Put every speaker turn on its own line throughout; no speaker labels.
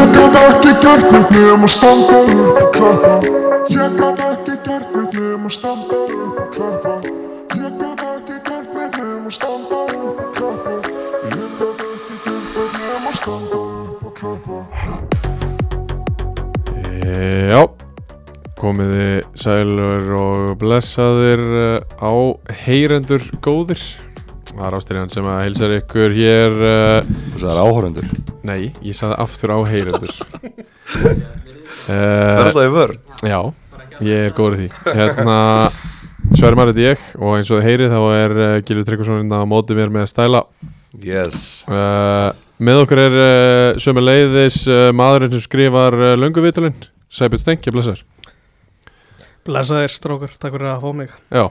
ekki gert neitt nema standa upp og klappa Ég gat ekki gert neitt nema standa upp og klappa Ég gat ekki gert neitt nema standa upp og klappa Ég gat ekki gert neitt nema standa upp og klappa
Eh, Já, komiði sælur og blessaðir eh, á heyrendur góðir. Það er ástyrjan sem að heilsar ykkur hér, eh,
Það er áhórendur
nei, ég saði aftur á heyrendur.
Það er
uh,
alltaf í vörn
já, ég er góður í því. Hérna, Sverri Marit ég og eins og þið heyrið þá er uh, Gilvi Tryggvason að móti mér með stæla.
Yes
Uh, með okkur er uh, sömu leiðis uh, maðurinn sem skrifar uh, lönguvitalinn, Sæbjörn Stenkja, blessar.
Blesaðir strókur, takk fyrir að fá mig
Já,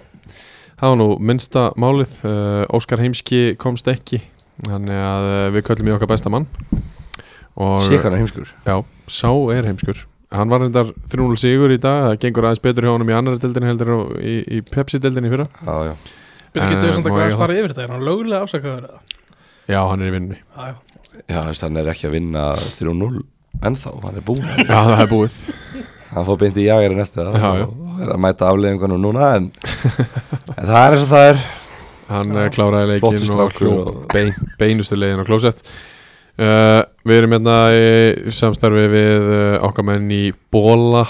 það var nú minnsta málið, uh, Óskar Heimski komst ekki, þannig að uh, við köllum í okkar besta mann og
Sikana heimskur
já, sá er heimskur. Hann var reyndar 3-0 sigur í dag, það gengur aðeins betur hjá honum í annari deildin heldur og í, í Pepsi-deildin í fyrra.
Já, já
Byrgir
Eh,
getur þessum
má ég
að hvað að
það?
fara yfir þetta, er hann lögulega afsakaður eða?
Já, hann er í vinnunni.
Já, já,
Já, þú veist, hann er ekki að vinna 3-0 Ennþá, hann er búinn
Já, það er búið.
Hann fór beint í jagarinn eftir það
Já, já.
Og er að mæta afleiðingunum núna en, en það er eins og það er
Hann já, kláraði
Flottur
leikinn og
strákur
hljóp
og-
bein, beinustu leiðin á klósett. Uh, við erum hérna í samstarfi við uh, okkar menn í Bóla.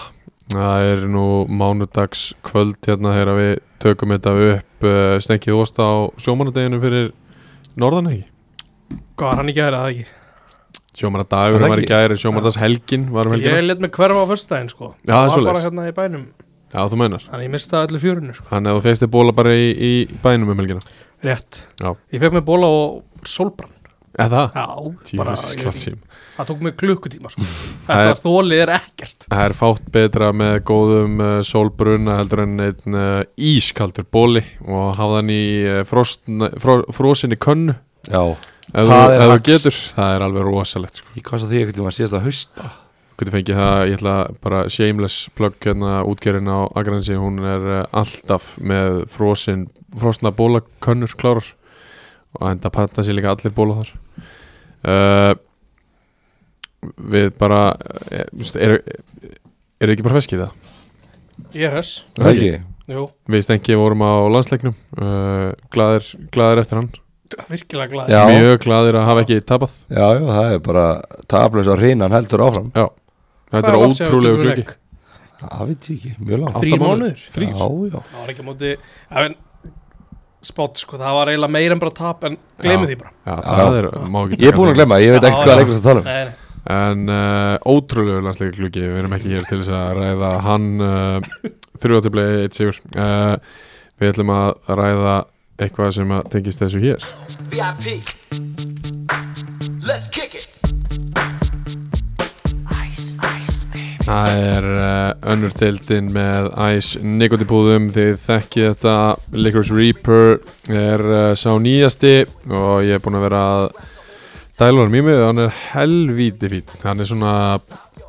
Það er nú mánudags kvöld hérna þegar við tökum þetta upp uh, stengið ósta á sjómanadeginu fyrir norðan ekki.
hvað var hann í gæri að það ekki?
Sjómanadagur
Er það
var í
ekki?
gæri, sjómanadas helgin var um helgina.
Ég let mig hverfa á föstudaginn sko
Já, það er
var bara
svoleiðis.
hérna í bænum,
Já, þú meinar.
þannig ég mistaði öllu fjörinu sko
Þannig að þú feistir Bóla bara í, í bænum um helgina.
Rétt
Já.
Ég fekk mig bóla og sólbrann
Eða það?
Já, bara
Tífessis
ég,
klassím.
Það tók mig klukkutíma sko
Það er-
Þetta þólið er ekkert
Það er fátt betra með góðum uh, sólbruna heldur en einn uh, ískaldur bóli og hafa hann í uh, frostn, fró, frósinni könnu
Já,
ef, þú,
Það er
ef þú
hacks.
getur, það er alveg rosalegt sko.
ég kosta því einhvern tíma síðast að hausta
Hvernig fengið það, ég ætla bara shameless plug hérna útgerinn á Akransi hún er uh, alltaf með frosin, frosna bólakönnur klárar og enda patna sér líka allir bóla þar uh, Við bara eh, þú veist, eru er ekki bara feskið það?
Ég er þess,
Það ekki
jú,
Við stengi vorum á landsleiknum uh, glaðir, glaðir eftir hann
virkilega glæð
Já.
Mjög glaðir að hafa ekki tapað
Já, já, það er bara Tablaus á hreinan heldur áfram
Þetta er ótrúlegu glöggi
Það veit ég ekki, mjög langt
Átta
Þrý
mánuðir.
mánuðir?
Þrír.
Já, já
Það var ekki á móti, já, en spátt sko, það var eiginlega meira en bara tap en gleymið
Já.
því bara
Já, það
Já.
er, má ekki
Ég er búinn að glemma, ég veit
Já,
ekki hvað
já.
leikur það tala um
Nei, nei.
En uh, ótrúlegu landsleika glöggi Við erum ekki hér til þess að ræða hann uh, Þrjóttiblei eitt sigur uh, Við ætlum að ræða eitthvað sem að tengist þessu hér
VIP. Let's kick it. Ice, ice, baby.
Það er uh, önnur deildin með æs nikotipúðum þið þekkið þetta Liquor's Reaper er uh, sá nýjasti og ég er búinn að vera að dæla hann mjög með hann er helvíti fít hann er svona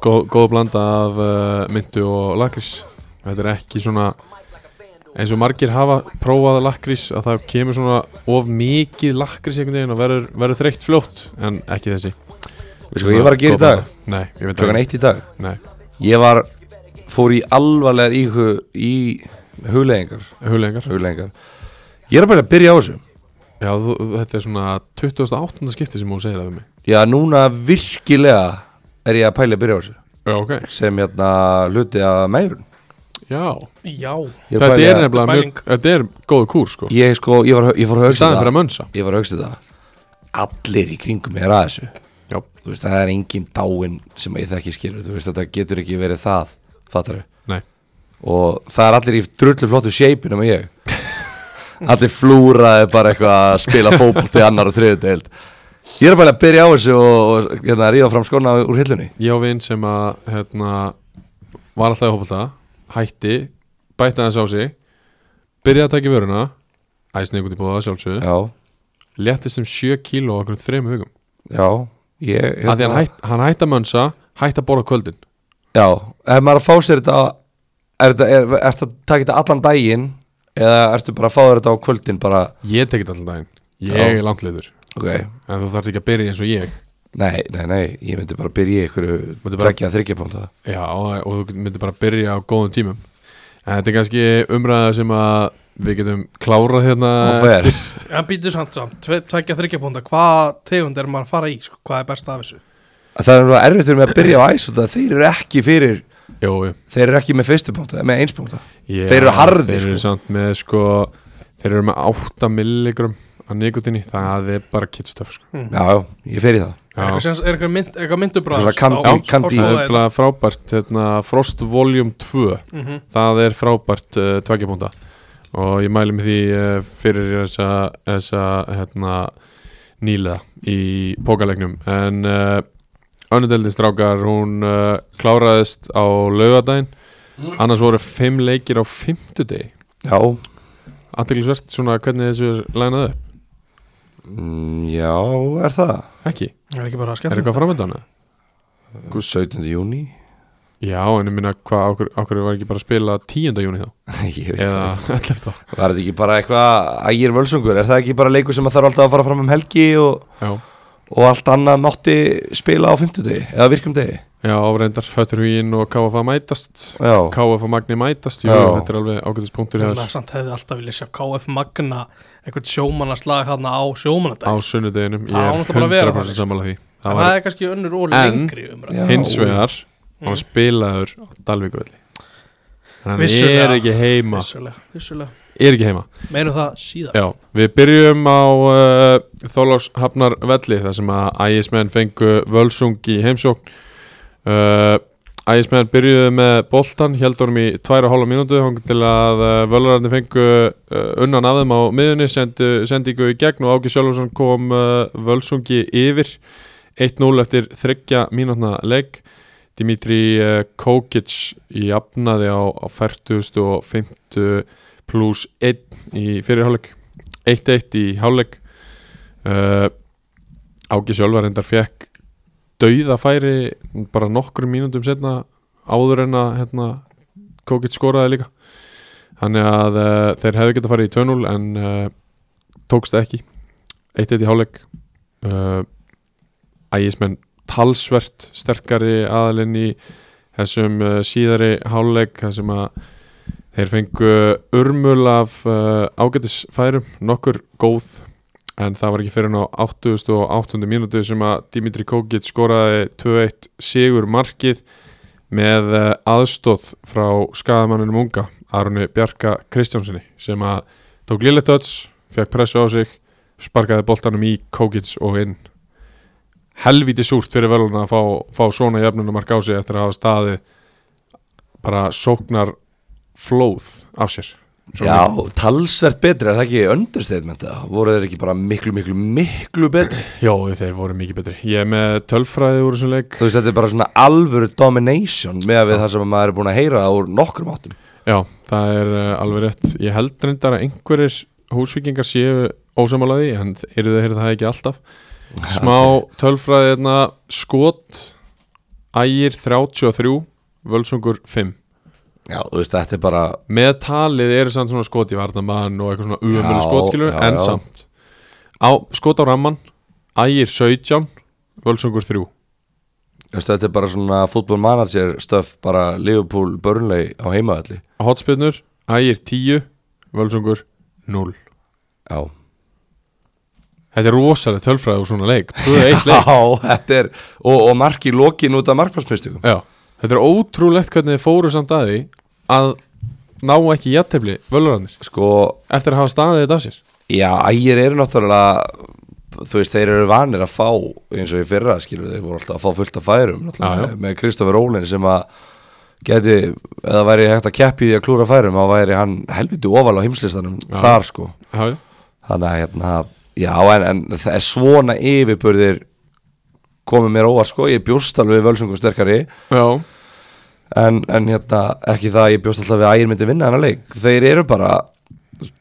góð, góð blanda af uh, myndu og lakrís þetta er ekki svona eins og margir hafa prófað lakrís að það kemur svona of mikið lakrís einhvern veginn og verður, verður þreytt fljótt en ekki þessi
Við sko, ég var að gera í
Góð
dag
blanda. Nei, ég veit
Klokkan eitt í dag
Nei,
Ég var, fór í alvarlegar íhu, í hugleðingar,
huglegingar
hugleðingar Ég er að byrja að byrja á þessu
Já, þú, þetta er svona 2008. skipti sem hún segir það um mig
Já, núna virkilega er ég að pæla að byrja á þessu
Já, ok
sem hérna hluti af meirun
Já,
Já,
ég
þetta er
að,
nefnilega
Pæling.
mjög, þetta er góð kúr sko
ég sko, ég var, ég fór
Í
að hugsa
staðan fyrir að
það
mönsa
ég var að hugsa um það allir í kringum er að þessu
Já,
þú veist, það er engin dáin sem ég þekki skilur þú veist, þetta getur ekki verið það fattaru
nei
og það er allir í drullu flottu shape nema ég allir flúraði bara eitthvað að spila fótbolt í annar og þriðu deild ég er bara að byrja á þessu og, og hérna, ríða fram skona úr hillunni
Ég á vinn sem að hérna, var alltaf í hófbalta hætti, bætti aðeins á sig byrjaði að taka í vöruna æsni ykkur til bóða sjálfsögðu
já,
léttist um 7 kíló okkur þrejum hugum
já ég,
hérna. Því hann, hætt, hann hætti að mönsa hætti að borða á kvöldin
já, ef maður er að fá sér þetta er þetta, er, ertu að taka þetta allan daginn eða ertu bara að fá þér þetta á kvöldin bara,
Ég tekið alltaf daginn, ég
Já.
er langtliður
ok
en þú þarft ekki að byrja eins og ég
Nei, nei, nei, ég myndi bara byrja í ykkur
Myndi bara-
Tveggja þryggja púnta
Já, og þú myndi bara byrja á góðum tímum En þetta er kannski umræða sem að við getum klárað hérna
Og fer
eftir-
En býtu samt samt, tve- tveggja þryggja púnta Hvað tegund er maður að fara í, sko, hvað er best af þessu
Það er alveg erfitt fyrir mig að byrja á æs út af Þeir eru ekki fyrir,
Jú, jú
þeir eru ekki með fyrstu púnta Með eins púnta
Já,
Þeir eru harðir,
Þeir eru
sko.
samt með sko Þeir eru með 8 milligram á nikotinni Það er bara kitstöf sko
Já, já, ég fer í það
Er eitthvað sens- er eitthvað mynd, eitthvað myndubræð
Svona kan- já, kandi.
Það er bara frábært hérna, Frost Volume 2
Mhm.
Það er frábært uh, tveggjapunta Og ég mæli með því uh, fyrir þessa, þessa hérna, nýla í pókalegnum En uh, önnudeldin strákar Hún uh, kláraðist á laugardaginn Annars voru fimm leikir á fimmtudegi
Já,
Aðteglisvert svona hvernig þessu er lænað upp
mm, já, er það
Ekki,
Er ekki bara
er
skemmt
eitthvað framöndan?
Hvað, 17. júni?
Já, en ég minna hvað okkur, okkur var ekki bara að spila 10. júni þá
ég veit
Eða
það
11.
Var þetta ekki bara eitthvað ægir völsungur? Er það ekki bara leikur sem að þarf alltaf að fara fram um helgi og,
Já
og allt annað mátti spila á 50 degi eða virkum degi?
Já, áreindar Hötturhugin og KFA mætast
Já,
KFA Magni mætast, jú,
Já.
þetta er alveg ágætis punktur hjá
Þannig
þér
að samt hefði alltaf viljað sjá KF Magna eitthvað sjómannarslag hérna á
á
sjómannadag
sunnudeginum, ég
Það á
er
náttúrulega bara að vera
100%
þannig.
sammála því
En
það
það
var
er kannski önnur og
En-
lengri umræð
Já.
hins vegar hann var
Mhm.
spilaður á Dalvíkvöldi þannig að hann
Vissulega.
er ekki heima
Vissulega, vissulega
er ekki heima
Meinu það síðar
Já, við byrjum á uh, Þólókshafnar velli þar sem að ægismenn fengu völsung í heimsókn uh, Ægismenn byrjuðu með boltan heldur um í tværa hóla mínútu þangað til að uh, völararnir fengu uh, unnan af þeim á miðunni sendu, sendingu í gegn og Áki Sjálfsson kom uh, völsungi yfir 1-0 eftir þryggja mínútna leik Dimitri uh, Kokic jafnaði á, á 40 og 50 pluss 1 í fyrirháleik 1-1 í háleik uh, Áki Sjölvar endar fekk dauðafæri bara nokkrum mínútum setna áður en að hérna, Kokic skoraði líka þannig að uh, þeir hefðu getað farið í 2-0 en uh, tókst það ekki 1-1 í háleik uh, ægismenn talsvert sterkari aðalinn í þessum uh, síðari háleik þar sem að Þeir fengu urmul af uh, ágætisfærum, nokkur góð en það var ekki fyrir á 88. mínútu sem að Dimitri Kókic skoraði 2-1 sigur markið með uh, aðstóð frá skadamanninum unga Arunni Bjarka Kristjánssoni sem að tók lille töts, fekk pressu á sig sparkaði boltanum í Kókic og inn helviti súrt fyrir veluna að fá, fá svona jöfnunumark á sig eftir að hafa staðið bara sóknar flóð af sér Svo
já
mikið.
talsvert betri, er það ekki understatement? eða? Voru þeir ekki bara miklu, miklu, miklu betri?
Jó, þeir voru mikið betri Ég er með tölfræði úr þessum leik
Þú veist, þetta er bara svona alvöru domination með að við það sem maður er búin að heyra úr nokkrum áttum
Já, það er uh, alveg rétt Ég held reyndar að einhverjir húsvíkingar séu ósamálaði en eru þeir það ekki alltaf Smá tölfræði hérna skot ægir 33 völsungur 5
Já, þú veist, þetta er bara
með talið eru samt svona skot í varnamann og eitthvað svona umölu
Já,
skotskilur
já,
en
já.
samt á, skot á rammann ægir 17 völsungur 3
þú veist, Þetta er bara svona football manager stöf bara Liverpool börnleg á heimaðalli
hotspinnur ægir 10 völsungur 0
Já
Þetta er rosalega tölfræði úr svona leik 2-1 leik
Já, þetta er og, og marki lokin út af markmannsmyndstökum
Já. Þetta er ótrúlegt hvernig þið fóru samt að því að ná ekki jættefli völurarnir
Sko,
eftir að hafa staðið þetta af sér
já, ægir eru náttúrulega þú veist, þeir eru vanir að fá eins og í fyrra, skilur, þeir voru alltaf að fá fullt af færum, náttúrulega,
Já, já.
með Kristoffer Rólin sem að geti, eða væri hægt að keppi því að klúra færum, þá væri hann helviti ofal á heimslistanum
Já.
þar, sko
Já, já.
þannig að, hérna, já, en, en það er svona yfirbörðir komið mér óvart, sko, ég bjóst alveg völsungum sterkari
Já.
en, en hérna, ekki það að ég bjóst alltaf við að ægir myndi vinna þennan leik þeir eru bara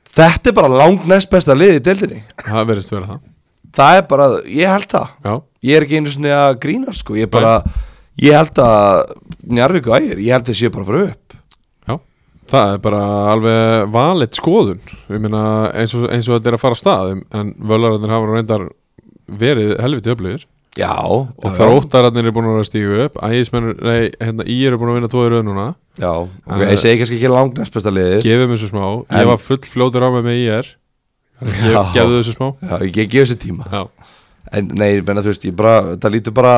þetta er bara langnæst besta liðið í deildinni
það verðist vera það
það er bara, ég held það
Já,
ég er ekki einu svona að grínast sko ég bara, ég held að Njarvík og ægir, ég held að séu bara að fara upp
já Það er bara alveg valit skoðun Ég meina eins og, eins og þetta er að fara af stað en völurarnir hafa nú reyndar verið helviti öflugir
Já,
og þróttararnir eru búin að vera að stígu upp ægismenn, nei, hérna í eru búin að vinna tvoður núna,
Já, ok, ég segi kannski ekki langt næst besta liðið
gefum þessu smá
En-
ég var full fljótur á mig með IR Ge-
Já.
gefðu þessu smá
Já, ég, ég gef þessu tíma
já,
En nei, ég menna þú veist, ég bara, það lítur bara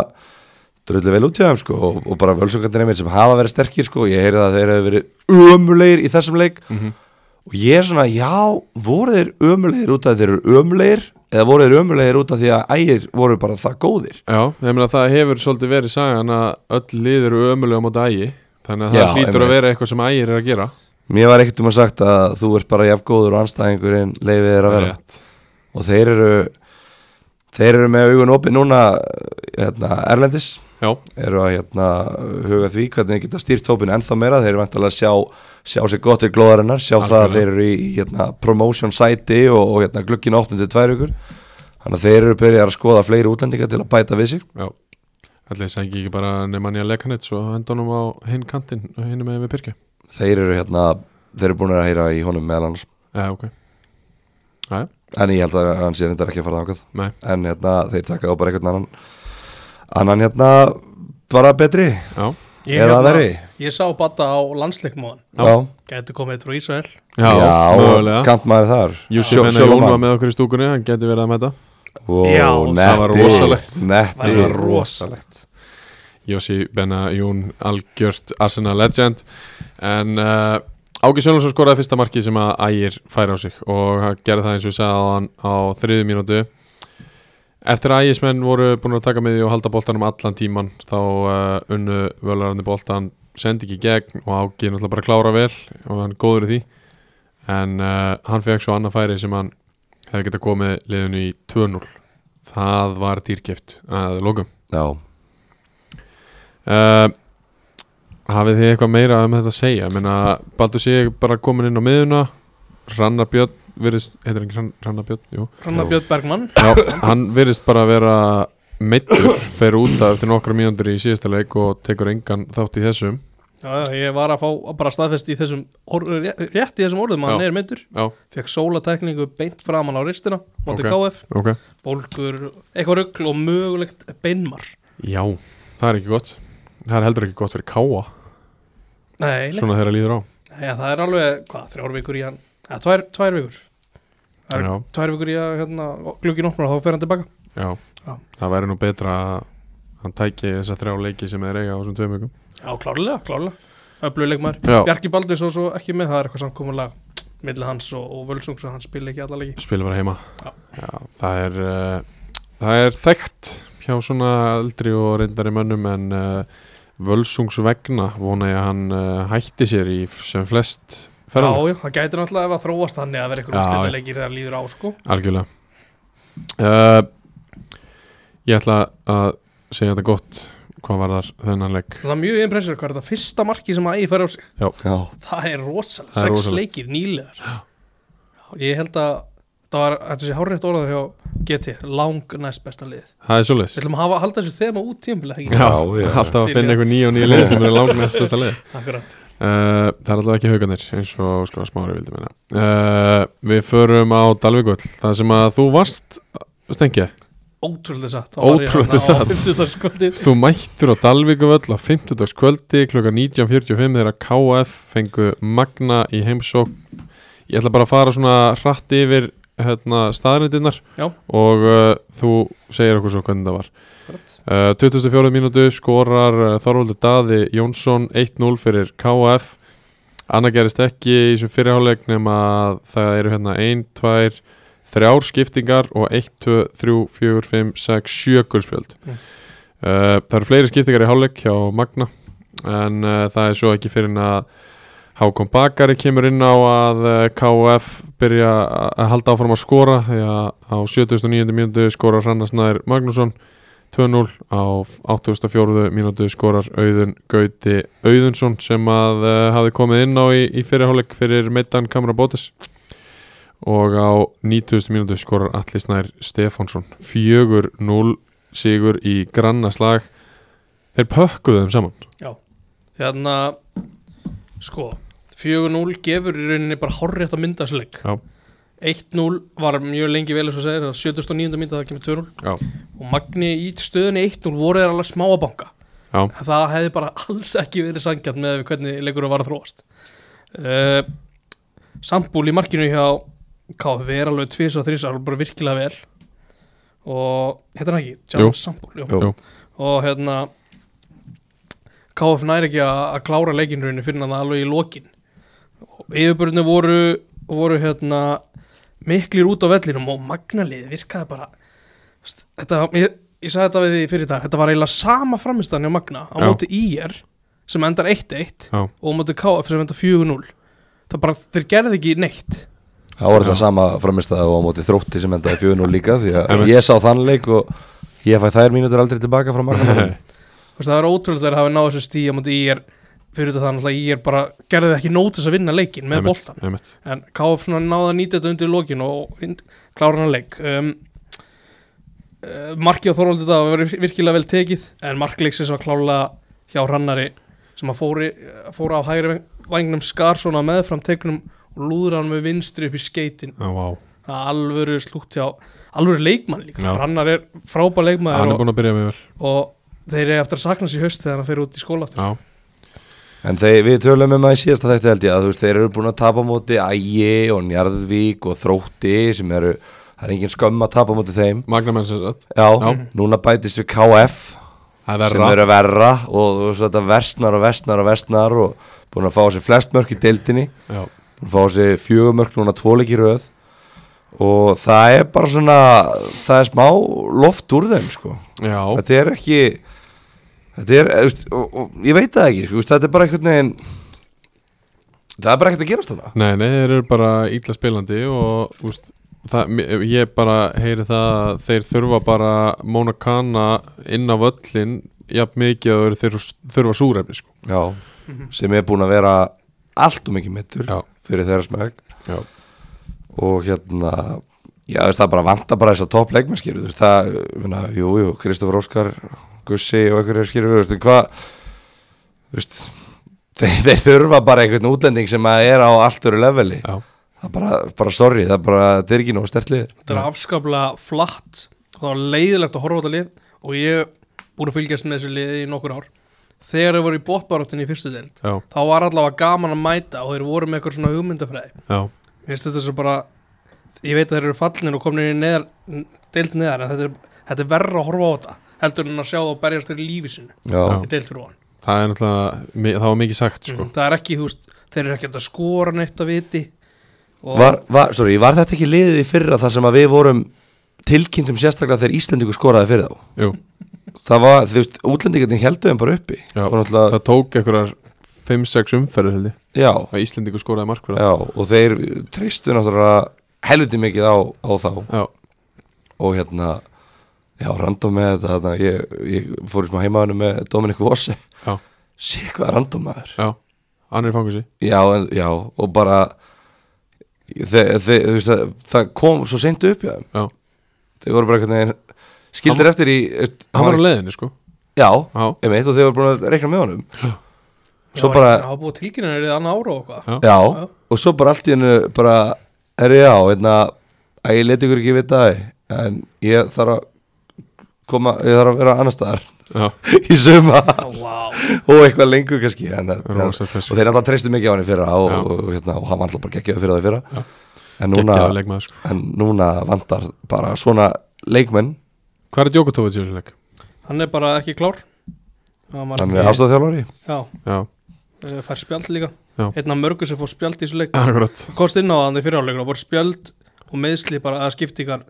dröldu vel út hjá þeim sko og, og bara völsungarnir einmitt sem hafa verið sterkir sko ég heyrði að þeir hafa verið ömulegir í þessum leik og ég er svona, já voru þeir ömulegir út af því þeir eru ömulegir eða voru þeir ömulegir út af því að ægir voru bara það góðir
já, ég meina það hefur svolítið verið sagan að öll lið eru ömulega á móti ægi þannig að
Já,
það hlýtur að
einmitt.
vera eitthvað sem ægir er að gera
Mér var ekkert um að sagt að þú ert bara jafn góður og anstæðingurinn leifið þeir að vera
Rétt.
og þeir eru þeir eru með augun opið núna hérna, Erlendis
já,
eru að hérna, huga því hvernig þeir geta stýrt hópin ennþá meira þeir eru vantilega að sjá, sjá sér gott til glóðarinnar sjá það að
Algjörlega.
þeir eru í, í hérna, promotion sæti og, og hérna, glukkin 8-2 ykkur þannig að þeir eru byrjað að skoða fleiri útlendinga til að bæta við sig
já ætli þess að ekki bara Nemanja Lekanits og henda honum á hinn kantinn hinn með við Pyrki
þeir eru, hérna, þeir eru búin að heyra í honum meðal annars
já, ok, já,
en ég held að hann sé reyndar ekki að fara þákað
nei,
en hérna, þeir taka þá bara einhvern annan annan hérna bara betri
já
Ég, hérna-
Eða verri.
ég sá Batta á landsleikmóðan
hérna- Já.
já,
Gæti komið frá Ísrael
já, mögulega
kantmaður þar
Júsef Hennar Jón var með okkur í stúkunni, hann geti verið að mæta
Ó,
Já,
það var
netti,
rosalegt.
netti.
Það var rosalegt.
Jósi Benna Jón algjört Arsenal legend en uh, Áki Sjónsson skoraði fyrsta markið sem að ægir færa á sig og hann gerði það eins og við sagði á, á þriðu mínútu Eftir að ægismenn voru búin að taka með því og halda boltanum allan tíman þá uh, unnu völarandi boltan sendi ekki í gegn og Áki náttúrulega bara klára vel og hann er góður í því en uh, hann fekk svo annað færi sem hann hefði getað komið liðinu í 2-0 það var dýrgift að lokum
já
Uh, hafið þið eitthvað meira um þetta að segja? Ég Meina, Baldur sé bara komin inn á miðuna Rannar Björn virðist, heitir hann ekki Rannar Björn? Jú
Rannar Björn Bergmann
Já, hann virðist bara að vera meittur, fer út af eftir nokkra mínúndur í síðasta leik og tekur engan þátt í þessum
já, já, Ég var að fá að bara staðfest í þessum or, Rétt í þessum orðum að
Já.
hann er myndur
Já,
Fekk sólatekningu beint framan á ristina Móti
Ok.
KF,
ok
bólgur Eitthvað rugl og mögulegt beinmar
Já, það er ekki gott Það er heldur ekki gott fyrir káa
Nei, nei.
Svona þeirra líður á
Já, það er alveg, hvað, þrjár vikur í hann Já, tvær, tvær vikur Það er
Já.
tvær vikur í að hérna, glukkin opnar og þá fer hann tilbaka
Já,
Já.
það væri nú betra að hann tæki þessa þrjá leiki sem þeir eiga á þessum tveim vikum
Já, klárlega, klárlega Öfluleik maður
Já.
Bjarki Baldur svo, svo ekki með, það er eitthvað samkomulag milli hans og, og Völsung svo hann spila ekki alla leiki
spilum bara heima
Já.
Já, það er uh, það er þekkt hjá svona eldri og reyndari mönnum en uh, völsungs vegna vona ég að hann uh, hætti sér í f- sem flest ferðan
Já, já, það gæti náttúrulega ef að þróast þannig að vera eitthvað
Já,
úrslita leikir þegar líður á sko
algjörlega uh, ég ætla að segja þetta gott hvað var þar þennan leik
Það er mjög impressur, hvað er þetta fyrsta marki sem að eigi færa á sig
Já,
Það er rosalegt,
Það er
sex
rosalegt.
leikir nýlegar Já, ég held að það var, þetta sé hárétt orðað hjá GT, lang næst besta lið
það er svoleiðis
Við ætlum að hafa, halda þessu þema út tímbilega ekki
Já,
já.
alltaf að
Til
finna
ég.
einhver nýja og nýja leið sem eru langt næst þetta leið
Akkurat
Uh, það er alltaf ekki hauganir eins og sko smári vildi meina uh, Við förum á Dalvíkvöld Það sem að þú varst Stengja,
Ótrúlega satt hérna
Ótrúlega satt.
satt
þú mættur á Dalvíkvöld á 50. kvöldi kl. 19.45 þegar KF fengu Magna í heimsók Ég ætla bara að fara svona hratt yfir hérna, staðrindinnar
Já.
og uh, þú segir okkur svo hvernig það var Uh, 24 mínútu skorar uh, Þorvaldur Daði Jónsson 1-0 fyrir KF annað gerist ekki í þessum fyrirháleik nema að það eru hérna 1, 2, 3 skiptingar og 1, 2, 3, 4, 5, 6, 7 guldspjöld
Mm.
uh, Það eru fleiri skiptingar í háleik hjá Magna en uh, það er svo ekki fyrir en að Hákon Bakari kemur inn á að eh, KF byrja að að halda áfram að skora því að á 79. mínútu skorar Rannarsnæður Magnússon 2-0 á 84. mínútu skorar Auðun Gauti Auðunsson sem að uh, hafi komið inn á í, í fyrirháleik fyrir meittan Kamra Bótes og á 90. mínútu skorar Atli Snær Stefánsson 4-0 sigur í grannaslag þeir pökkuðu þeim saman
Hérna Sko 4-0 gefur í rauninni bara horrið að mynda þessu leik
Já.
1-0 var mjög lengi vel eins og segir, 79. mínúti það kemur 2-0
Já,
og Magni í stöðunni 1-0 voru þeir alveg smá að banka
já,
það hefði bara alls ekki verið sangjarn með hvernig leikur var að þróast uh, Sambúl í markinu hjá KV er alveg tvis og þrís alveg bara virkilega vel og hérna ekki,
Jú.
Jan Sambúl jú.
Jú.
og hérna KF næri ekki að að klára leikinrunni fyrir hann alveg í lokin og yfirbörðinu voru, voru hérna miklir út á vellinum og magnalið virkaði bara St- þetta, ég, ég sagði þetta við því fyrir dag þetta var eiginlega sama framistan hjá Magna á
Já.
móti IR sem endar 1-1
já
og á móti KF sem endar 4-0 það bara, þeir gerði ekki neitt
Það var þetta sama framist að á móti þrótti sem endaði 4-0 líka því að
Einmitt.
ég sá þann leik og ég fæ þær mínútur aldrei tilbaka frá markanum
Nei,
Þú veist, það er ótrúlega þegar hafi náðu þessu stíð á móti IR fyrir þetta þannig að IR bara gerði ekki nótis að vinna leikin með
einmitt,
boltan
einmitt.
en KF svona náði að nýta þetta undir lokin og inn- klára hann leik um, uh, Marki og Þorvaldi þetta var virkilega vel tekið en markleiksins var klálega hjá Rannari sem að fóri, fóra á hægri vangnum Skarsson að meðfram teiknum og lúður hann með vinstri upp í skeitin
Já, vá,
það er alvöru slútt hjá alvöru leikmann líka,
Já.
Rannar er frábær leikmann
hann er
og,
búin að byrja mjög vel
og þeir eru eftir að sakna sér haust þegar hann fer út í skóla aftur
Já,
En þeir, við tölum um að í síðasta þætti held ég að þú veist, þeir eru búin að tapa á móti Ægi og Njarðvík og Þrótti sem eru, það er engin skömm að tapa á móti þeim
magnamenn sem sagt
Já,
Já.
núna bætist við KF
Það er
sem
verra
eru verra og þú veist, þetta versnar og versnar og versnar og búin að fá sér flest mörk í deildinni
Já,
búin að fá sér fjögumörk núna tvoleik í röð og það er bara svona það er smá loft úr þeim sko
já,
þetta er ekki þetta er, eh, veist, og, og, ég veit það ekki sko, veist, þetta er bara einhvern veginn það er bara ekkert að gerast þarna
nei, nei, þeir eru bara ítla spilandi og úst, það, mér- ég bara heyri það að þeir þurfa bara Mona Kana inn á völlin jafn mikið að þeir þurfa- þurfa súrefni sko.
Já, sem er búin að vera allt og mikið mittur
Já,
fyrir þeirra smæk
já,
og hérna já, þú veist, það bara vantar bara þess að topp leikmennskýru það, ég meina, jú, jú, Kristofur Óskar Gussi og einhverjir skýru veistu, hvað þú veist, þeir, þeir þurfa bara einhvern útlending sem að er á allt öru leveli
já,
það er bara, bara sorry, það er bara þetta er ekki nóg stertlið
Þetta er afskaplega flatt og það var leiðilegt að horfa á þetta lið og ég hef búin að fylgjast með þessu liði í nokkur ár. Þegar þau voru í bóttbaráttinni í fyrstu deild,
já,
þá var allavega gaman að mæta og þeir voru með eitthvað svona hugmyndafræði.
já,
Ég veist þetta er svo bara, ég veit að þeir eru fallnir og komnir í neðar, n- deild neðar en þetta er, þetta er verra að horfa á þetta heldur en að sjá það og berjast þeir í lífi sinu
já,
Já.
í deild fyrir ofan.
það er náttúrulega mi- það var mikið sagt sko
Það er ekki, þú veist, þeir eru ekki hægt að skora neitt að viti. og-
Var, var, sorry, var þetta ekki liðið í fyrra þar sem að við vorum tilkynntum sérstaklega þegar Íslendingur skoraði fyrir þá
Jú,
það var, þú veist, útlendingarnir helduðum bara uppi
já,
Og náttúrulega,
það tók einhverjar 5-6 umferðir held ég,
já,
að Íslendingu skoraði mark fyrir það.
já og þeir treystu náttúrulega helviti mikið á, á þá
Já,
og hérna já, random með þetta, þarna, ég, ég fór í smá heimaðinu með Dominik Vosse
já,
sé hvað random maður
já, hann er í fangusi
já, en, já, og bara þe, þe, þú veist, það, það kom svo seint upp hjá þeim
Já,
þeir voru bara einhvern veginn skildir eftir í veist,
hann var á leiðinni sko
já,
Já,
einmitt, og þeir voru búin að reikna með honum
Já,
svo
var
bara-
ekki- Það var búið tilkynnaður í annan ára og eitthvað.
Já.
Já,
Já.
og svo bara allt í hennu bara, herri já, hérna að ég leti ykkur ekki vita það en ég þarf að koma, ég þarf að vera annar staðar
já,
í suma
Já, vá.
og eitthvað lengur kannski en, en, og
rosa pressu
þeir náttúrulega treystu mikið á henni fyrra og,
Já.
og, hérna, og hann vantla bara geggjaði fyrir það fyrra
Já.
en núna,
Gekkjaður leikmaður sko
en núna vantar bara svona leikmenn
Hvað er Djokotovic í þessu leik?
Hann er bara ekki klár Hann var
hann er ástofþjálfari
Já,
Já,
eh, fær spjald líka
Já.
Einn af mörgur sem fór spjald í þessu leik
akkurat
Kost inn á það þannig fyrirháleikur og voru spjald og meðsli bara að skipta ykkar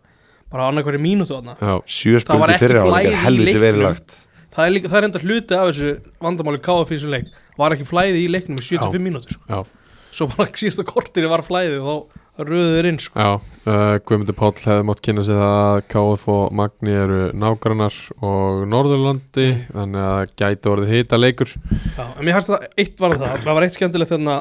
bara á annarkværi mínútu þarna
Já,
sjö
Það var
spildi
ekki
fyrir áleik
flæði í
er helviti
leiknum.
verilagt
Það er, líka, það er enda hluti af þessu vandamáli KF í þessu leik Var ekki flæði í leiknum í 75
Já.
mínútur sko.
já,
Svo bara síðasta kortir var flæðið og þá röðu þeir inn sko.
já uh, Guðmundur Páll hefði mátt kynna sig það að KF og Magni eru nágrannar og Norðurlandi þannig að gæti orðið hita leikur
Já, en mér hægst það, eitt var það Það var eitt skemmtilegt þarna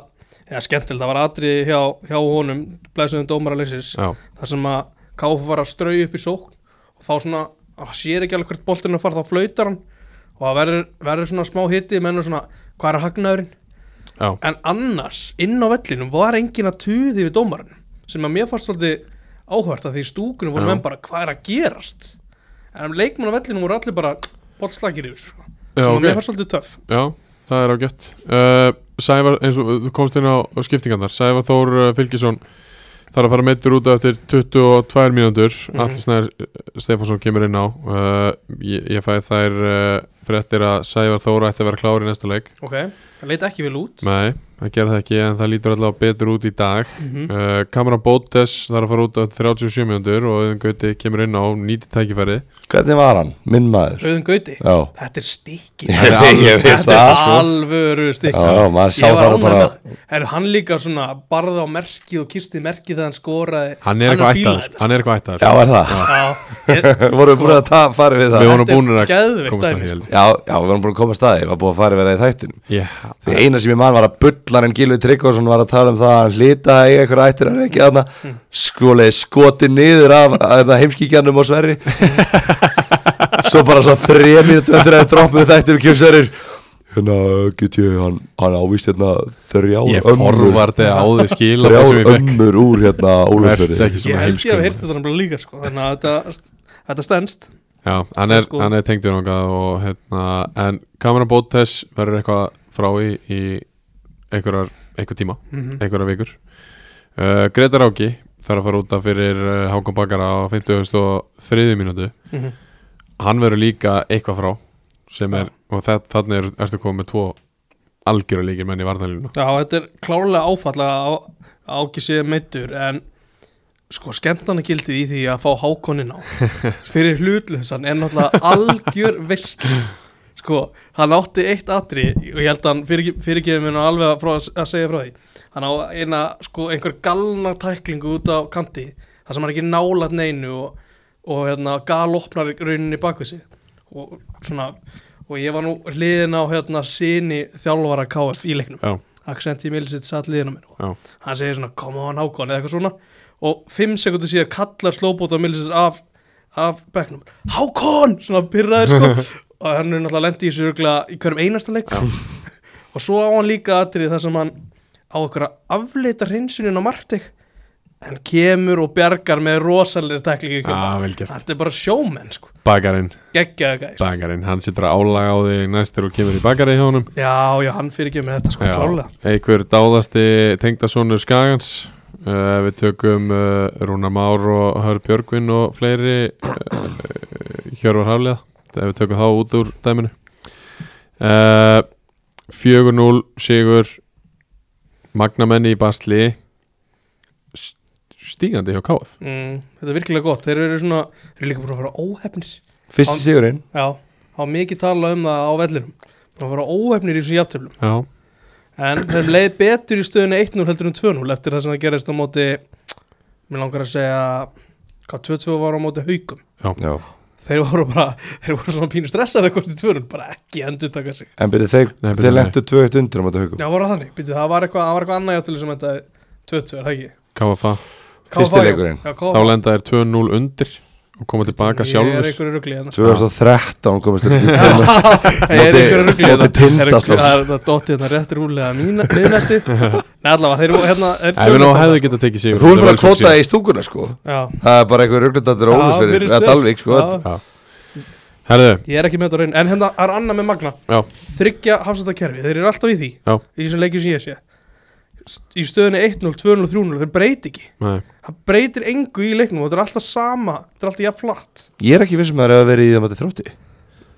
Já, skemmtilegt, það var atrið hjá, hjá honum Blæsum dómara leysins
Já,
þar sem að KF var að strau upp í sókn og þá svona, hann sér ekki alveg hvert boltinn er að fara, þá flautar hann og það verður, verður svona smá hitti, mennur svona hvað er hagnaðurinn,
já,
en annars inn á vellinum var engin að tuði við dómarinn sem að mér fannst svolítið áhvert að því í stúkunum voru
Já.
menn bara hvað er að gerast en leikmenn á vellinum voru allir bara bollslagir yfir sko.
Já,
sem að
ok.
mér fannst svolítið töff
Já, það er ágætt uh, Sævar, eins og þú komst inn á, á skiptingarnar Sævar Þór uh, Fylgisson þarf að fara meittur út eftir 22 mínútur mm -hmm. Snær Stefánsson kemur inn á uh, ég, ég fæ þær uh, fréttir að Sævar Þór ætti að vera klár í næsta leik
ok, það leit ekki vel út
Nei, það gera það ekki en það lítur allavega betur út í dag
Mhm.
uh, Cameron Bótes þarf að fara út eftir 37 mínútur og Öðun Gauti kemur inn á nýti tækifæri
Hvernig var hann? Minn maður
Rauðin Gauti,
Já,
þetta er stikki
Ég veit- ég veit
þetta
það,
er
sko.
alvöru stikki
Já, já, maður sá
ég var
það
ánægð
bara-
með- Herru, hann líka svona barði á merkið og kisti merkið þegar hann skoraði
Hann er eitthvað
fílaði
ættaður sko.
þetta,
Hann er eitthvað ættaður
já er það
sko. Já, ég-
Vorum við búin að ta- fara við það
Við
Já,
vorum
Þetta er
búin að komast að
geðveikt dæmi,
því
sko.
held ég.
já, við vorum búin að koma að staði Ég var búin að fara við það í þættin
Já,
Því eina sem ég man var að bullan en Gilvi Tryggvason var að tala um það að hann hlita í eitthvað ættir hann ekki þarna
Hmm.
skoleiði skoti niður af af heimskíkjanum og sverri svo bara svo þrjum mínutu eftir að droppuðu þættir um kjömsverri hérna get ég hann, hann ávist hérna
Ég
þrjár ömmur
forvarti á því skila það sem
þrjár
ég fekk
ömmur úr hérna
Verst ekki
Ólafsverði
ég
svona
held ég að heyrta
heimskum
þetta nefnilega líka sko. þannig að þetta, þetta stendst
Já, hann er,
Sko.
hann er tengdur nokað og hérna En Cameron Bótes verður eitthvað frá í, í einhverjar, einhver tíma,
Mhm.
einhverjar vikur uh, Gretar Áki þarf að fara út af fyrir uh, Hákon Bakara á 53 mínútu
Mhm.
Hann verður líka eitthvað frá sem er, og það, þannig er, ertu komið með tvo algjöru líkir menn í varnalínu
já, þetta er klárlega áfall að Á- áki sé meittur en sko skemmtana gildið í því að fá hákonin á fyrir hlutlausan er náttúrulega algjör veist sko, hann átti eitt atri og ég held að hann fyrir, fyrirgeði mér nú alveg að, frá, að segja frá því hann á eina, sko, einhver galna tæklingu út á kanti þar sem hann er ekki nálat neinu og, og hérna, galopnar rauninni bakvið sig og svona og ég var nú hliðin á hérna sinni þjálfara KF í leiknum
Já,
Accenti Milicic satt liðin á mér
já,
hann segir svona koma á nákvæmni eða eitthvað svona og fimm sekundir síðar kallar slóbóta Milicic af, af bekknum Hákon, svona pyrraður sko og hann er náttúrulega lendi í þessu örgla í hverjum einasta leik og svo á hann líka atrið þar sem hann á einhverja afleita hreinsunin á Martek hann kemur og bjargar með rosalegri tæklingu í kjölfarið.
ah, vel gert
þetta er bara sjómenn sko
Bakarinn
geggjaða gæs
Bakarinn, hann situr að álaga á þig næstur og kemur í bakari hjá honum
já, já, hann fyrir ekki með þetta sko
Já,
klálega
einhver dáðasti tengdasonur Skagans uh, við tökum uh, Rúnar Már og Hör Björgvin og fleiri uh, Hjörvar Hafliða ef við tökum þá út úr dæminu uh, 4-0 sigur Magnamenni í Basli S- stígandi hjá KF
mm, þetta er virkilega gott, þeir eru svona þeir eru líka búin að fara óhefnir
fyrsti sigurinn
já, þá er mikið talað um það á vellinum búin að fara óhefnir í þessu jafntöflum
Já,
en þeir leið betur í stöðunni 1-0 heldur en 2-0 eftir það sem það gerist á móti mér langar að segja hvað 2-2 var á móti haukum
já.
þeir voru bara, þeir voru svona pínu stressaði hvort í 2-0, bara ekki endur taka sig
en byrju þeir,
Nei, byrju,
þeir
nei.
lendu 2-1 undir á móti haugum
já, voru það þannig, býttu, það var eitthvað, það var eitthvað annað jafntöflu sem þetta 2-2, er það ekki?
KFA
Fyrsti
KFA, já.
leikurinn.
Já,
þá
KFA.
lenda er 2-0 undir og koma tilbaka
Ég er
sjálfur
einhverju ruggli hérna.
2013 komist upp í kjölur
Það er
Móti-
einhverju ruggli
móti Tindastól.
Það dótti hérna rétt rúlega mína miðnætti Nei allavega þeir eru hérna þeir
Ef við ná
töluðu bara.
hefðu getað tekið sigur þetta
Þú erum bara að
vel svo
kvota
síðast.
í stúkuna sko
Já
Það er bara einhver rugglindatur
Já,
ólisverið
virðist
Það er
vera,
Dalvik sko
já.
þetta-
Herðu,
Ég er ekki með þetta á raun En hérna það er annað með Magna
já,
Þryggja hafsættakerfi Þeir eru alltaf í því
Já.
Í þessum leikjum sem ég sé St- Í stöðunni 1-0, 2-0, 3-0 Þeir breyti ekki
nei
Það breytir engu í leiknum og þetta er alltaf sama Þetta er alltaf jafn flatt
Ég er ekki vissum að það er að verið í það mæti þrótti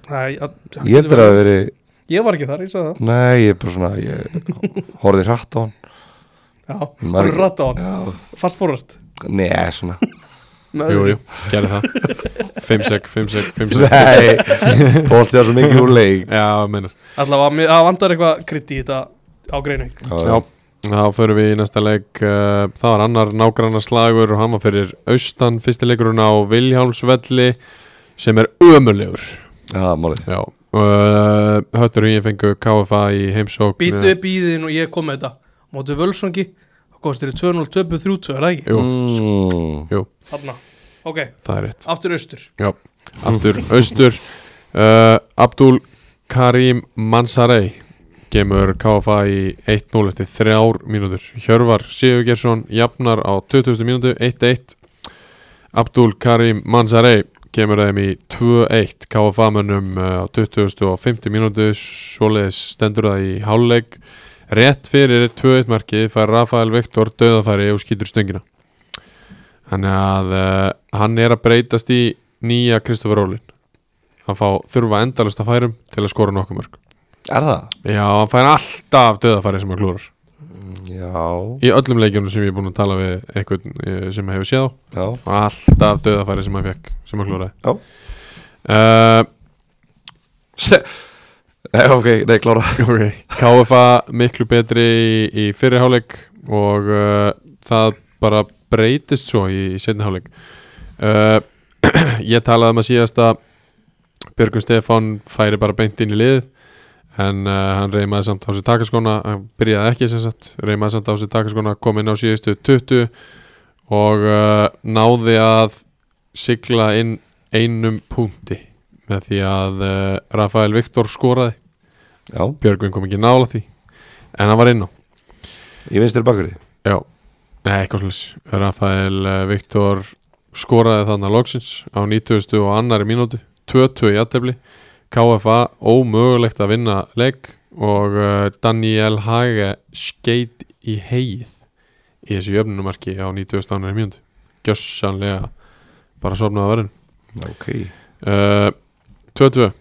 Nei, að-
Ég heldur að það verið
Ég var ekki þar, ég sagði
Nei, ég er bara svona Ég horfði hratt á hann
það Já,
Maður-
hann er ratt á hann
Já.
Fast forröld
Nei, svona
Jú, jú, gerði það 5 sek, 5 sek, 5 sek
Nei, bólti það svo mikið úr leik
Já, meinar
Allavega, það vandar eitthvað krydd í þetta á Greinvík
Já, þá förum við í næsta leik uh, Það var annar nágrannar slagur og hann var fyrir austan fyrsti leikurinn á Vilhjálmsvelli sem er ömulegur
Já, málið
Já uh, Höttur og ég fengu KFA í heimsókn
Býtu upp í þín og ég kom með þetta Mótið Völsungi þá kostir þið 2-0, 2-0, 3-2, er það ekki?
Jú,
Mm.
jú,
Þarna, ok,
það er rétt
aftur austur
Já, aftur austur uh, Abdul Karim Mansarei kemur KFA í 1-0 eftir þrjár mínútur Hjörvar Sigurgersson jafnar á 20. mínútu 1-1 Abdul Karim Manzarei kemur þeim í 2-1 KFA mönnum eh, á 2050 mínútu svoleiðis stendur það í hálfleik rétt fyrir 2-1 markið fær Rafael Viktor döðafæri og skýtur stöngina þannig að uh, hann er að breytast í nýja Kristoffer Rólin að fá þurfa endalasta færum til að skora nokkuð mörg
Er það?
Já, hann fær alltaf döðafæri sem hann klúrar
Já,
Í öllum leikjunum sem ég er búinn að tala við einhvern eh, sem hefur séð á
já,
og alltaf döðafæri sem hann fekk sem hann klúraði
já
uh,
Se- Nei, ok, nei, klára
okay. KFA miklu betri í, í fyrirháleik og uh, það bara breytist svo í, í setniháleik uh, Ég talaði um að síðast að Björgun Stefán færi bara beint inn í liðið en uh, hann reymaði samt á sér takaskona hann byrjaði ekki sem sagt reymaði samt á sér takaskona, kom inn á síðustu 20 og uh, náði að sigla inn einum punkti með því að uh, Rafael Viktor skoraði
Já,
Björgvin kom ekki nála því en hann var inn á
ég veist þér bakur því
já, Nei, eitthvað slags Rafael eh, Viktor skoraði þarna loksins á 90. og annari mínútu 2-2 í aðtefli KFA ómögulegt að vinna leik og eh, Daniel Hage skeit í heið í þessu jöfnumarki á 90. og annari mínútu gjössanlega bara sofnaði að verðin
Ok
Eh, 2-2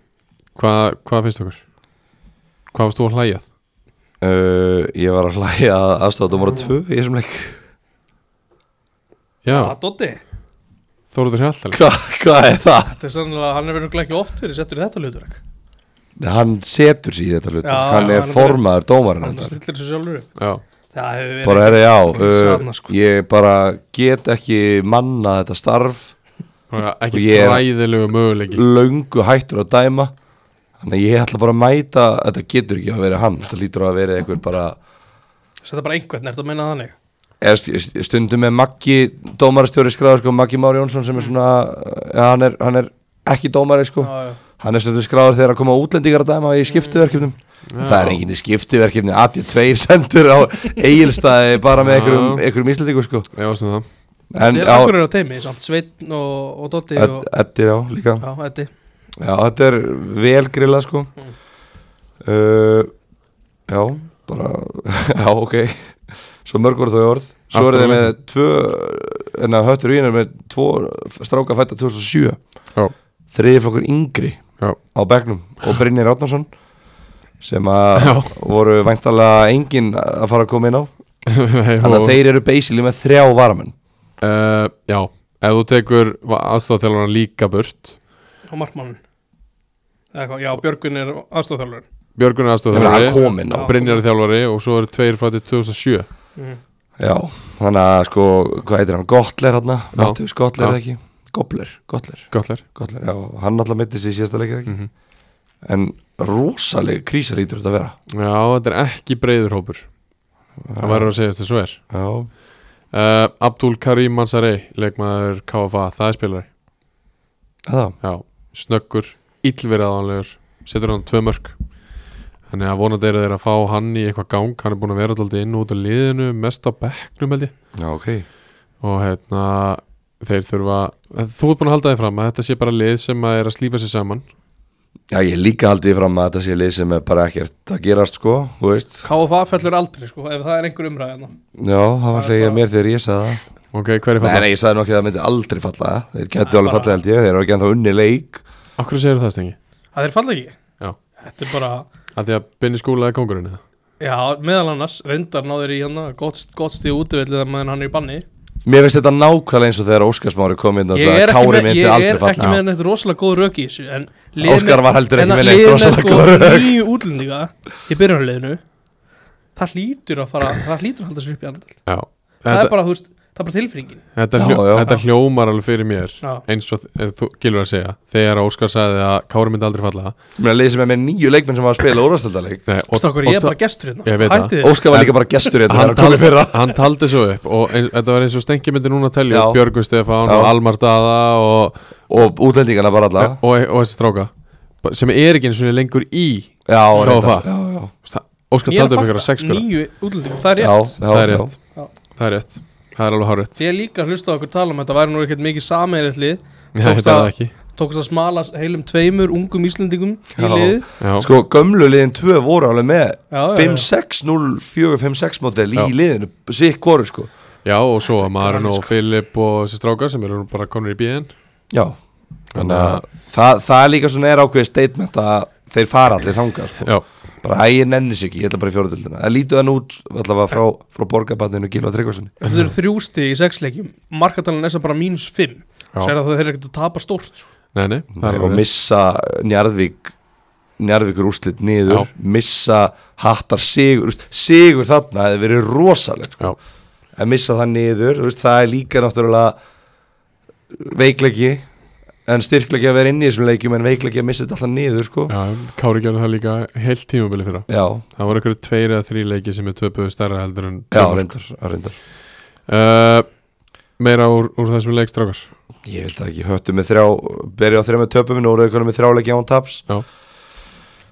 Hva- hvað finnst okkur? hvað varst þú að hlæjað?
uh, Ég var að hlæja aðstofnum ára tvö í þessum leik
já,
að Ah, Doddi
Þórður Hjaltal
Hva, Hvað er það?
Þetta er sannlega, hann er verið ekki oft verið settur í þetta hlutur
Hann setur sér í þetta hlut
Já,
Hann
já,
er
hann er-
formaður dómarinn
Hann
þetta
stillir þessu sjálfur upp
Já,
Það hefur verið
Bara, herri, já
Sanna,
uh,
sko.
Ég bara get ekki manna þetta starf
bara ekki
Og ég er-
fræðilegu möguleiki
Löngu hættur að dæma Þannig að ég ætla bara að mæta Þetta getur ekki að vera hann Þetta lítur að vera einhver bara
Þetta er bara einhvern, er þetta að meina þannig
eða st- st- stundum með Maggi dómarastjóri skráður sko, Maggi Már Jónsson sem er svona ja, hann, er, hann er ekki dómari sko
Já, já.
hann er stundum skráður þegar að koma útlendingar að dæma í skiptiverkefnum það er enginn í skiptiverkefni að ég tveir sendur á eigilstaði bara með
Já.
einhverjum, einhverjum íslendingum sko
Já, svona um það
en
Þetta er
á,
akkur er á teimi, samt Sveinn og, og Doddi og,
Ed- Eddi já líka
Já, Eddi
já þetta er vel grillað sko uh, já bara já ok svo mörg voru þau orð svo
Aftur á
eru þeir með
leiknum.
tvö en að höttur í hennar með tvo stráka fætta 2007
Já,
þriði flokkur yngri
já,
á begnum og Brynir Átnarsson sem að
Já.
voru væntalega engin að fara að koma inn á
Nei,
þannig
og-
að þeir eru basically með þrjá varamenn
Eh, Já, ef þú tekur aðstofþjálfarna líka burt
og Markmann Eða hvað, Já, Björgvin er aðstofþjálfur
Björgun er
Ég meina, hann
aðstofþjálfari
kom inn á
Já.
Brynjar er þjálfari og svo eru tveir frá til 2007
Já, þannig að sko, hvað heitir hann, Gottler hann, Mattius Gottler
Já.
eða ekki Gobbler, Gottler,
Gottler
Gottler, já, hann alltaf mittist í síðasta leikið ekki en rosaleg krísa lítur þetta að vera
Já, þetta er ekki breiður hópur Það verður að segja þess að svo er
Já,
uh, Abdul Karim Mansarei, leikmaður KFA, það er spilari
það,
Já, snöggur, illverðanlegur setur hann tvö mörg þannig að vonandi eru þeir að fá hann í eitthvað gang hann er búin að vera alltaf inn og út af liðinu mest á bekknum held ég
já, ok
og hérna þeir þurfa, þú ert búin að halda þig fram að þetta sé bara lið sem að er að slípa sig saman
Já, ég líka haldið fram að þetta sé lið sem er bara ekkert að gerast sko, þú veist
KFA fellur aldrei, sko, ef það er einhver hérna. umræðan
Já, það var
Það er
hlegið
bara-
mér þegar ég sagði það
ok, hver er
Nei,
fattar?
nei, ég sagði nú ekki að það myndi aldrei falla Þeir getur alveg falla held ég, þeir eru ekki ennþá unni leik
Akkur segir það stengi?
Það er falla ekki
Já,
Þetta er bara,
að því að binni skólaði kongurinn eða?
já, meðal annars reyndar náður í hérna, gott, gott stíð útivillið að meðan hann er í banni
Mér veist þetta nákvæmlega eins og þegar Óskarsmári kom inn og
Ég
sagði að
er ekki
Kári
með,
myndi
ég
aldrei
er
falla
ekki með neitt rosalega góð rök í þessu en liðið
Óskar
með-
var heldur ekki
en að
með neitt
liðið
rosalega
sko
góð rök.
Nýju útlendinga í byrjunarleginu Það hlýtur að fara, það hlýtur að halda sér upp í andal
Já,
Það
þetta,
er bara, þú veist, það er bara tilfinningin
þetta,
Já,
hljó,
já.
þetta hljómar alveg fyrir mér
Já.
eins og eða þú gilur að segja þegar Óskar sagði að Kári myndi aldrei falla
Mér er að leysa með með nýju leikmenn sem var að spila úrvastöldarleik
Nei, og-
Strákur,
og
ég er
ta-
bara gestur hérna
Ég veit það.
Hætti þið
Óskar var líka bara gestur hérna
hann,
þegar hann kom í
taldi,
fyrra
hann taldi svo upp og eins, þetta var eins og Stenki myndi núna að telja
Já.
upp Björgun Stefán
Já.
og Almar Dada og,
Og útlendingana bara alla
og, og, og þessi stráka sem er ekki eins og lengur í
Já,
KFA.
reyndar, já, já
Þú veist, það- Óskar
Ég er
taldi upp
að
einhverja
fatta,
sexspila
nýju útlendingar, það er
Já,
rétt
Það er
já, Sko,
rétt Það er rétt Það er alveg hárétt
Ég er líka að hlusta á okkur tala um þetta, væri nú ekkert mikið sameiritlið
Nei,
Tókst
þetta er
að-
það ekki
Tókast að smala heilum tveimur ungum Íslendingum í
Já.
liði
Já,
já. Sko, gömlu liðin tvö voru alveg með
Já, já,
5-6-0-4-5-6 mótel í
Já.
liðinu, sikk voru sko
já og svo að Marun
sko-
og Filip og þessi strákar sem eru nú bara konur í bíðin
Já, þannig að það, það er líka svona er ákveðið statement að þeir fara allir þangað sko
Já,
bara ægir nenni sig ekki, ég ætla bara í fjóruðildina það lítur þann út allavega frá, frá borgarbarninu Gilva Tryggvarssoni
Þetta eru þrjústi í sexleikjum Markatalan er sem bara mínus fimm
Já.
Sér að það þeir eru ekkert að tapa stórt sko.
nei, nei það er
og
alveg rétt.
missa Njarðvík Njarðvíkur úrslit niður
Já.
missa hattar sigur þú veist, sigur þarna hefði verið rosalegt sko.
Já,
að missa það niður, þú veist, það er líka náttúrulega veikleiki en styrkleiki að vera inni í þessum leikjum en veikleiki að missa þetta alltaf niður sko.
já, Kári gerði það líka heilt tímabili fyrra
já,
Það voru einhverju tveir eða þrý leiki sem er töpuðu stærra heldur en
já, reyndar, já, reyndar.
uh, Meira úr, úr þessum leik strákar
ég veit það ekki, höttu með þrjá byrja á þrjá með töpum, nú eru þau konum með þrjáleiki án taps
Já.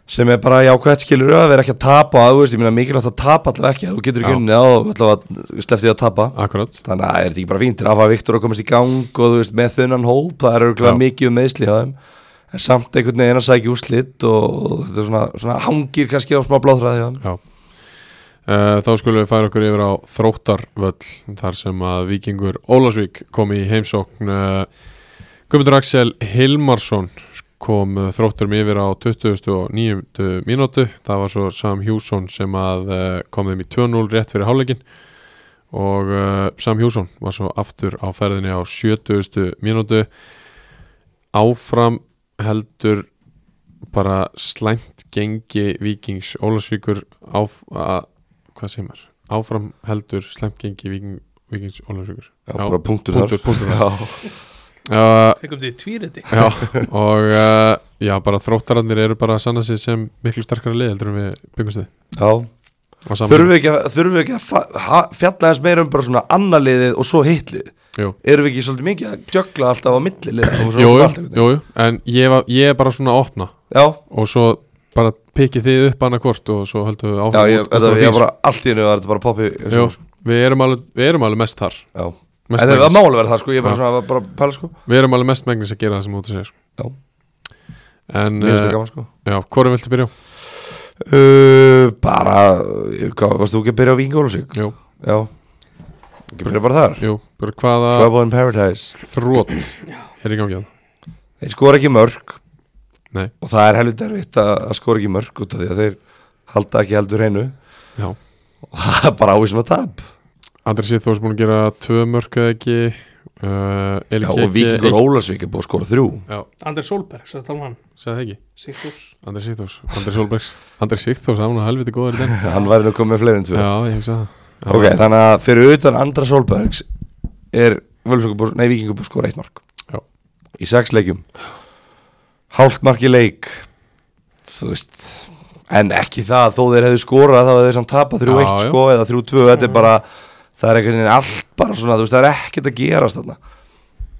sem er bara jákvæmt skilur að vera ekki að tapa að, þú veist, ég meina mikilvægt að tapa allavega ekki að þú getur
Já.
ekki unni á, allavega sleftið að tapa
Akkurat
þannig að er þetta ekki bara fínt að hafa Viktor að komast í gang og þú veist, með þunnan hóp það er
Já.
örgulega mikið um meðsli hjá þeim en samt einhvern veginn að sækja úrslit og, og þetta er svona, svona hangir kannski á smá bláðræði hjá þeim
Já Uh, þá skulum við færa okkur yfir á þróttarvöll þar sem að vikingur Ólasvík kom í heimsókn uh, Guðmundur Axel Hilmarsson kom uh, þróttarum yfir á 29. mínútu það var svo Sam Hjússon sem að uh, kom þeim í 2-0 rétt fyrir hálfleikin og uh, Sam Hjússon var svo aftur á ferðinni á 70. mínútu áfram heldur bara slæmt gengi Víkings Ólafsvíkur áf, að, hvað segir maður áfram heldur slæmt gengi Víking, Víkings Ólafsvíkur
Já, bara punktur
punktur,
þar.
punktur þar.
Já.
Uh,
Fengum því tvíriti
já, og uh, já, bara þróttararnir eru bara að sanna sig sem miklu sterkara lið heldur en við byggumst þið
Já.
á sama
Þurfum við ekki að, þurfum við ekki að fa- ha- fjalla eins meira um bara svona annarliðið og svo hitlið
tíma. Jú.
Erum við ekki svolítið mikið að jökla alltaf á milli liða og svo
Jú,
allt
jú,
einhvern veginn?
jú, jú, en ég, var, ég er bara svona að opna
Já,
og svo bara pikið þið upp annað hvort og svo höldum við
já,
áfram
ég,
út- út
þetta,
frá því,
ég bara allt í hennu var þetta bara poppi
sko. Jú, við, erum alveg, við erum alveg mest þar
Já En
mest
það var
megnis.
máli verið það sko, ég bara
Já.
svona var bara að pæla sko
Við erum alveg mest megnis að gera það sem þú út að segja sko.
Já,
En,
mér finnst það
uh,
gaman sko
já, hvorum viltu byrja á?
uh, Bara, ég- hvað, varst þú ekki að byrja á Víkingólusík?
Jú,
Já Ekki byrja bara þar
jú, bara hvaða
Trouble in Paradise
þrótt er í gangi hérna? á það?
Þeir skora ekki mörg
Nei,
Og það er helvita erfitt að, að skora ekki mörg út af því að þeir halda ekki heldur hreinu
já
Og það er bara ávísum að tap
Andri Sýð þú erst búin að gera tvö mörg eða ekki uh, Eli
Já,
Keke
og Víkingur
eitt.
Ólasvík er búið að skora þrjú
Já,
Andri Solberg, sér að tala um hann
segði það ekki
Sigfús
Andri Sigþós, Andri Solbergs Andri Sigþós, hann var helviti góður í den
Hann væri nú komið með fleiri en tvö
Já, ég hugsa það
Ok, þannig að fyrir utan Andra Solbergs er Völsungur búið, nei Víkingur búið að skora eitt mark
Já.
Í sex leikjum Hálft mark í leik Þú veist En ekki það, þó þeir hefðu skorað þá hefðu þeir samt tapað
Já,
3-1
já.
sko eða 3-2, þetta er bara það er einhvern veginn allt bara svona, þú veist, það er ekkert að gerast þarna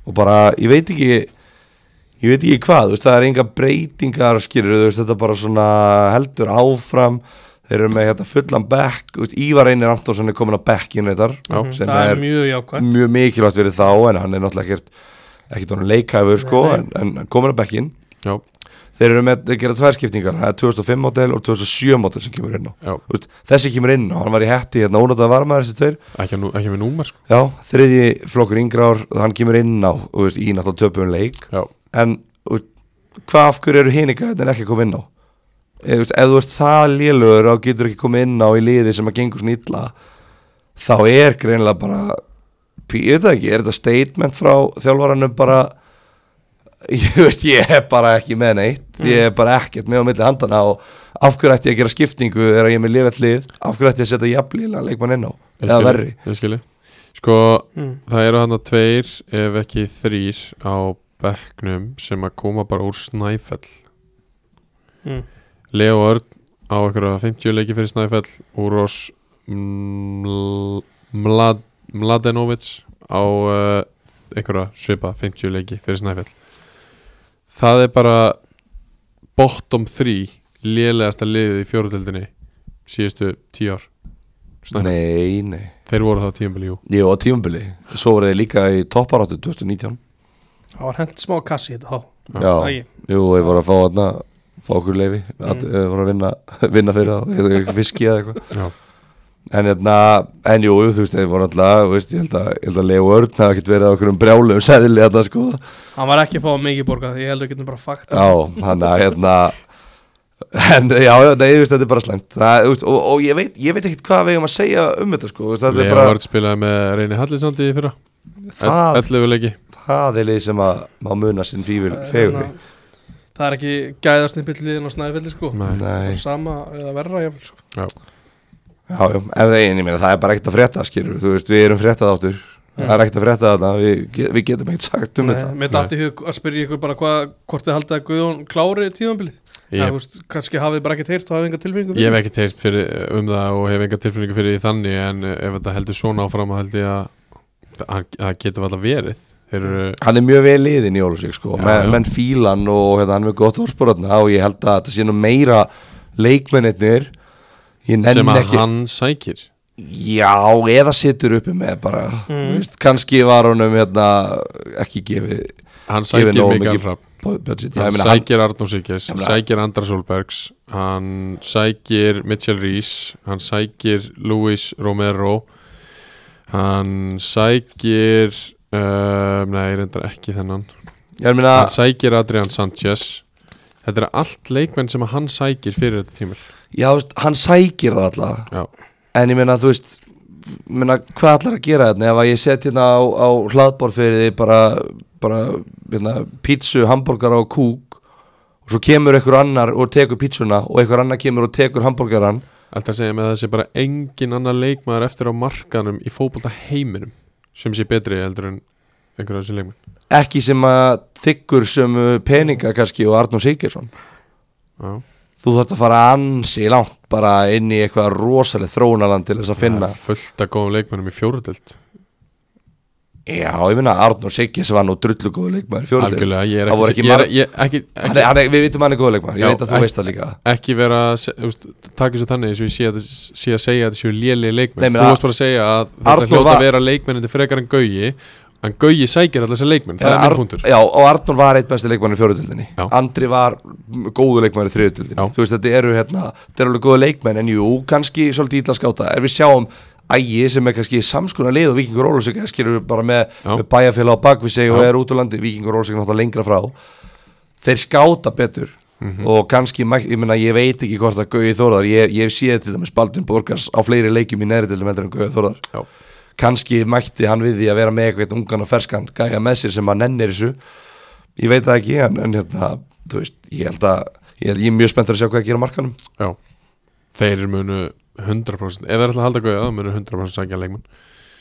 og bara, ég veit ekki ég veit ekki hvað, þú veist, það er enga breytingar skilur, þú veist, þetta er bara svona heldur áfram, þeir eru með hérna fullan bekk, þú veist, Ívar Einir Antonsson er komin á bekkin þetta,
Já.
sem
Það er
er,
mjög jákvæmt
mjög mikilvægt verið þá, en hann er náttúrulega ekkert ekkert honum leikhæfur, sko,
Nei, nei.
en, en hann komin á bekkin,
Já,
þeir eru með að gera tvær skiptingar, það er 2005 model og 2007 model sem kemur inn á
já,
Þú veist, þessi kemur inn og hann var í hætti hérna ónótað varmaður þessi tveir
ekki, að nú- ekki með númer sko.
Já, þriðji flokkur yngrár hann kemur inn á, þú veist, í náttúrulega töpum leik
Já,
en þú veist, hvað af hverju eru hinika þetta er ekki að koma inn á eða þú veist, ef þú ert það lélugur og getur ekki komið inn á í liði sem að gengur svona illa þá er greinilega bara pí- ég veit það ekki, er þetta statement frá þjálfaranum bara ég veist, ég er bara ekki með neitt ég er bara ekkert með á milli handana og af hverju ætti ég að gera skiptingu þegar ég er með lélegt lið, af hverju ætti ég að setja jafnlíla leikmann inn á,
ég
eða
skil-
verri
Ég skilji Sko,
Mm.
það eru hann að tveir ef ekki þrýr á bekknum sem að koma bara úr Snæfell
Mm.
Leo Örn á einhverja 50 leiki fyrir Snæfell Úros Ml- Mlad, Mladenovic á uh, einhverja svipa 50 leiki fyrir Snæfell Það er bara bottom 3 lélegasta liðið í fjóruðildinni síðustu tíu ár Snæfell.
Nei, nei
Þeir voru þá tíumbili, jú
Jú, á tíumbili Svo voru þeir líka í topparáttu 2019
Það var hent smá kassi hérna, í þetta þá
Já,
Æi.
jú, ég voru að fá þarna Fá okkur leifi mm. Voru að vinna, vinna fyrir það Ég veit ekki fiski eða eitthvað
Já,
En hérna, en jú, þú veist, þeir voru alltaf Þú veist, ég held að, ég held að Leo Örn hafa ekkert verið á okkur um brjálum sæðilega þetta sko
Hann var ekki að fá mikið borgað Ég held að við getum bara fakt
Já, hann að hérna En já, já, nei, þú veist, þetta er bara slæmt það, þú veist, og, og ég veit, ég veit ekkert hvað við eigum að segja um þetta sko þú veist, Þetta
Lea
er bara,
Vörð spilaði með Reyni Hallisandi í fyrra
það,
11 leiki
það er leið sem að má muna sinn fífur,
Það er
fegur
hérna- Það er ekki gæðastimpill liðin á snæðfelli sko
Nei.
Nei,
Bara Sama eða verra jafnvel sko
Já.
já, já, en það, ég meina, það er bara ekkert að frétta, skilur Þú veist, við erum fréttað áttur Það er ekkert að frétta þarna, við, ge- við getum ekkert sagt um
Nei,
þetta
Mér dætti hug að spyrja ykkur bara hvað Hvort þið haldið að Guðjón klári tímanbilið
Ég,
Já, þú veist, kannski hafið bara ekkert heyrt og hafið enga tilfinningu
ég hef ekki teirt fyrir, um það og hef enga tilfinningu fyrir því þannig en eh, ef þetta heldur svona áfram þá held ég að það- það getur alltaf verið Þeir eru
Hann er mjög vel liðin í Ólusvík sko
Já,
Men,
já.
menn fílan og hérna, hann er með gott orðsporðna og ég held að þetta sé nú meira leikmennir sem
sem að
ekki,
hann sækir
Já, eða situr uppi með bara, mm. veist, kannski var honum hérna, ekki gefið
hann
gefið
sækir
nógu
Mikael
mikið
Rapp
bu- budget. Já,
hann
ég meina, hann-
sækir Arnó Sikis,
Ég
hann
meina-
sækir Andra Solbergs hann sækir Mitchell Rees hann sækir Luis Romero hann sækir uh, nei, reyndar ekki þennan
ég meina,
hann sækir Adrian Sanchez þetta er allt leikmenn sem að hann sækir fyrir þetta tímil
já, þú veist, hann sækir það alltaf
já,
en ég meina, þú veist meina, hvað ætlar að gera þetta ef að ég set hérna á, á hlaðbór fyrir því bara, bara hérna, pítsu, hambúrgar og kúk og svo kemur einhver annar og tekur pítsuna og einhver annar kemur og tekur hambúrgaran
alltaf segja með að það sé bara engin annar leikmaður eftir á markanum í fótbolta heiminum sem sé betri heldur en einhverja þessi leikmenn
ekki sem að þykkur sem peninga kannski og Arnur Sigurðsson
já
þú þarft að fara ansi langt bara inn í eitthvað rosalega þróunaland til þess að finna
Það er fullt af góðum leikmennum í fjóruðeld
Já, ég minna Arnur Sigges var nú drullu góðu leikmaður í fjóruðdeild.
algjörlega, ég er
Það voru
ekki,
ekki
ég er,
marg-
ég, ekki,
Hann er,
ekki,
hann er, Við vitum hann er góðu leikmaður,
Já,
ég veit að þú
ekki-
veist það líka
ekki vera að se- þú veist, taka þessu þannig eins og ég sé að, sé að segja að þetta séu léli leikmenn
Nei, menn
þú
að-
varst bara að segja að þetta
Arnór
hljóta
var-
að vera leikmenn þetta frekar en Gauji en Gauji sækir alltaf þessi leikmenn, það
En
er minn
Arn-
punktur
Já, og Arnur var eitt besti leikmaður í fjóruðildinni
Já.
Andri var m- góðu leikmaður í
Já.
þriðutildinni Þú veist, þetta eru hérna, þetta eru alveg góðu leikmenn En jú, kannski svolítið ítla skáta En við sjáum ægi sem er kannski samskona lið og Víkingur Ólafsvík skilur við bara með,
Já.
með bæjarfélag á bakvið sig og
Já.
er út úr landi Víkingur Ólafsvík er náttúrulega lengra frá Þeir skáta betur
Mhm.
og kannski, mæ- ég, meina, ég veit ekki hvort að Gauði Þórðar, ég, ég séð til dæmis Baldvin Borgars á fleiri leikjum í neðri til heldur en Gauði Þórðar
Já.
kannski mætti hann við því að vera með eitthvað ungan og ferskan gæja með sér sem að nennir þessu ég veit það ekki en, en hérna, þú veist, ég held að ég, ég er mjög spenntur að sjá hvað að gera á markanum
Já. þeir munu 100% ef það er alltaf að halda Gauja, það munu 100% sækja leikmenn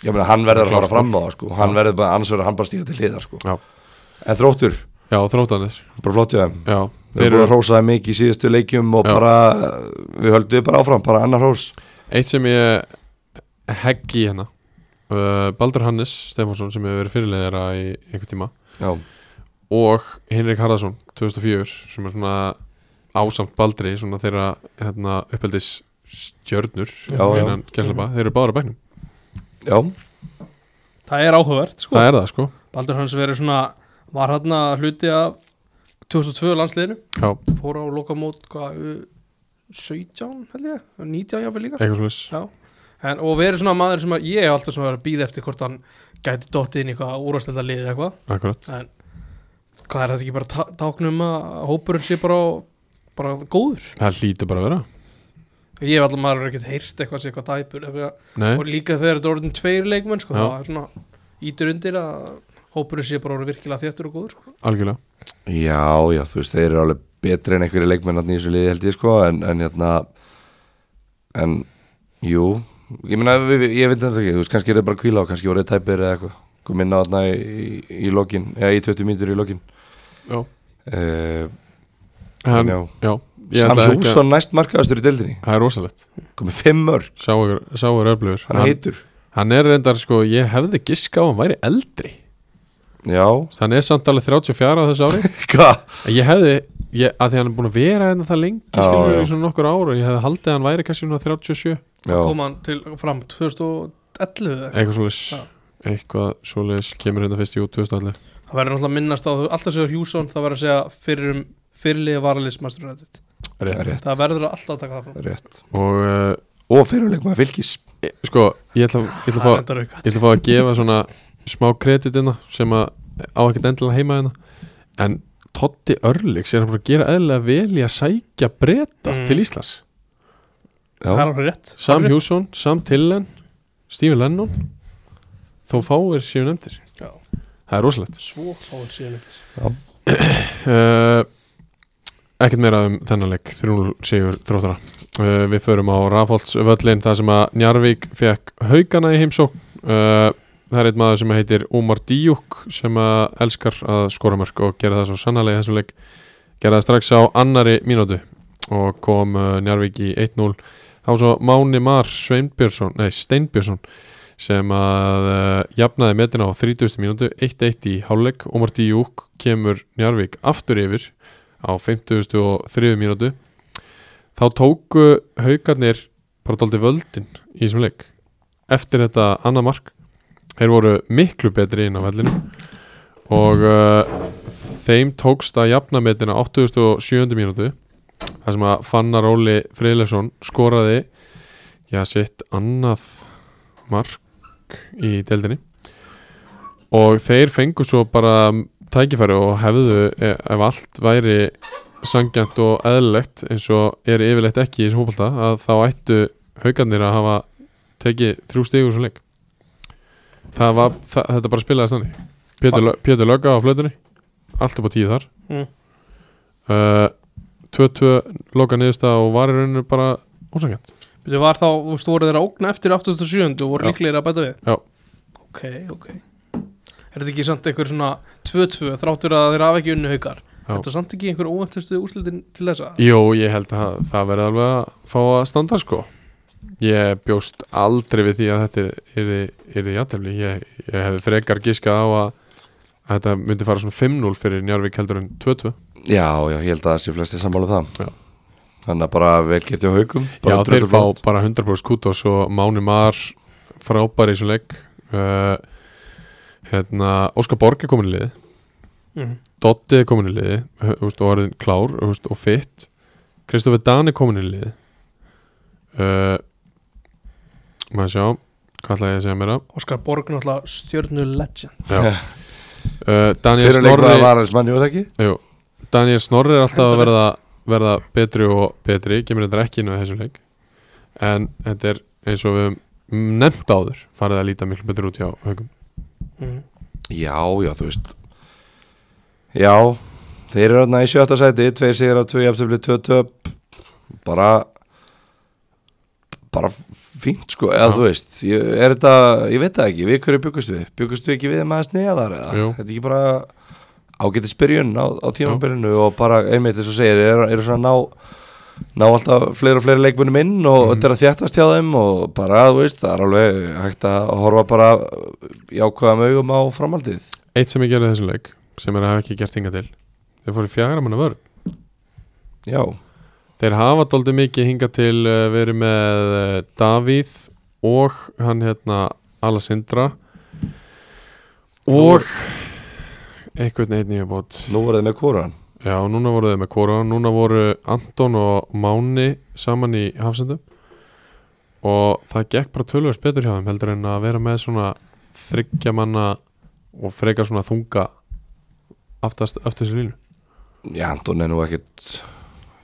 ég meina, hann verður að
Klárt,
fara fram á það sko hann verður bara, annars verður hann bara að stíga til hliðar sko
Já.
en þróttur,
já, þróttanir
bara flott hjá þeim
já,
þeir eru búin að hrósa þeim mikið í síðustu leikjum og
Já.
bara, við höldum bara áfram bara annar hrós,
Eitt sem ég heggi í hérna uh, Baldur Hannes Stefánsson sem hefur verið fyrirleðara í einhvern tíma
já,
og Henrik Harðarsson 2004 sem er svona ásamt Baldri svona þeirra hérna, uppeldis stjörnur
Já, já. Mhm.
innan Gæsleba, þeir eru báður á bænum
já,
Það er áhugavert sko
það er það sko
Baldur hans verið svona Var hann að hluti af 2002 landsliðinu
Já,
Fór á lokamót hvað U- 17 held ég 19 jáfnvel líka
eitthvað slags
Já En, og verið svona maður sem að ég hef alltaf svona verið að býða eftir hvort hann gæti dottið inn í eitthvað úrvastleita liðið eitthvað
akkurat
en hvað er þetta ekki bara tá- tákn um að hópurinn sé bara, bara góður
Það hlýtur bara að vera
ég hef alltaf maður ekkert heyrt eitthvað sé eitthvað dæpur eitthvað. og
Nei,
líka þegar þetta er orðin tveir leikmenn sko,
Já.
það er svona ítur undir að hópurinn sé bara orðin virkilega þéttur og góður sko.
algjörlega
Já, já, þú veist, þeir eru alveg betri en einhverju leikmennarni í þessu liði held ég sko en, en hérna en, jú ég meina, við- við- ég veit þetta ekki, þú veist, kannski er þetta bara kvíla og kannski voru þetta tæpir eða eitthvað kom inn á þarna í, í, í lokin eða í 20 mínútur í lokin
Já,
uh,
en,
Já.
já. ég
Sam
ætla ekki að-
Hjússon næst markaðastur í deildinni
Það er rosalegt
komið fimm mörg,
Sá er, sá er öflugur
hann er heitur
hann er reyndar sko, ég hefði giska á að hann væri eldri
Já,
Þannig er samt alveg 34 á þessu ári
hvað?
Ég hefði ég, að því hann er búin að vera hérna það lengi
Já,
skilur
já.
við í svona nokkur ára og ég hefði haldið að hann væri kannski svona 37
Já,
kom hann til fram 2011 eða eitthvað.
eitthvað svoleiðis
Já.
eitthvað svoleiðis kemur hérna fyrst í út 2011
það verður náttúrulega að minnast á þau alltaf séður Hjússon það verður að segja fyrir um fyrirlið varaliðsmastur
Rétt.
rétt,
það verður alltaf að taka það fram
rétt
og uh,
Og fyrirleik maður fylgis
e- sko ég ætla, ég ætla að
það er
fá
endar auka
ég ætla að fá að gefa svona smá kreditina sem að á ekkert endilega heima hérna en Totti Örlíks er hann bara að gera eðlilega vel í að sækja breyta
Mm.
til Íslands
Já,
það er alveg rétt
Sam
Það er rétt.
Hjússon, Sam Tillen Stephen Lennon þó fáir séu nefndir
Já.
það er rosalegt
svo fáið síðan eftir
uh, ekkert meira um þennan leik 3-0 sigur þróttara uh, við förum á Rafholtsvöllin þar sem að Njarvík fekk haugana í heimsók uh, það er einn maður sem heitir Umar Díuk sem að elskar að skora mörg og gera það svo sannarlega í þessum leik gera það strax á annari mínútu og kom uh, Njarvík í 1-0 þá var svo Máni Mar Sveinbjörnsson, nei Steinbjörnsson sem að uh, jafnaði metina á 30. mínútu 1-1 í hálfleik og Marti Júk kemur Njarvík aftur yfir á 53. mínútu þá tóku haugarnir bara dálítið völdin í þessum leik eftir þetta annað mark þeir voru miklu betri inn á vellinu og uh, þeim tókst að jafna metina á 87. mínútu þar sem að Fannar Óli Friðleifsson skoraði já, sitt annað mark í deildinni og þeir fengu svo bara tækifæri og hefðu e- ef allt væri sangjant og eðlilegt eins og er yfirleitt ekki í þessum hópalta að þá ættu haugarnir að hafa tekið þrjú stigur svo leik það var, það, þetta bara spilaði stannig Pétur, Lö- Pétur Lögga á flötunni allt upp á tíu þar
Mm.
uh, 2-2 loka niðurstað og var í rauninu bara ósangjant
Bíddu, var þá, þú veist, voru þeir að ógna eftir 87. og voru
Já.
líklegir að bæta við
Já.
ok, ok er þetta ekki samt einhver svona 2-2 þráttur að þeir hafa ekki unni haukar
Já.
þetta samt ekki einhver óvæntustu úrslitin til þessa
Jó, ég held að það verði alveg að fá að standa sko Ég bjóst aldrei við því að þetta er því játefli ég, ég hefði frekar giskað á að, að þetta myndi fara svona 5-0 fyrir Njarvík heldur en 2-2
já, já, ég held að það sé flesti sammála um það
Já.
Þannig að bara vel gert hjá haukum
Já,
bara
þeir
drulluflott.
fá bara 100% kútos og Máni Mar frábæri í þessum leik uh, hérna, Óskar Borg er komin í liði
Mhm.
Dotti er komin í liði hö- þú veist, og orðin klár þú veist, og fitt Kristoffer Dan er komin í liði uh, maður sjá hvað ætla ég að segja mér að
Óskar Borg náttúrulega stjörnu legend
uh, Daniel
Fyrir leikmaður
Snorri
var aðeins manni og þekki
Jú, Daniel Snorri er alltaf að verða, verða betri og betri, kemur þetta ekki inn á þessum leik en þetta er eins og við höfum nefnt áður farið að líta miklu betur út hjá haugum
mm.
Já, já, þú veist Já, þeir eru hérna í sjötta sæti Tveir sigur af tvö jafntöfli, tvö töp Bara Bara fínt sko Eða
Já.
þú veist, ég, er þetta Ég veit það ekki, við hverju byggust við Byggust við ekki við maður sniðar eða
Jú.
Þetta er ekki bara ágætis byrjun á, á tímabilinu Og bara einmitt þess að segja Eru, eru svona að ná ná alltaf fleiri og fleiri leikmunum inn og
Mhm.
þetta er að þjættast hjá þeim og bara, þú veist, það er alveg hægt að horfa bara jákvæðum augum á framhaldið
Eitt sem ég gerði í þessum leik sem er að hafa ekki gert hinga til þeir fóru í fjagra manna vörn
Já,
Þeir hafa doldið mikið hingað til uh, verið með uh, Davíð og hann hérna Alessandra og einhvern einn í bót
nú voruð þið með kóran
Já, núna voru þau með Kóra Núna voru Anton og Máni saman í hafsendum og það gekk bara tölvörs betur hjá þeim heldur en að vera með svona þryggja manna og frekar svona þunga aftast öftu þessu línu
Já, Anton er nú ekkit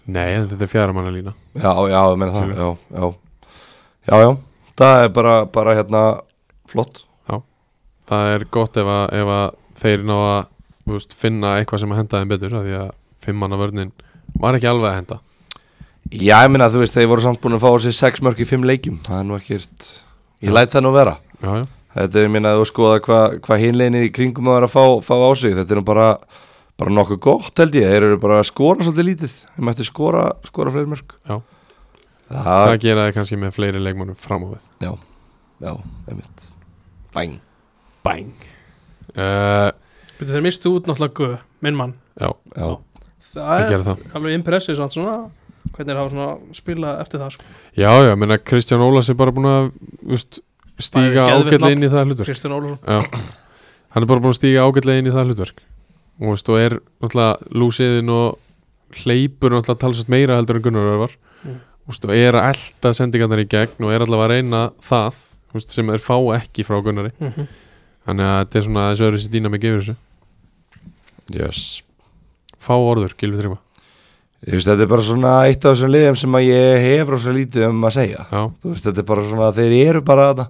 Nei, en þetta er fjara manna lína
Já, já, ég meina það
Skilur.
já, já. já, já, það er bara, bara hérna flott
Það er gott ef að, ef að þeir ná að þú veist, finna eitthvað sem að henda þeim betur af því að fimm manna vörnin var ekki alveg að henda
Já, ég meina, þú veist, þeir voru samt búin að fá sér sex mörg í fimm leikjum Það er nú ekkert, ég læt það nú vera
Já, já,
Þetta er minna að þú skoða hvað hva hinleginni í kringum að vera að fá, fá á sig Þetta er nú bara, bara nokkuð gott held ég Þeir eru bara að skora svolítið lítið Þeir mætti skora, skora fleiri mörg
Já.
Það,
það gera þið kannski með fleiri leikmannum fram á við
já, já, einmitt Bæn
Bang uh, Eh,
Bíddu, þeir mistu út náttúrulega guð, minn mann
Já,
Já,
það
Ég
er
gerði það.
alveg impressið samt svona hvernig þeir hafa svona spilað eftir það sko.
Já, já, ég meina Kristján Ólas er bara búin að úst, stíga
Bæði geðveikt
ágætlega
nafn.
inn í það hlutverk
Kristján Ólafsson
Já, hann er bara búin að stíga ágætlega inn í það hlutverk og, veist, og er náttúrulega lúsiðin og hleypur náttúrulega talsast meira heldur en Gunnar Örvar
Mm.
mm. veist, og er að elta sendingarnar í gegn og er allavega að reyna það veist, sem þeir fá ekki frá Gunnari
Mhm.
þannig að þetta er svona þessu öðru sér dýna með gefur þessu
Yes
fá orður, Gilvi Tryggva
Þú veist, þetta er bara svona eitt af þessum liðum sem að ég hef rosa lítið um að segja
Já,
Þú veist, þetta er bara svona að þeir eru bara þetta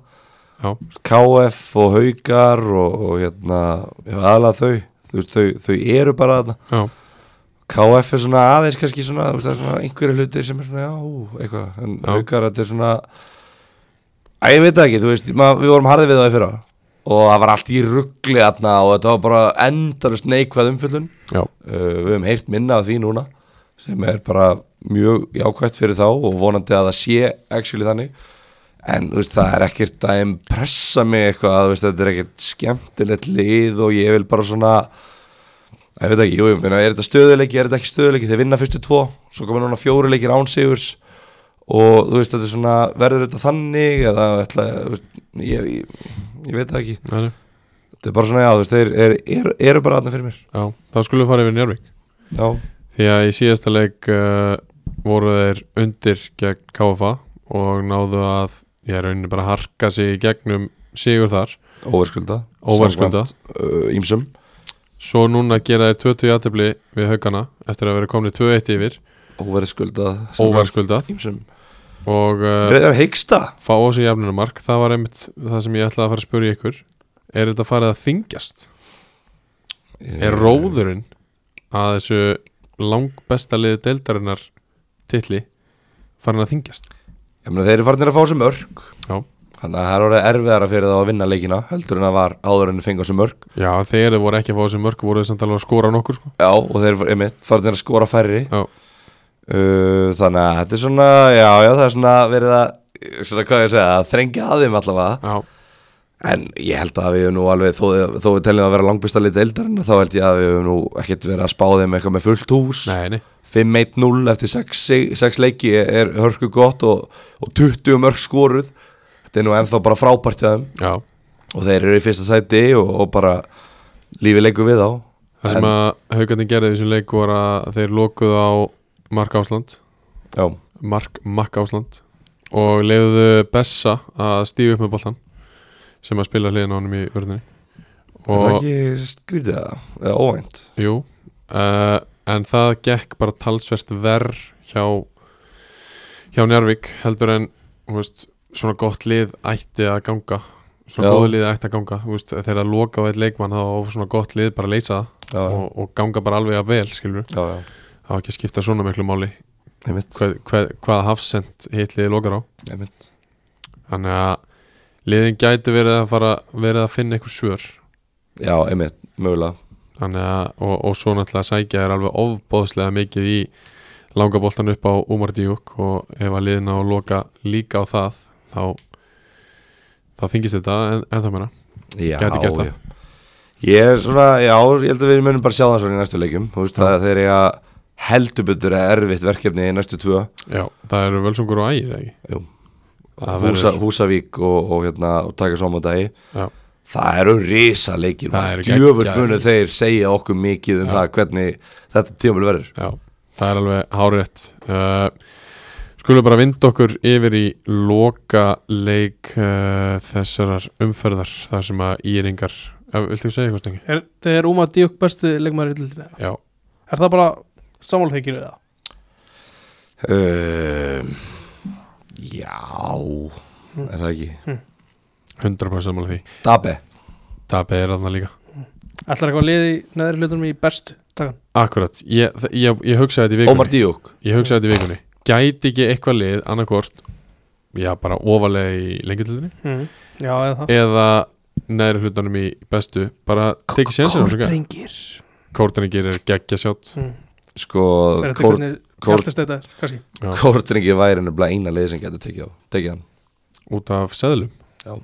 já,
KF og Haukar og, og hérna, já, aðalega þau Þú veist, þau, þau eru bara þetta
já,
KF er svona aðeins kannski svona, þú veist, það er svona einhverju hluti sem er svona, já, ú, eitthvað en
Já.
Haukar, þetta er svona Æ, ég veit það ekki, þú veist, mað, við vorum harðið við það í fyrra og það var allt í ruggli þarna og þetta var bara endarust neikvæð umfyllun
já,
uh, við höfum heyrt minna af því núna sem er bara mjög jákvætt fyrir þá og vonandi að það sé actually þannig en þú veist, það er ekkert að impressa mig eitthvað þú veist, þetta er ekkert skemmtilegt lið og ég vil bara svona ég veit ekki, jú, ég meina, er þetta stöðuleiki, er þetta ekki stöðuleiki þeir vinna fyrstu tvo, svo komið núna fjóru leikir án sigurs og þú veist, þetta er svona, verður þetta þannig eða ætla, þú veist, ég, ég, ég veit það ekki
já,
þetta er bara svona, já, þú veist, þeir er, er, eru bara aðna fyrir mér
já þá skulum við fara yfir Njárvík
já,
Því að í síðasta leik uh, voru þeir undir gegn KFA og náðu að ég er rauninni bara að harka sig í gegnum sigur þar,
óverskulda
óvarskulda
uh, ímsum
svo núna gera þeir 20 játefli við haugana eftir að vera komni 2-1 yfir
óverskulda
óvarskuldað
ímsum
og uh,
reyðar heiksta
fá á sig jafnunumark það var einmitt það sem ég ætlaði að fara að spyrja ykkur er þetta farið að þingjast?
Mm.
Er róðurinn að þessu langbesta liði deildarinnar titli farin að þingjast?
ég meina þeir eru farnir að fá sem örk
Já
þannig að það er orðið erfiðara fyrir þá að vinna leikina heldur en að var áður en að fenga sem örk
Já, þegar þið voru ekki að fá þessi mörg voru þið samt alveg að skora á nokkur sko.
já og þeir eru einmitt farnir að skora færri
Já,
uh, þannig að þetta er svona já já það er svona verið að svona hvað ég að segja að þrengja að þeim allavega
já,
en ég held að við höfum nú alveg þó, þó við teljum að vera langbesta lið deildarinn þá held ég að við höfum nú ekkert verið að spá þeim eitthvað með fullt hús
nei, nei
5-1-0 eftir 6, 6 leiki er hörku gott og, og 20 mörg skoruð þetta er nú ennþá bara frábært hjá þeim
Já,
og þeir eru í fyrsta sæti og, og bara lífið leikur við á
það sem að haugandi gerði í þessum leik var að þeir lokuðu á Mark Ásland
já,
Mark Makk Ásland og leiðuðu Bessa að stíu upp með boltan sem að spila hliðin á honum í vörðinni
og það er
og,
ekki skrítið það, eða óvænt
jú uh, en það gekk bara talsvert verð hjá hjá Njárvík heldur en þú veist, svona gott lið ætti að ganga svona
Já.
góðu lið ætti að ganga þú veist, þegar að loka á eitt leikmann þá á svona gott lið bara að leysa það
já,
og, og ganga bara alveg að vel skilur
já, já,
það á ekki að skipta svona miklu máli
einmitt,
hvað, hvað, hvað hafsend hitt liðið lokar á
einmitt.
þannig að liðin gæti verið að fara verið að finna einhver svör
já, einmitt, mögulega
þannig að og, og svo náttúrulega sækja er alveg ofbóðslega mikið í langaboltan upp á Umar Díuk og ef að liðin á að loka líka á það þá þá þingist þetta en, en það meira
já,
Gæti gert það.
já. ég er svona, já, ég held að við munum bara sjá það svona í næstu leikum, þú veist að þeir eiga heldur betur að erfitt verkefni í næstu tvö
já, það eru völsungur og ægir ekki
Jú.
Það
Húsa,
verður-
Húsavík og, og, hérna, og taka saman dagi
Já.
það eru risa leikir
Það eru
djöfur
geggjaðir
munu
leikir.
þeir segja okkur mikið um það hvernig þetta tímul verður
Já, það er alveg hárétt uh, Skulum bara vinda okkur yfir í loka leik uh, þessarar umferðar þar sem að íringar ja, Viltu segja eitthvað stengi?
er, þeir eru um að díok bestu leikmaður í dildinni
Já,
er það bara samálheikir eða
um, já er það ekki
100% sammála því
Dabe,
Dabbi er aðna líka
ætlar eitthvað liði neðri hlutunum í bestu takan
Akkurat, ég, þ- ég, ég hugsaði þetta í
Ómar
vikunni
Díuk
Ég hugsaði þetta í vikunni Gæti ekki eitthvað lið, annarkvort Já, bara ofalega í lengjutildinni
mm. já eða
Eh,
það
Eða neðri hlutunum í bestu Bara tekið sénsinn
Kórdrengir
Kórtringir er geggja sjátt
mm.
sko,
Það er þetta hvernig
Kór-
hjaltist þetta er kannski
Já.
Kortringi væri nefnilega eina leið sem getur tekið á tekið hann
út af seðlum
Já.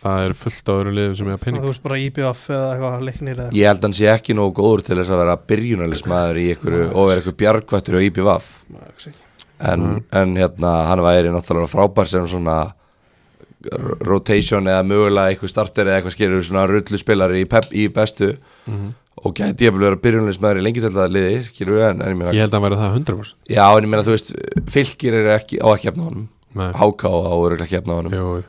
það er fullt á öðru liðum sem ég að
Þannig að
pening
þú veist bara IBF eða eitthvað leiknir eða
Ég held að hann sé ekki nógu góður til þess að vera byrjunalismæður í einhverju og vera einhver bjargvættur á IPVAF
eitthvað
en, en hérna hann væri náttúrulega frábær sem svona r- rotation eða mögulega einhver starter eða eitthvað skilur svona rullu spilari í, pep, í bestu og gæti ég að vera byrjunalismæður í lengi til það liði skilur en, en ég meina
Ég held að hann væri það 100%
Já, en ég meina þú veist, fylgir eru ekki á ekki efna honum
Nei.
Háká á öruglega ekki efna honum
Jú, jú.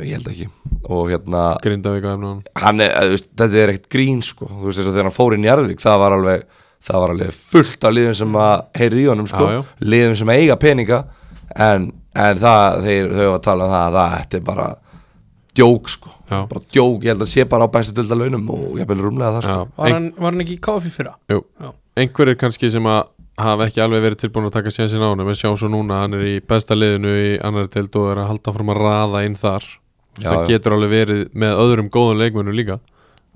Ég held ekki Og hérna,
Grindavík á efnum
hann er, eh, þú veist, þetta er ekkert grín sko Þú veist, þess að þegar hann fór inn í Arðvík Það var alveg, það var alveg fullt af liðum sem að heyrði í honum sko
Já, já.
Liðum sem eiga peninga En, en það, þeir, þau var að tala um það að Það, þetta er bara djók sko
Já.
Bara djók, ég held að sé bara á bæstu delda launum Og ég vil rúmlega það sko
Já,
Var
ein,
hann, var hann ekki í KF í fyrra?
jú.
Já.
einhverjir kannski sem að hafa ekki alveg verið tilbúin að taka sjensin á hann en sjá svo núna, hann er í besta liðinu í annar deild og er að halda fram að raða inn þar Þú veist,
Já,
það
já.
getur alveg verið með öðrum góðum leikmönnum líka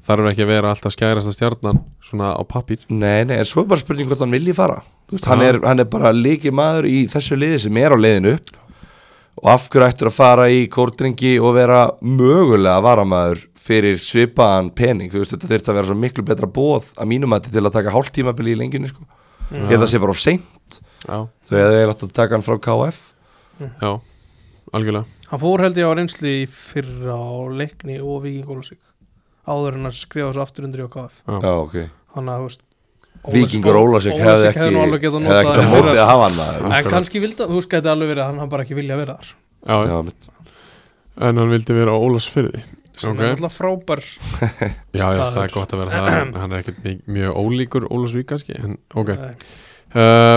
þarf ekki að vera alltaf skærasta stjarnan svona á pappir
Nei, nei, en svo er bara spurning hvort hann vilji fara Þú veist, hann,
Já.
er, hann er bara líki maður í þessu liði sem er á liðinu upp og af hverju ættir að fara í kórdringi og vera mögulega varamaður fyrir svipaðan pening Þú veist, þetta þurft að vera svo miklu betra bóð að mínum að til að taka hálftímabili í lengjunni sko. ég held að það sé bara of seint
já,
þau hefðu eiginlega átt að taka hann frá KF
já, algjörlega
Hann fór held ég á reynslu í fyrra á leikni og vikingólusík áður en að skrifa þessu aftur undir í á KF
Já.
Já, ok
þannig að þú veist
Víkingur Ólasek hefði
Ólafsvík
ekki
nú alveg getað
hefði
notað
ekki
hann í
mótið
fyrra,
að hafa hann maður.
sko. en kannski vildi að þú veist gæti alveg verið að hann hafa bara ekki vilja að vera þar
já,
Já, mitt.
en hann vildi vera á Ólasfyrði
sem
Ok.
er alltaf frábær
já, já,
Staður.
það er gott að vera það en hann er ekkert mi- mjög ólíkur Ólasvík kannski en ok
Nei.
Uh,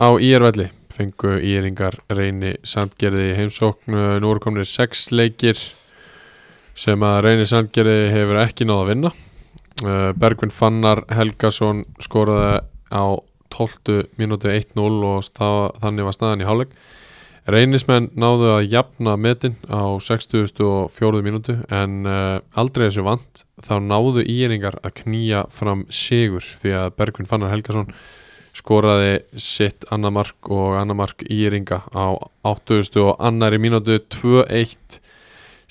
á IR-velli fengu íringar reyni sandgerði í heimsókn Uh, nú eru komnir sex leikir sem að reyni sandgerði hefur ekki náð að vinna uh, Bergvin Fannar Helgason skoraði á 12 mínútu 1-0 og stað, þannig var staðan í hálfleik reynismenn náðu að jafna metin á 64 mínútu en uh, aldrei þessu vant þá náðu íringar að knýja fram sigur því að Bergvin Fannar Helgason skoraði sitt annað mark og annað mark í ringa á 80 og annari mínútu 2-1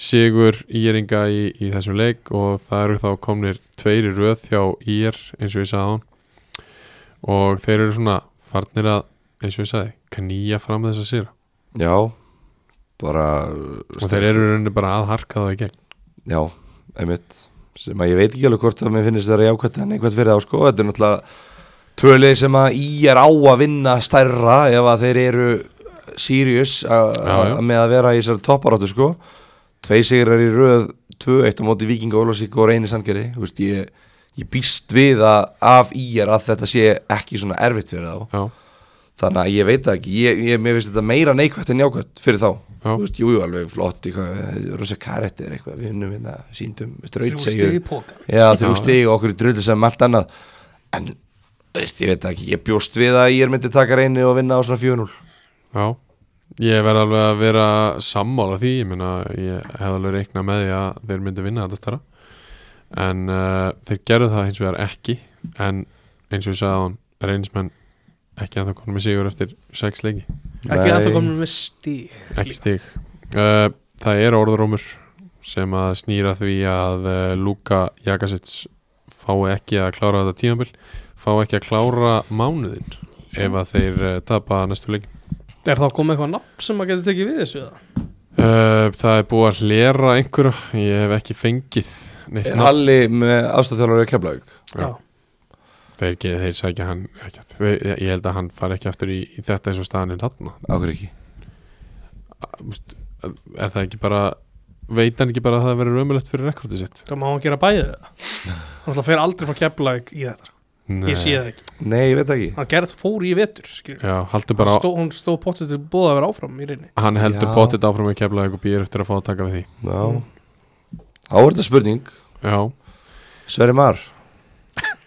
sigur í ringa í, í þessum leik og það eru þá komnir tveiri röð hjá ír eins og ég sagði án og þeir eru svona farnir að eins og ég sagði, knýja fram þess að sýra
Já, bara
og þeir eru í rauninni bara að harka það í gegn
Já, einmitt sem að ég veit ekki alveg hvort að mér finnist það að jákvæmt en eitthvað fyrir þá sko, þetta er náttúrulega tvölið sem að í er á að vinna stærra ef að þeir eru serious a-
Já, já.
a- með að vera í þessari topparáttu sko tvei sigrar í röð, tvö eitt á móti Víking Ólásík og Reyni Sandgerði Þú veist, ég, ég býst við að af í er að þetta sé ekki svona erfitt fyrir þá
já,
þannig að ég veit það ekki, ég, ég, mér finnst þetta meira neikvægt en jákvægt fyrir þá
Já.
þú veist, jújú, jú, alveg flott eitthvað, rosa karættir eitthvað, við unnum hérna, síndum
Þrjú
draut
stig
segjum,
í pokann.
já, þrjú
Já.
stig og okkur í drautu sem allt annað en, þú veist, ég veit það ekki, ég bjóst við að ég er myndi taka reyni og vinna á svona 4-0
já ég verð alveg að vera sammála því ég meina, ég hef alveg reiknað með því að þeir myndu vinna þetta starra en uh, þeir gerðu það hins vegar ekki en eins og ég sagði á hann reynismenn ekki að það konum í sigur eftir sex leiki,
ekki
Nei.
að það komur með stíg
ekki stig uh, það er orðrómur sem að snýra því að uh, Luka Jakasits fái ekki að klára þetta tímabil fái ekki að klára mánuðin ef að þeir uh, tapa næstu leik
er þá komið eitthvað nafn sem að geti tekið við þessu eða?
Uh, það er búið að hlera einhverja Ég hef ekki fengið neitt
er
nafn.
Halli með ástæðþjálfur í Keflavík
Já. Þeir, ge- þeir sækja hann ekki, aftur. Við- Ég held að hann fari ekki aftur í, í þetta eins og staðan er hann
ákveð ekki,
Er það ekki bara Veit hann ekki bara að það verður ömulegt fyrir rekordið sitt
það má hann gera bæðið það hann alltaf fer aldrei frá keflaðið í þetta sko. ég sé það ekki
nei, ég veit það ekki
hann gerði fór í vetur skilur.
Já, haldur
Bara...
bara
Stó, hún stóð potið til búið að vera áfram í reyni
Hann heldur
Já.
potið áfram með kefla og býr eftir að fá að taka við því
já, áverða spurning
Já,
Sverri Mar,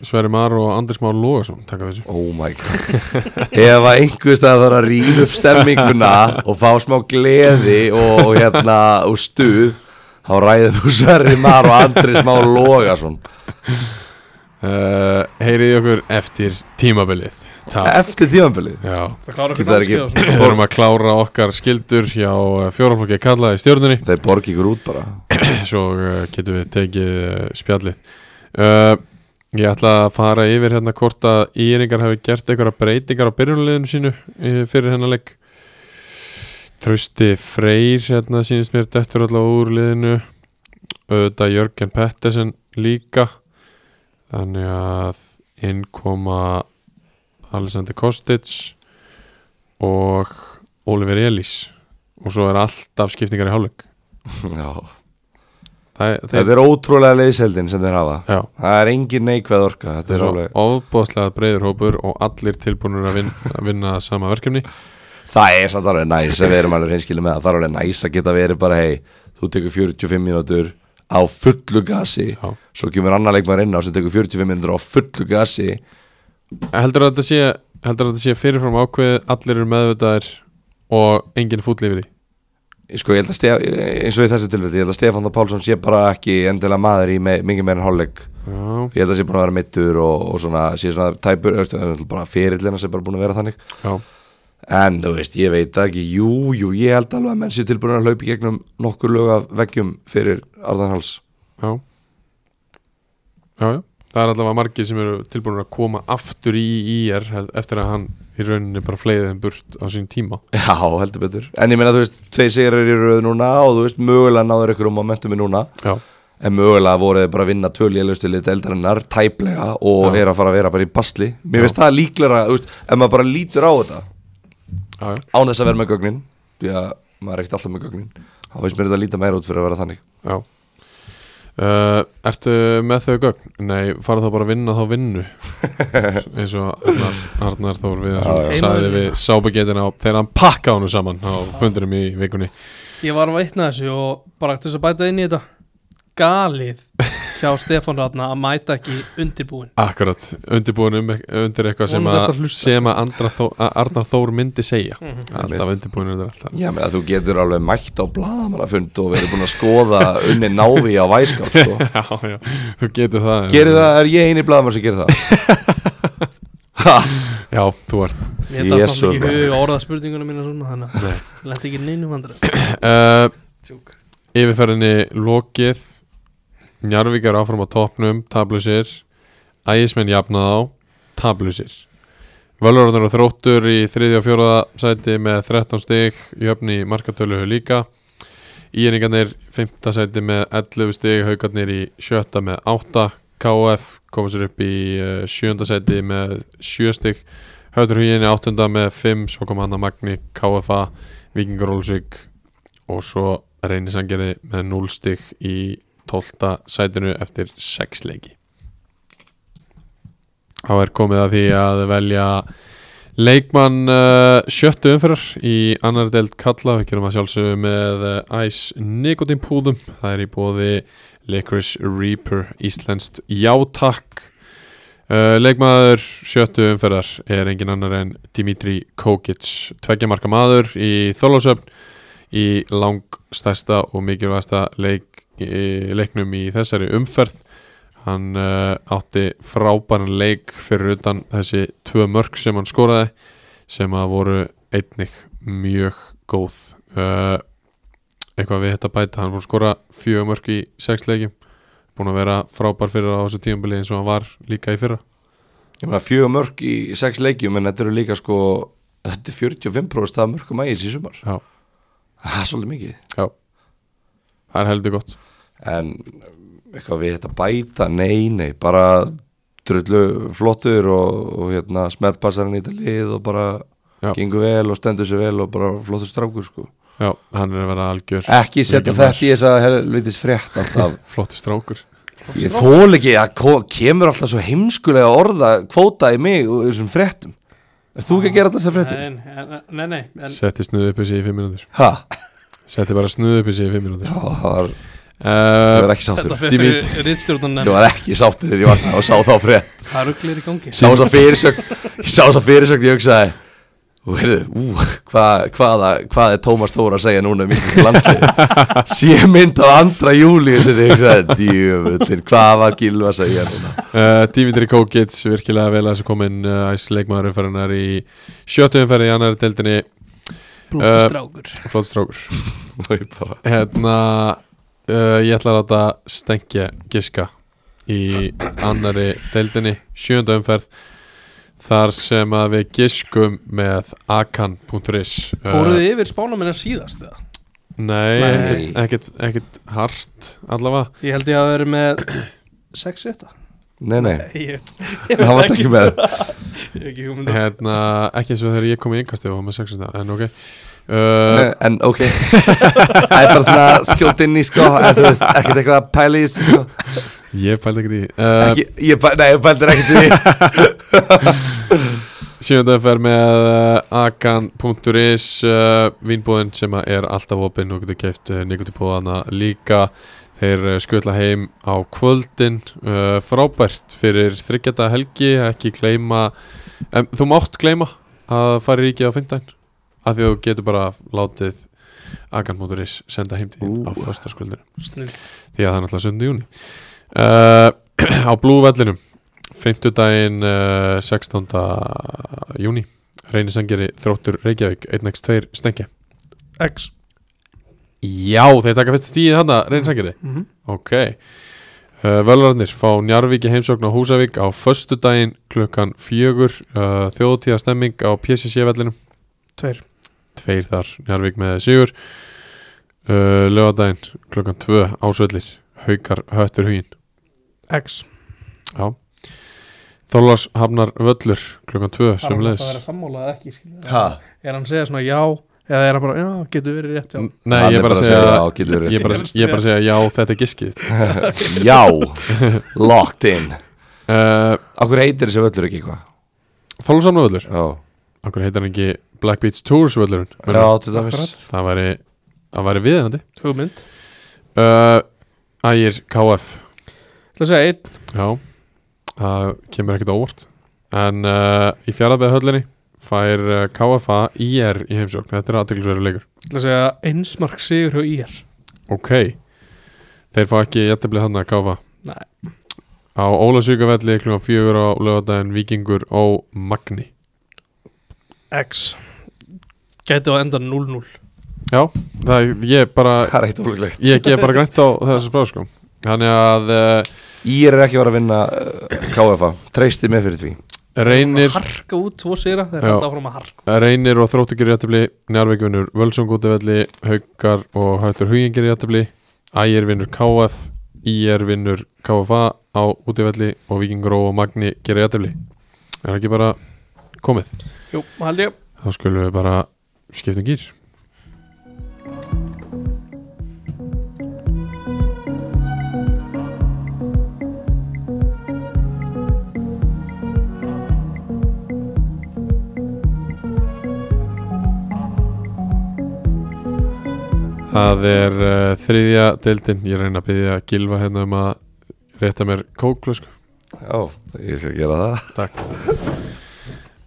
Sverri Mar og Anders Már Lóðarsson taka við þessu
oh my god ef að einhvers það þarf að rýfa upp stemminguna og fá smá gleði og, og hérna og stuð þá ræðið þú Sverri Mar og Andri smá loga svona
Eh, uh, Heyriði okkur eftir tímabilið Tap.
eftir tímanbilið
Já,
Það klára
Getur það
fyrir
ekki-
námskeið og svona
við erum að klára okkar skildur hjá eh, fjóraflokki kallaði stjórnunni
Þeir borgi ykkur út bara
svo uh, getum við tekið uh, spjallið uh, ég ætla að fara yfir hérna hvort að íringar hafi gert einhverja breytingar á byrjunliðinu sínu uh, fyrir hennar leik Trausti Freyr hérna sínist mér dettur allavega úr liðinu auðvitað Jörgen Pettersen líka þannig að innkoma Alexander Kostic og Oliver Elís og svo er alltaf skiptingar í hálfleik
Já.
Það, það,
Þetta er ótrúlega leyseldin sem þeir hafa
Já,
Það er engin neikvæð orka Þetta
það er
er
svo
alveg
ofbóðslega breyður hópur og allir tilbúinur að vinna, að vinna sama verkefni
Það er samt alveg næs að við erum alveg reynskilið með það Það er alveg næs að geta verið bara hei Þú tekur 45 mínútur á fullu gasi
Já.
Svo kemur annar leikmaður inn á sem tekur 45 mínútur á fullu gasi
Heldur að þetta sé, heldur að þetta sé fyrirfram ákveðið allir eru meðvitaðir og enginn fúll yfir því
Ég Sko ég held að Stef, eins og í þessu tilfelli Ég held að Stefán Þór Pálsson sé bara ekki endilega maður í me, mingi meira en hálfleik
Já,
Ég held að sé búin að vera mittur og, og svona, sé svona tæpur östu, bara ferillina sem bara búin að vera þannig
já,
En þú veist, ég veit það ekki, jú, jú, ég held alveg að menn sér tilbúin að hlaupi gegnum nokkur lög af veggjum fyrir Arðanháls.
já Já, já Það er allavega margir sem eru tilbúinur að koma aftur í IR hel- eftir að hann í rauninni bara fleiðið þeim burt á sín tíma
Já, heldur betur. En ég meina, þú veist, tvei sigrar í röð núna og þú veist, mögulega náður ykkur um momentumi núna.
Já,
En mögulega voru þið bara að vinna töl í elustili deildarinnar, tæplega og
Já.
er að fara að vera bara í basli. Mér
Já.
finnst það líklega, þú veist, ef maður bara lítur á þetta,
já, já,
án þess að vera með gögnin, því að maður er ekkert alltaf með gögnin, þá finnst mér þetta líta meira út fyrir að vera þannig.
já. Uh, Ertu með þau gögn? Nei, fara þá bara að vinna þá vinnu eins og Arnar, Arnar Þór við
Já,
já.
sagði við sábegeitina á þegar hann pakka honum saman á fundurum í vikunni
Ég var að veitna þessu og bara til þess að bæta inn í þetta Galið hjá Stefán Ratna að mæta ekki undirbúin
Akkurat, undirbúin um, undir eitthvað sem,
Vonandi ertu
að,
að hlusta,
sem að, Andra Þó, að Arnar Þór myndi segja Alltaf
Mm-hmm. Einmitt.
undirbúin undir alltaf
Já, menn að þú getur alveg mætt á blaðamannafund og verið búin að skoða unni návi á væskátt, sko.
Já, já, þú getur það
Gerir það, er ég eini blaðamann sem gerir það?
Já, þú ert það.
Ég þetta fannst
Jesús,
ekki
maður.
hug að orða spurninguna mína svona Þannig að lendi ekki neinu vandra
uh, Yfirferðinni lokið Njarvíkar áfram á toppnum Tablusir Ægismenn jafnað á Tablusir Völvarðar og þróttur í þriðja og fjóraða sæti með 13 stig Jöfni í markatölu líka Íringarnir 5. sæti með 11 stig Haukarnir í sjötta með 8 KF koma sér upp í 7. sæti með 7 stig Hautur huginn í 8. með 5 Svo kom hann að Magni KFA Víkingur Ólsvík og svo reynir sangerði með 0 stygg í 12. sætinu eftir 6 leiki þá er komið að því að velja leikmann uh, sjöttu umferðar í annar deild kalla, við gerum að sjálfsögum með uh, Ice Nicotine púðum það er í bóði Licorice Reaper Íslenskt Játak uh, leikmaður sjöttu umferðar er engin annar en Dimitri Kokic, tveggja marka maður í Þorlásöfn í langstæsta og mikilvægsta leik, í, leiknum í þessari umferð hann uh, átti frábæran leik fyrir utan þessi tvö mörg sem hann skoraði sem að voru einnig mjög góð uh, eitthvað við þetta bæta hann er búinn að skora fjög mörg í sex leikjum búinn að vera frábær fyrir á þessu tímabili eins og hann var líka í fyrra
Ég meina fjögur mörg í sex leikjum en þetta eru líka sko, þetta er 45% af mörgum ægis í sumar.
já,
Það er svolítið mikið.
já. það er heldur gott
En eh, eitthvað við þetta bæta, nei, nei, bara drullu flottur og, og hérna smeltpassarinn í þetta lið og bara
Já.
gengur vel og stendur sér vel og bara flottur strákur sko.
já, hann er að vera algjör
Ekki setja
Mikið
þetta í þess að helvitis frétt alltaf.
flottur strákur
Ég þól ekki að ko- kemur alltaf svo heimskulega orða kvóta í mig og þessum fréttum. Er þú ekki að gera þetta þessar fréttum?
Nei, nei, nei, nei en,
setti snuðu upp í sig í fimm mínútur
Hæ?
Setti bara snuðu upp í sig í fimm mínútur
Já, það var, það
uh,
var ekki sáttur.
Þetta fer fyrir
Dimit-
rittstjórnan
Ég var ekki sáttur þegar ég vaknaði og sá þá frétt.
Það rugglir í gangi
Sá þess að fyrirsögn, ég sá þess að fyrirsögn, ég hugsaði, og heyrðu, ú, hvað, hvaða, hvað er Tómas Þóra að segja núna um íslenska landslið sé mynd á andra júli sem ég hugsaði, djöfullin, hvað var Gilva að segja núna
Uh, Dimitri Kókits virkilega vel að þessu komin uh, æs leikmaður umferðinar í sjöttu umferði í annari deildinni
blóta
Eh,
strákur
flott strókur
og ég bara,
hérna uh, ég ætla að láta stengja giska í annari deildinni sjöndu umferð þar sem að við giskum með akan.is
Fóruðu þið yfir spánamennar síðast eða?
Eh, Nei,
Nei.
ekkert- ekkert, ekkert hart allavega
Ég held ég að vera með 6 rétta
nei, nei,
Ég
það varst ekki með
ég hef ekki hugmynd um-
hérna, ekki eins og þegar ég kom í yngkastu og var með 600 en ok uh,
Nei, en ok það er bara svona skjótt inn í sko en þú veist, ekkert eitthvað að pæla í þessu, sko.
ég pældi ekkert í því. uh,
ekki, ég, bæ- nei, ég bældur ekkert í því
Sjöndagferð með uh, akan.is uh, Vínbúðin sem að er alltaf opinn og getur keift uh, nikotipóðana líka Þeir uh, skutla heim á kvöldin uh, Frábært fyrir þryggjata helgi Ekki gleyma en, Þú mátt gleyma að fara í ríkið á fymtdæn Af því að þú getur bara látið akan.is senda heim til þín á föstaskvöldinu
Snilld.
því að það er náttúrulega 7. júni uh, á blúvellinum 50 daginn uh, 16. júni reynisengeri þróttur Reykjavík 1x2 stengja
X
já þeir taka fyrst stíð hana reynisengeri
Mhm.
ok uh, Völvarnir fá Njarvík í heimsókn á Húsavík á föstu daginn klukkan fjögur uh, þjóðtíða stemming á PCC vellinum
Tveir
tveir þar, Njarvík með sigur uh, lögadaginn klukkan 2 ásvöllir, haukar höttur huginn
X
já Þorlás hafnar völlur klukkan 2
Það er að vera
sömulegis
sammálað eða ekki skilur.
ha,
Er hann að segja svona já Eða er hann bara já, getur verið rétt já
Nei,
Hann
ég
er
bara að segja
já, Gylfi er
ég bara,
rétt.
ég bara að segja já, þetta er giskið
rétt. já, locked in
uh,
okkur heitir þessi völlur ekki eitthvað
Þorlás hafnar völlur
já,
okkur heitir hann ekki Black Beach Tours völlurinn
já, til dæmis
Akkurat.
það væri, það væri viðandi
Hugmynd
uh, Ægir KF
Það að segja einn
Já, það kemur ekkert óvart En uh, í fjaraðbeð höllinni fær uh, KFA IR í heimsókn Þetta er aðteglisverður leikur
Það að segja einsmark sigur hjá IR
Ok, þeir fá ekki jættabli hann að KFA
Nei.
Á Ólasvíka velli klukkan fjögur á lögadaginn Víkingur og Magni
X Gæti á enda 0-0
Já, það er, ég bara
það er eitt ólíklegt
Ég gef bara grænt á þessu spráð sko Þannig að uh,
Ég er ekki var að vinna uh, KFA Treysti mig fyrir því
reynir
Harka út tvo sigra Þeir
Já.
hægt áfram að harka
Reynir og Þróttur gerir jættabli Njarvík vinnur Völsung út af velli Haukar og Hættur Hugin gerir jættabli Ægir vinnur KF IR vinnur KFA á út af velli og Víkingró og Magni gerir jættabli Er það ekki bara komið?
Jú, held ég
Þá skulum við bara skipta um gýr Það er uh, þriðja deildin, ég reyna að byggja Gilva hérna um að rétta mér kóklu sko.
Já, ég skal gera það
Takk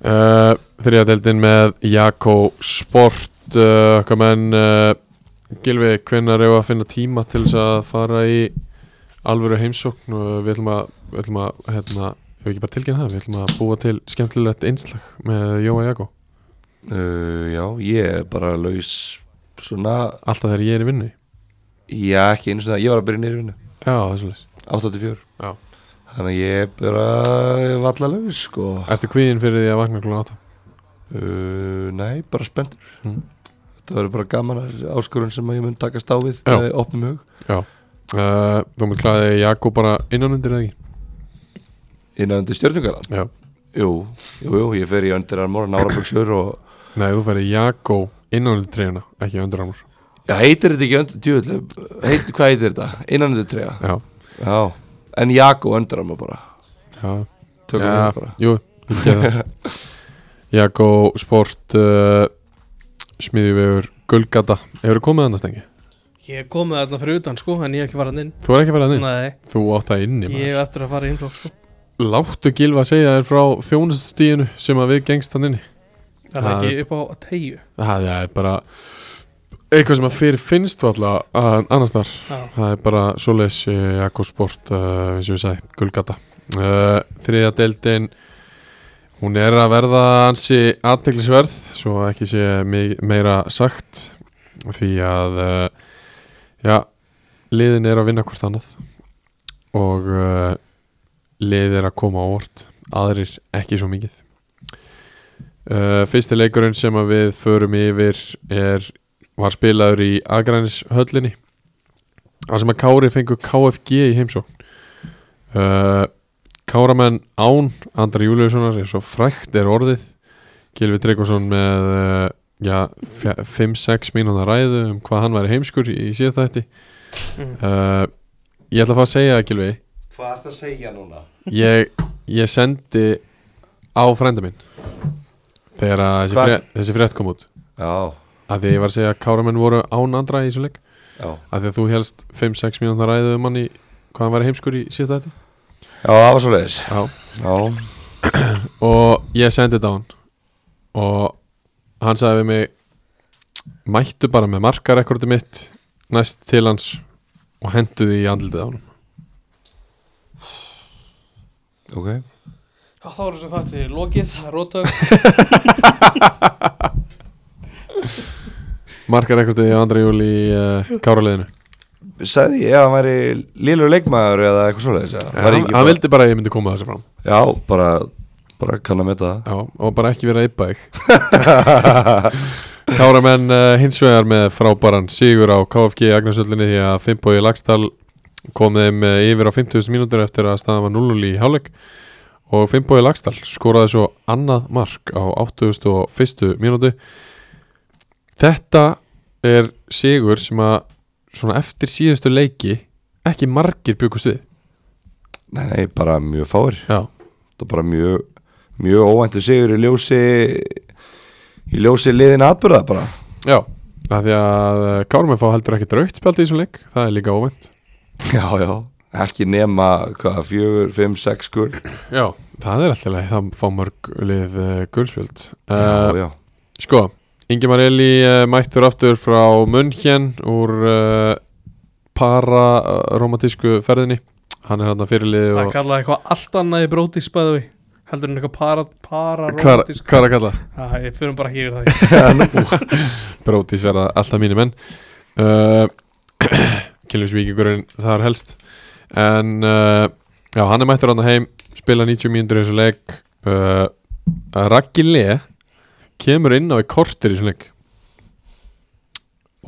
uh, Þriða deildin með Jakko Sport uh, Okkar menn uh, Gilvi, hvenær eru að finna tíma til þess að fara í alvöru heimsókn og við ætlum að, við ætlum að hérna, ef ekki bara tilkynna það, við ætlum að búa til skemmtilegt einslag með Jóa Jakko
uh, Já, ég er bara laus Svona,
alltaf þegar ég er í vinnu
já ekki einu svona Ég var að byrja nýri vinnu,
Já, þessu leys
84
Já.
Þannig að ég er bara valla laus sko
Ertu kvíðin fyrir því að vakna klúna átta?
uh, Nei, bara spenntur
Mm.
Þetta verður bara gaman að- áskorun sem að ég mun takast á við
Já.
með opnum hug
Uh, þú mér klæði Jakko bara innanundir eða ekki?
innan undir stjörnugaran
Já
Jú, jú, jú, ég fer í undir armor, nárabuxur og
Nei, þú færi Jakko innanundir treyjuna, ekki öndurarmur
Já, heitir þetta ekki undir, djúvill, heit, hvað heitir þetta? Innan undir trega
Já,
Já, en Jakko öndur hann bara
já
Tökum við
Já,
það bara
Jú, ég gerði það Jakko Sport uh, Smiðjuvegur Gullgata Hefur þú komið annars tengi?
Ég kom með þarna fyrir utan sko En ég hef ekki farað inn
Þú er ekki að fara þannig?
Nei,
Þú átt það inni
ég hef
maður.
eftir að fara í heimsókn sko
Láttu Gilva að segja þér frá þjónustustíðinu sem að við gengst hann inni
Er það ekki upp á tegju?
það er bara eitthvað sem að fyrir finnst valla að annars þar
Já,
það er bara svoleiðis eh, Akkosport uh, eins og ég sagði, gulgata uh, þriða deildin hún er að verða ansi aðteglisverð svo ekki sé mi- meira sagt því að uh, já, liðin er að vinna hvort annað og uh, liðið er að koma á vort aðrir ekki svo mikið uh, fyrsti leikurinn sem að við förum yfir er, var spilaður í Akranis höllinni Það sem að Kári fengu KFG í heimsókn uh, Káramenn Án Andra Júliussonar er svo frækt er orðið Gilvi Tryggvason með uh, já, fja- 5-6 mínúna ræðu um hvað hann væri heimskur í síðastætti
Mm.
uh, Ég ætla að fá að segja það Gilvi
Hvað ert að segja núna?
ég, ég sendi á frænda minn þegar að þessi,
Hvað?
frétt, þessi frétt kom út
Já,
að því að ég var að segja að Káramenn voru Án Andra í þessum leik
já
að því að þú helst 5-6 mínúna ræðu um hann í hvað hann væri heimskur í síðastætti
Já, það var svo leiðis
Já
Já,
og ég sendi þetta á hann og hann sagði við mig mættu bara með markarekordi mitt næst til hans og hendu því í andlitið á hann
ok
Já, þá erum við þetta í lokið, það er rótag
markarekordi í andra júli í uh, káraliðinu
Sæði ég að hann væri lélur leikmaður eða eitthvað svo leiðis
hann, hann vildi bara að ég myndi koma þessu fram
Já, bara, bara kann að meta
Já, og bara ekki vera yppa þig Káramenn uh, hins vegar með frábæran sigur á KFG Agnarsöllinni því að Fimboði Lagstall kom þeim eh, yfir á 50.000 mínútur eftir að staðan var 0-0 í hálfleik og Fimboði Lagstall skoraði svo annað mark á 81. mínútu Þetta er sigur sem að svona eftir síðustu leiki ekki margir byggust við
það Nei, nei, bara mjög fáir
Já,
Það er bara mjög, mjög óvæntu sigur í ljósi í ljósi liðin atbyrða bara
Já, af því að Kármenn fá heldur ekki draugt spjaldi í þessum leik það er líka óvænt
Já, já Ekki nema, hvað, fjögur, fimm, sex skul
Já, það er alltaf leið, það fá mörg lið uh, gullspjöld
Já,
uh,
já
Sko, Ingi Marelli uh, mættur aftur frá München úr uh, pararomantísku ferðinni Hann er hann að fyrirlið
Það er
og
kallað eitthvað allt annað í brótis bæðu við Heldur en eitthvað para, para
Hvað er hvað er að kalla?
Það, ég fyrir bara ekki yfir það
Brótis verða alltaf mínir menn uh, Kilvisvíkingurinn þar helst En uh, já, hann er mættur hann heim Spila 90 mínútur í þessu leik uh, Raggi Le Kemur inn á í kortir í þessum leik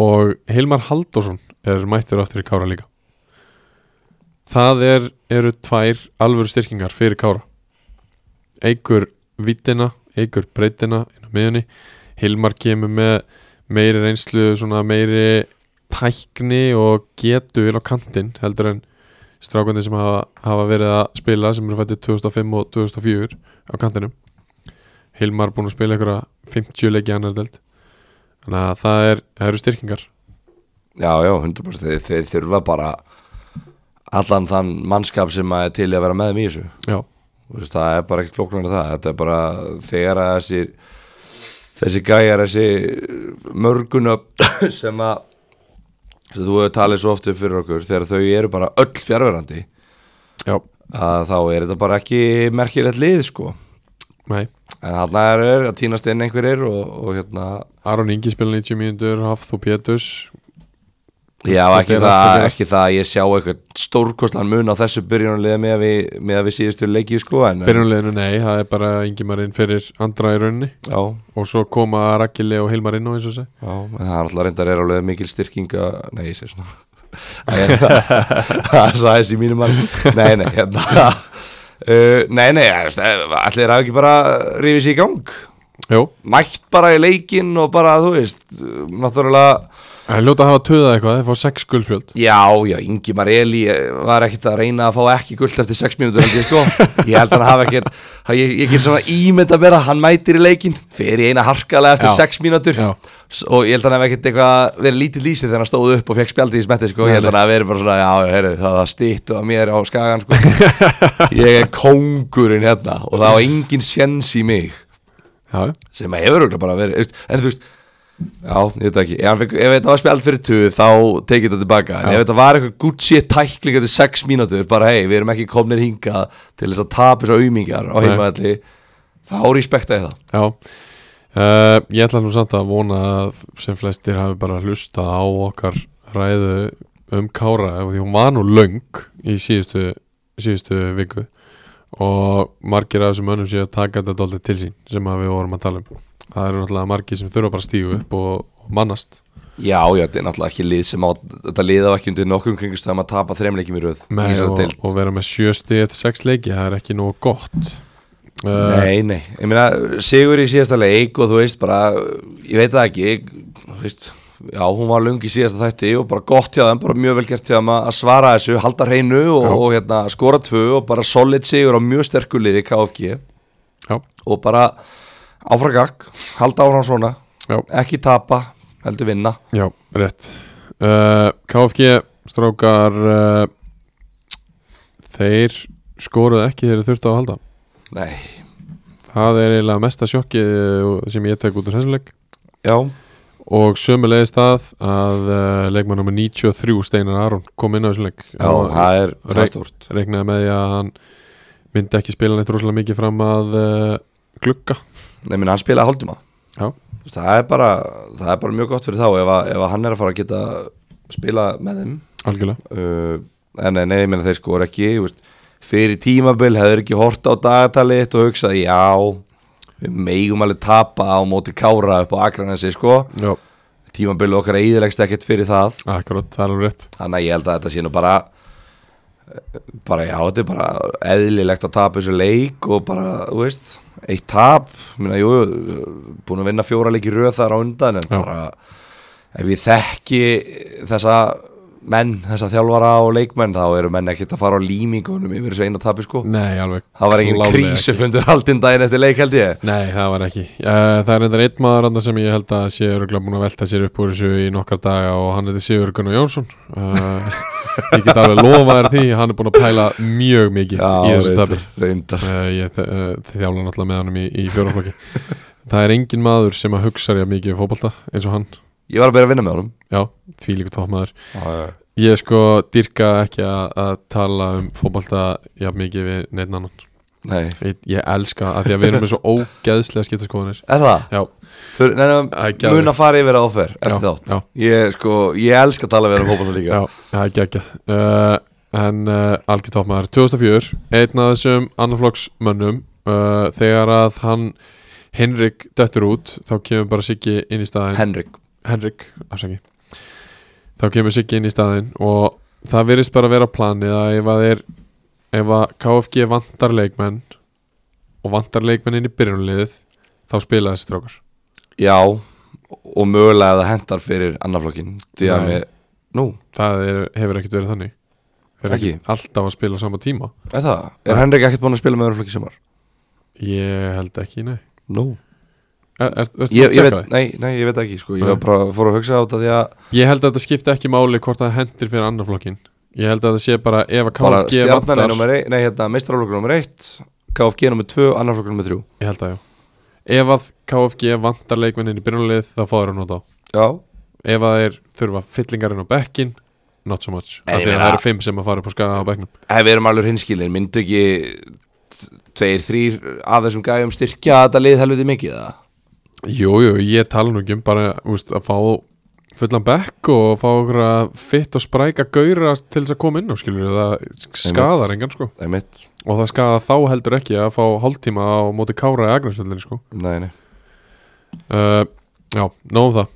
Og Hilmar Halldórsson er mættur aftur í Kára líka Það er, eru tvær alvöru styrkingar fyrir Kára Eikur vittina, eikur breytina inn á miðunni Hilmar kemur með meiri reynslu, svona meiri tækni og getu inn á kantinn heldur en strákandi sem hafa, hafa verið að spila sem eru fættið 2005 og 2004 á kantinum Hilmar búin að spila einhverja 50 leiki annar delt þannig að það, er, það eru styrkingar
Já, já, 100% þeir, þeir þurfa bara allan þann mannskap sem að er til í að vera með þeim í þessu
já,
Þú veist, það er bara ekkert flóknar en það þetta er bara þegar að þessi þessi gæjar, þessi mörgunöp sem að sem þú hefur talið svo oft upp fyrir okkur þegar þau eru bara öll fjárverandi
já,
að þá er þetta bara ekki merkilegt lið sko
nei
en hann er að týnast inn einhverjir og, og hérna
Aron Ingi spila 90 mínútur, Hafþó Péturs
já
Þetta
ekki
er allt að
það,
gerast.
ekki það að ég sjá eitthvað stórkostlan mun á þessu byrjunarlið með að við, með að við síðustu leikið sko en,
byrjunleginu nei, það er bara Ingi Marinn fyrir andra í rauninni
já,
og svo koma Rakkili og Hilmar inn á eins og seg
Já, en það er alltaf reyndar er alveg mikil styrkinga Nei, ég sé svona Æ, Það er sæðis í mínum mann Nei, nei, hérna uh, Nei, nei, allir hafa ekki bara rífið sér í gang
Jó,
Mætt bara í leikinn og bara, þú veist uh, Náttúrulega
það er ljóta að hafa töðað eitthvað, þeir fá 6 guldfjöld
Já, já, Ingi Marelli eh, var ekkit að reyna að fá ekki guld eftir 6 mínútur ekki, sko. Ég held að hann hafa ekkit hann- Ég, ég get svona ímynd að vera, hann mætir í leikinn Fer í eina harkalega eftir
Já.
6 mínútur
Já.
S- Og ég held að hann hafa ekkit eitthvað verið lítið lýsið þegar hann stóð upp og fekk spjaldið í smetti sko. Ég held að hann hafa verið bara svona, já, já, heyrðu, það var stýtt og að mér á skagan sko. Ég er kóngurinn hérna og það var engin séns í mig
já,
sem að hefur auðvitað bara verið veist, en þú veist, já, ég veit það ekki ef, ef þetta var spjald fyrir 20 þá tekið þetta tilbaka en
Já.
ef þetta var eitthvað Gucci tækling eftir 6 mínútur, bara hei, við erum ekki komnir hingað til þess að tapa þess að aumingar á
Nei.
heimaðalli, þá respekta ég það
já. Uh, ég ætla nú samt að vona að sem flestir hafi bara hlusta á okkar ræðu um Kára af því hún var nú löng í síðustu, síðustu viku og margir af þessum mönnum sé að taka þetta dóldi til sín sem að við vorum að tala um það eru náttúrulega margir sem þurfa bara að stígu upp og, og mannast
Já, já, þetta er náttúrulega ekki lið sem á þetta lið á ekki undir nokkrum kringustöðum að tapa þreimleikim í röð í
Nei,
þessari
og,
deild.
og vera með sjö stið eftir sex leiki, það er ekki nógu gott uh,
Nei, nei, ég meina Sigur í síðasta leik og þú veist bara ég veit það ekki ég, þú veist, já, hún var lung í síðasta þætti og bara gott hjá þeim, bara mjög vel gert hjá þeim að að svara þessu, halda hreinu og,
Já.
og hérna, skora tvö og bara solid Sigur á mjög sterku liði KFG
Já,
og bara áfragak, halda áfram svona
já,
ekki tapa, heldur vinna
já, rétt uh, KFG strákar uh, þeir skoruð ekki þeir þurftu á að halda
Nei,
það er eiginlega mesta sjokki sem ég tek út úr þessum leik
já,
og sömulegis það að uh, leikmann nummer 93 Steinar Aron kom inn á þessum leik
já, það er, það
Reyk-
er stórt
reiknaði með því að hann myndi ekki spila neitt rosalega mikið fram að uh, glugga
Nei, minna, hann spilaði hálftíma
Já.
Þú veist, það, er bara, það er bara mjög gott fyrir þá ef, að, ef að hann er að fara að geta spila með þeim
algjörlega
uh, en nei, nei, ég meina þeir skor ekki þú veist, fyrir tímabil hefur ekki hort á dagatalið og hugsað já, við megum alveg tapa á móti kára upp á Akranesi sko.
Já,
tímabil okkar eðilegst ekkert fyrir það
akkurat, það er alveg rétt
þannig að ég held að þetta sé nú bara bara já, þetta er bara eðlilegt að tapa þessu leik og bara, þú veist, eitt tap minna, jú, búin að vinna fjóra leiki röð þar á undan en
Já.
bara ef ég þekki þessa menn, þessa þjálfara og leikmenn þá eru menn ekkert að fara á límingunum yfir þessu eina tapi sko
Nei, alveg
það var engin
klárlega
krísu
ekki.
fundur haldinn daginn eftir leik held ég
Nei, það var ekki uh, Það er endur einn maður andan sem ég held að sé örgulega búin að velta sér upp úr þessu í nokkar daga og hann heiti Sigur Gunnar Jónsson uh, Ég get alveg lofa þér því hann er búin að pæla mjög mikið í þessu
reyndar,
tabi
reyndar.
uh, Ég þ- uh, þjála náttúrulega með honum í, í fjóraflokki Það er engin maður sem að hugsa ég mikið um fótbolta eins og hann
ég var að byrja að vinna með honum
Já, því líka tókmaður Ég sko dyrka ekki að, að tala um fótbolta jafn mikið við neitt annan
nei,
Ég, ég elska að því að við erum með svo ógeðslega skiptaskoðanir
er það?
Já,
Fyrir, nei,
Það er
nei,
geðveikt.
mun að fara yfir að offer
já,
eftir þátt
já,
ég, sko, ég elska að tala við um fótbolta líka
já, það er geggja uh, En uh, algjör toppmaður 2004, einn af þessum annarflokksmönnum uh, Þegar að hann Henrik dettur út Þá kemur bara Siggi inn í staðin
Henrik
Henrik, afsaki Þá kemur Siggi inn í staðin Og það virðist bara að vera planið að ef að þeir Ef að KFG vantar leikmenn Og vantar leikmenn inn í byrjunliðið Þá spila þessi strákar
já, og mögulega ef það hentar fyrir annarflokkin því að
Nei.
mér, nú,
það er, hefur ekkert verið þannig þeir eru
Ekki?
ekki alltaf að spila á sama tíma
er það er
Nei.
Henrik ekkert búinn að spila með öðruflokki sumar?
ég held ekki, nei
nú,
er, er, er,
ég, ég
ég,
veit, nei, nei, ég veit ekki sko, ég
Nei.
var bara fór að hugsa á þetta því að
ég held að þetta skipta ekki máli hvort það hendir fyrir annar flokkin ég held að það sé bara ef að
bara
KFG
stjarnan er
vantar
nummer 1, nei, hérna, meistaraflokkur nummer 1 KFG nummer 2, annarflokkur nummer 3
ég held að já ef að KFG vantar leikmennin í byrjunlið þá fáður hann út á
já,
ef að þeir þurfa fyllingarinn á bekkin not so much,
En
af því
ég
að
meina-
það eru fimm sem að fara upp á skaga á bekknum
ef við erum alveg hinskilin myndu ekki t- tveir, þrýr af þessum gæjum styrkja þetta lið helviti mikið það
jú, jú, ég tala nú ekki um bara úst, að fá fullan bekk og fá okkur að fitt og spræka gauðra til þess að koma inn á skilur það skadar engan sko
einmitt,
og það skadar þá heldur ekki að fá hálftíma á móti kára í agnarsöldinni sko
nei, nei
uh, já, nóðum það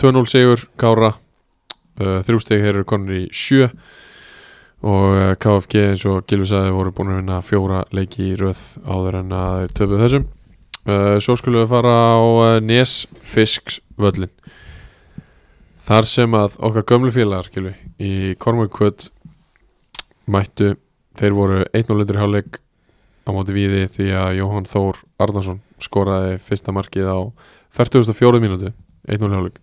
2-0 sigur kára uh, þrjústeg hér eru konur í sjö og uh, KFG eins og Gilvi sagði voru búin að vinna fjóra leiki í röð áður en að þeir töpuð þessum uh, svo skulum við fara á uh, Nesfisksvöllin þar sem að okkar gömlu félagar Gilvi í Kormökkvöld mættu þeir voru 1-0 undir hálfleik á móti víði því að Jóhann Þór Arnason skoraði fyrsta markið á 44. mínútu 1-0 hálfleik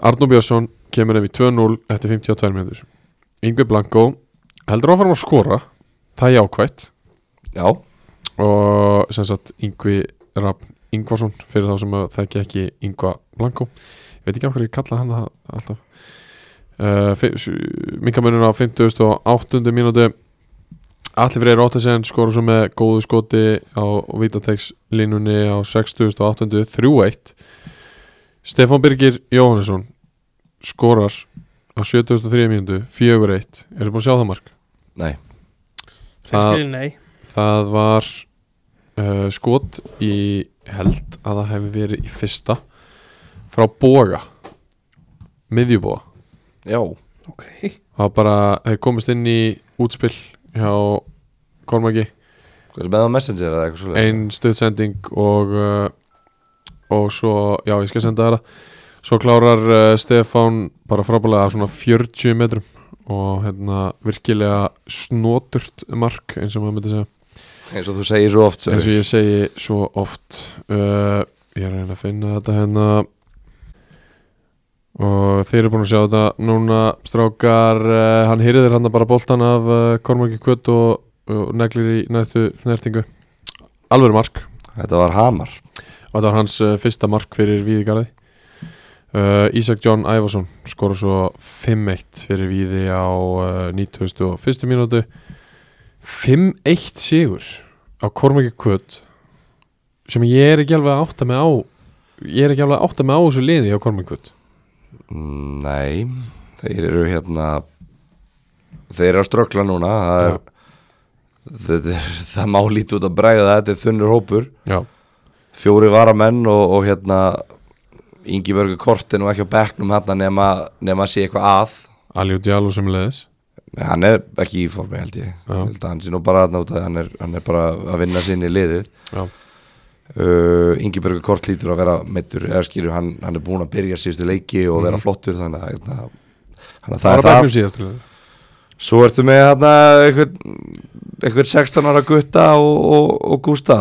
Arnó Björnsson kemur ef í 2-0 eftir 52 mínútur Yngvi Blanko heldur áfram að skora það er jákvætt
já,
og sem sagt Yngvi Rafn Ingvarsson fyrir þá sem að þekki ekki Ingva Blanko ég veit ekki af hverju ég kalla hann það alltaf uh, minkamönun á 50 og 8. mínúti Allir fyrir Róttesen skora svo með góðu skoti á Vítatex línunni á 60 og 8. 3-1 Stefán Birgir Jóhannesson skorar á 73. mínútu 4-1, eru búin að sjá það mark?
Nei,
Það-
Hreinskilin nei
Það var uh, skot í ég held að það hefði verið í fyrsta frá Boga miðjubóa
já
Ok
það var bara, þeir komist inn í útspill hjá Kormaki
Hvað er með á Messenger eða eitthvað svolítið?
ein stöðsending og uh, og svo, já ég skal senda það svo klárar uh, Stefán bara frábælega af svona 40 metrum og hérna virkilega snoturt mark eins og maður myndi segja
Eins og þú segir svo oft
eins og ég segi svo oft uh, ég er að reyna að finna þetta hérna og þeir eru búin að sjá þetta núna strákar, uh, hann hýrðir hann bara boltan af uh, Kormarki Kvöt og, og neglir í næstu snertingu alveg mark
Þetta var Hamar
og þetta var hans uh, fyrsta mark fyrir Víðigarði uh, Ísak John Ævarsson skora svo 5-1 fyrir Víði á uh, 91. mínútu 5-1 sigur á Kormaki Kvöt sem ég er ekki alveg að átta mig á ég er ekki alveg að átta mig á þessu liði á Kormaki Kvöt
Mm, Nei, þeir eru hérna Þeir eru að ströggla núna Það, er, það, það má lítið út að bregða Þetta er þunnur hópur
já,
Fjóri varamenn og, og hérna Ingi Börgur Kortin og ekki á bekknum hérna nema, nema að sé eitthvað að
Aljú Djalú sem leiðis
Nei, Hann er ekki í formi held ég
Já.
held að Hann sé nú bara að náta hann er, hann er bara að vinna sinni í liðið
já,
uh, Ingi Börgur Kort lítur að vera meittur eða skilur hann, hann er búinn að byrja síðustu leiki og vera flottur þannig að, hérna, þannig að
það
það
var að
er
bæknum
það
síðast liði.
svo ertu með hérna, einhvern, einhvern 16 ára gutta og, og, og Gústa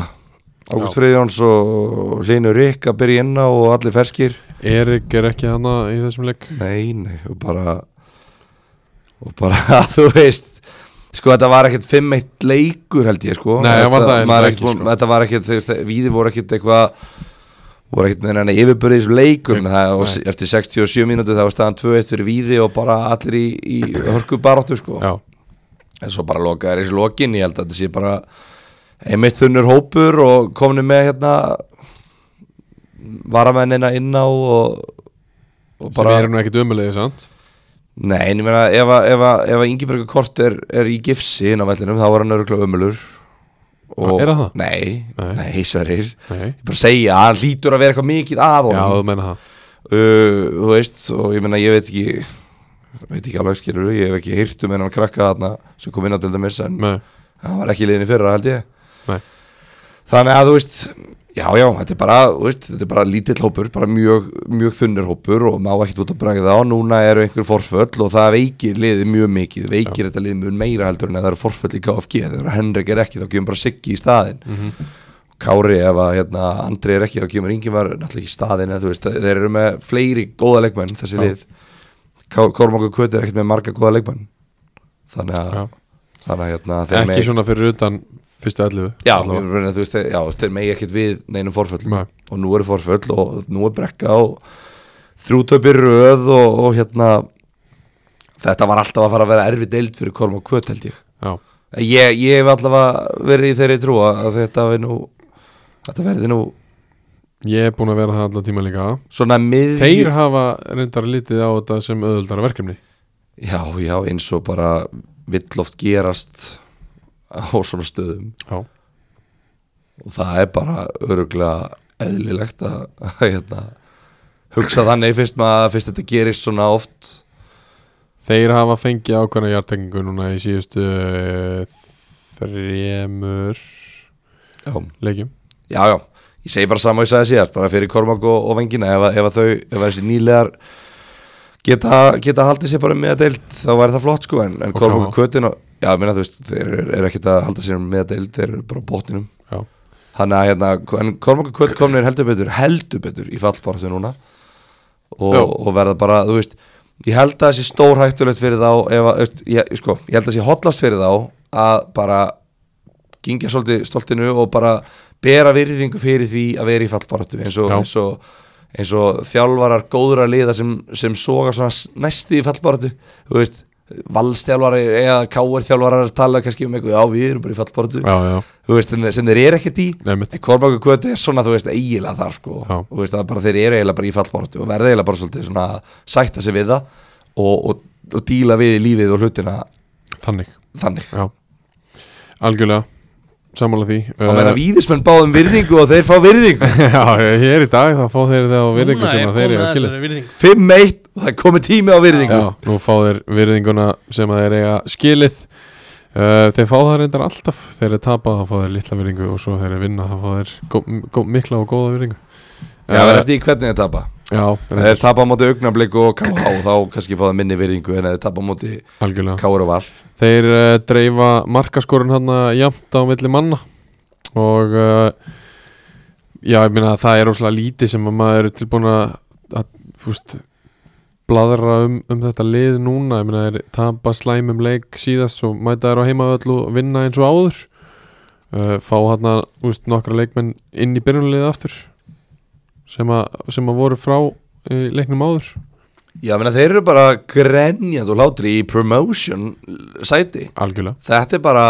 Ágúst
Já.
Friðjóns og Hlynur Rík að byrja inn á og allir ferskir
Erik er ekki hana í þessum leik
nei, nei, og bara og bara, þú veist sko þetta var ekkert 5-1 leikur held ég sko
Nei, það var
Þetta-
það
maður
ekki,
ekkert, búinn-
sko.
þetta var ekkert, þú veist, víði voru ekkert eitthvað voru ekkert með henni yfirbörðis leikum
Nei,
það, og
nei.
s- eftir 67 mínútu það var staðan 2-1 fyrir víði og bara allir í, í hörku baróttu sko
já,
en svo bara lokaði þessi lokin ég held að þetta sé bara einmitt þunnur hópur og komni með hérna varamennina inn á og, og
sem eru nú ekkit umulegið sant
Nei, en ég meina ef, að- ef, að- ef Ingebergur Kort er, er í gifsi inn á vellinum þá var hann öruglega ömulur
Er hann það?
Nei,
Nei.
nei, nei sverir
Nei.
Ég bara segja, hann hlýtur að vera eitthvað mikið að
já, þú
honum
meina það
uh, Þú veist, og ég meina ég veit ekki veit ekki alveg skilur ég hef ekki heyrt um hennan krakka þarna sem kom inn á til dæmis en
Nei.
hann var ekki í liðinni í fyrra held ég
Nei.
Þannig að þú veist Já, já, þetta er bara, þú veist, þetta er bara lítill hópur, bara mjög, mjög þunnur hópur og má ekkert út að bregða á, núna eru einhver forföll og það veikir liðið mjög mikið, veikir þetta liðið mjög meira heldur en að það eru forföll í KFG, þegar Henrik er ekki þá kemur bara Siggi í staðinn
Mhm.
Kári ef að hérna, Andri er ekki þá kemur Ingimar náttúrulega ekki í staðinn, en þú veist, þeir eru með fleiri góða leikmenn, þessi
Já.
lið Kórmangur Kvöt er ekkert með marga góða leikmenn, þannig
Já.
að, þannig að hérna, þeir
ekki
megi-
svona fyrir utan fyrstu 11
Já,
Allavega.
ég meina, þú veist, þeir- já, þeir megi ekkert við neinum forföllum
Nei.
og nú eru forföll og nú er brekka og þrjútöpir röð og, og hérna þetta var alltaf að fara að vera erfið deild fyrir Korm og Kvöt held ég Eh,
já,
ég, ég hef alltaf verið í þeirri trú að þetta, hafi nú, þetta verði nú
Ég er búin að vera það allan tíma líka
svona miðju
Þeir hafa reyndar litið á þetta sem auðvöldara verkefni
Já, já, eins og bara vill oft gerast á svona stöðum
Já,
og það er bara öruglega eðlilegt að, að hérna, hugsa þannig fyrst, maður, fyrst þetta gerist svona oft
Þeir hafa fengið ákvæmna hjartengingu núna í síðustu eh, þremur
já,
leikjum
já, já. ég segi bara sama og ég sagði síðast bara fyrir Kormak og, og Vengina ef, að- ef að þau, ef að þessi nýlegar geta, geta haldið sér bara með að deild þá væri það flott sko en, en
Og
Kormak
KH.
og Kötin og, já, minna, þú veist, þeir eru er ekkert að halda sér með að deild þeir eru bara á botninum
Já,
Þannig að hérna, en Kormáka Kvöld komnir heldur betur, heldur betur í fallbaratu núna og,
Já.
og verða bara, þú veist, ég held að það sé stórhættulegt fyrir þá, ef, að- veist, ég, sko, ég held að það sé hotlast fyrir þá að bara gingja svolítið stoltinu og bara bera virðingu fyrir því að vera í fallbaráttu eins og,
Já.
eins og, eins og þjálfarar góðra liða sem, sem soga svona s- næsti í fallbaráttu þú veist, valstjálfarar eða káarþjálfarar tala kannski um eitthvað, já við erum bara í fallbaráttu
já, já,
þú veist, en- sem þeir eru ekkert í
nefnitt
En Kormáku Kvöti er svona, þú veist, eiginlega þar sko
Já.
Þú veist, það er bara þeir eru eiginlega bara í fallbáratu og verða eiginlega bara svolítið svona að sætta sig við það og, og, og díla við lífið og hlutina
Þannig,
þannig
já Algjörlega, sammála því Eh,
Þá meina víðismenn báðum virðingu og þeir fá virðingu
Já, hér í dag þá fá þeir þá virðingu sem að þeir eru að skilja
5-1 og það er komið tími á virðingu
Já, nú fá þeir virðinguna sem að þeir eiga skilið uh, Þeir fá það reyndar alltaf Þeir eru tapað, þá fá þeir litla virðingu og svo þeir eru vinna, þá fá þeir gó, gó, mikla og góða virðingu
Já, það er eftir í hvernig þeir tapa
já
Ef
reyndar,
Þeir tapa á móti augnablik og KH þá kannski fá það minni virðingu en ef þeir tapa á móti
algjörlega
KR og Val
Þeir uh, dreifa markaskorun hann jafnt á milli manna og uh, já, ég meina það er óslega lítið sem að maður er tilbúin að, að fúst, bladra um, um þetta lið núna, ég meina þeir tapa slæmum leik síðast og mæta þeir á heimavöll og vinna eins og áður uh, fá hann að nokkra leikmenn inn í byrjunlið aftur sem að, sem að voru frá uh, leiknum áður
Já, menna, þeir eru bara grenjand og hlátri í promotion sæti
algjörlega,
Þetta er bara,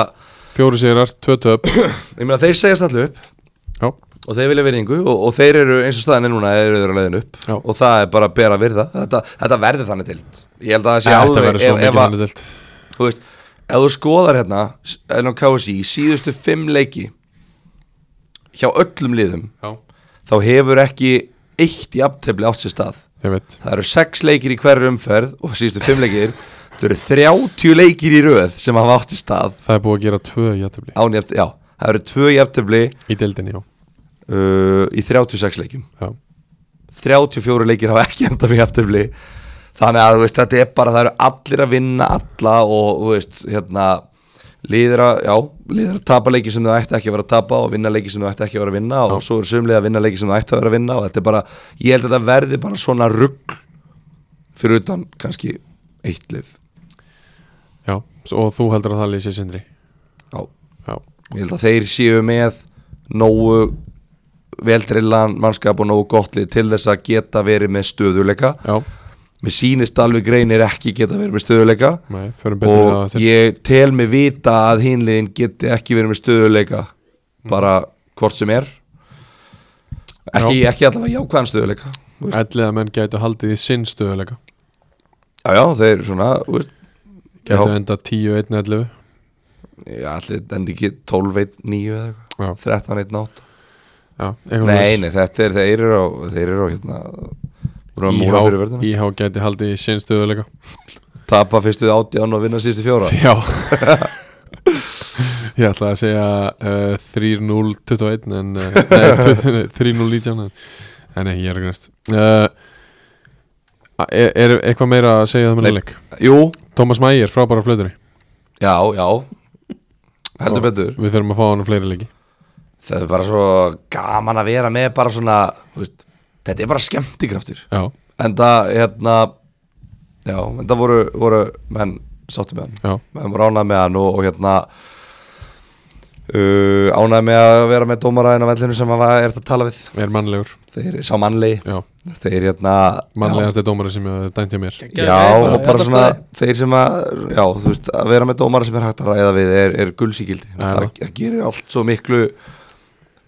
fjóri sigrar, tvö töp
ég meina þeir segjast allu upp
já,
og þeir vilja virðingu og, og þeir eru eins og staðan er núna eru þeir að leiðin upp
Já.
og það er bara að bera virða þetta, þetta verður þannig til ég held að það sé
þetta
alveg
verður svo
ef,
mikið
ef, að,
mannið delt
þú veist, ef þú skoðar hérna enn á KSI síðustu fimm leiki hjá öllum liðum
Já,
þá hefur ekki eitt í aftefli átt sér stað
ég veit
það eru sex leikir í hverju umferð og síðustu fimm leikir það eru 30 leikir í röð sem hafa átt sér stað
Það er búið að gera tvö jættabli
án í aftefli, já, það eru tvö í aftefli
Í deildinni, já,
uh, í 36 leikim
já.
34 leikir hafa ekki endað með jafntefli þannig að þú veist, þetta er bara það eru allir að vinna alla og þú veist, hérna líður að, já, líður að tapa leiki sem þú ætti ekki að vera að tapa og vinna leiki sem þú ætti ekki að vera að vinna og svo eru sumlega að vinna leiki sem þú ætti að vera að vinna og þetta er bara, ég held að þetta verði bara svona rugg fyrir utan kannski eitt lið
já S- Og þú heldur að það lýsi sindri
já,
Já,
ég held að þeir séu með nógu veldrillan mannskap og nógu gott lið til þess að geta verið með stöðuleika
já,
mér sýnist alveg greinir ekki geta verið með stöðuleika
nei, förum betur í það
og
til
ég tel mig vita að hinliðin geti ekki verið með stöðuleika
Mm.
bara hvort sem er ekki, ekki allavega jákvæðan stöðuleika þú veist.
Ætlið að menn gætu haldið í sinn stöðuleika
já já þeir svona þú veist,
Gætu
Já.
enda 10-1-11
já, allir endi ekki 12, 1, 9 eða eitthvað
Já,
13, 1, 8
já, eitthvað
nei,
svoleiðis.
nei, þetta er, þeir eru á þeir eru á hérna voru að múra fyrir
IH,
verðina
IH gæti haldið í sinn stöðuleika
tapa fyrstu átján og vinna sístu fjóra
Já Ég ætla að segja uh, 3-0-21 en, uh, nei, tu- nei, 3-0-19 en, en nei, ég er að grænst uh, er, e- er eitthvað meira að segja það með
Nei.
leik?
jú,
Tómas Mægir, frábæra flöðunni
já, já heldur betur
Við þurfum að fá hann á fleiri leiki
það er bara svo gaman að vera með bara svona, þú veist, þetta er bara skemmtikraftur
Já,
en það, hérna já, en það voru, voru menn sáttu með hann,
já,
menn voru ánægð með hann og, og hérna uh, ánægð með að vera með dómaræðin á vellinu sem hann var- er þetta að tala við
er mannlegur
þeir sá mannlegi,
Já,
þeir hérna já,
mannlegast er dómari sem ég dæntja mér
Geggjað.
já,
Bara-
og bara
þetta
svona
staði.
þeir sem að, já, þú veist að vera með dómara sem er hægt að ræða við er, er gulsíkildi,
Já.
það, það gerir allt svo miklu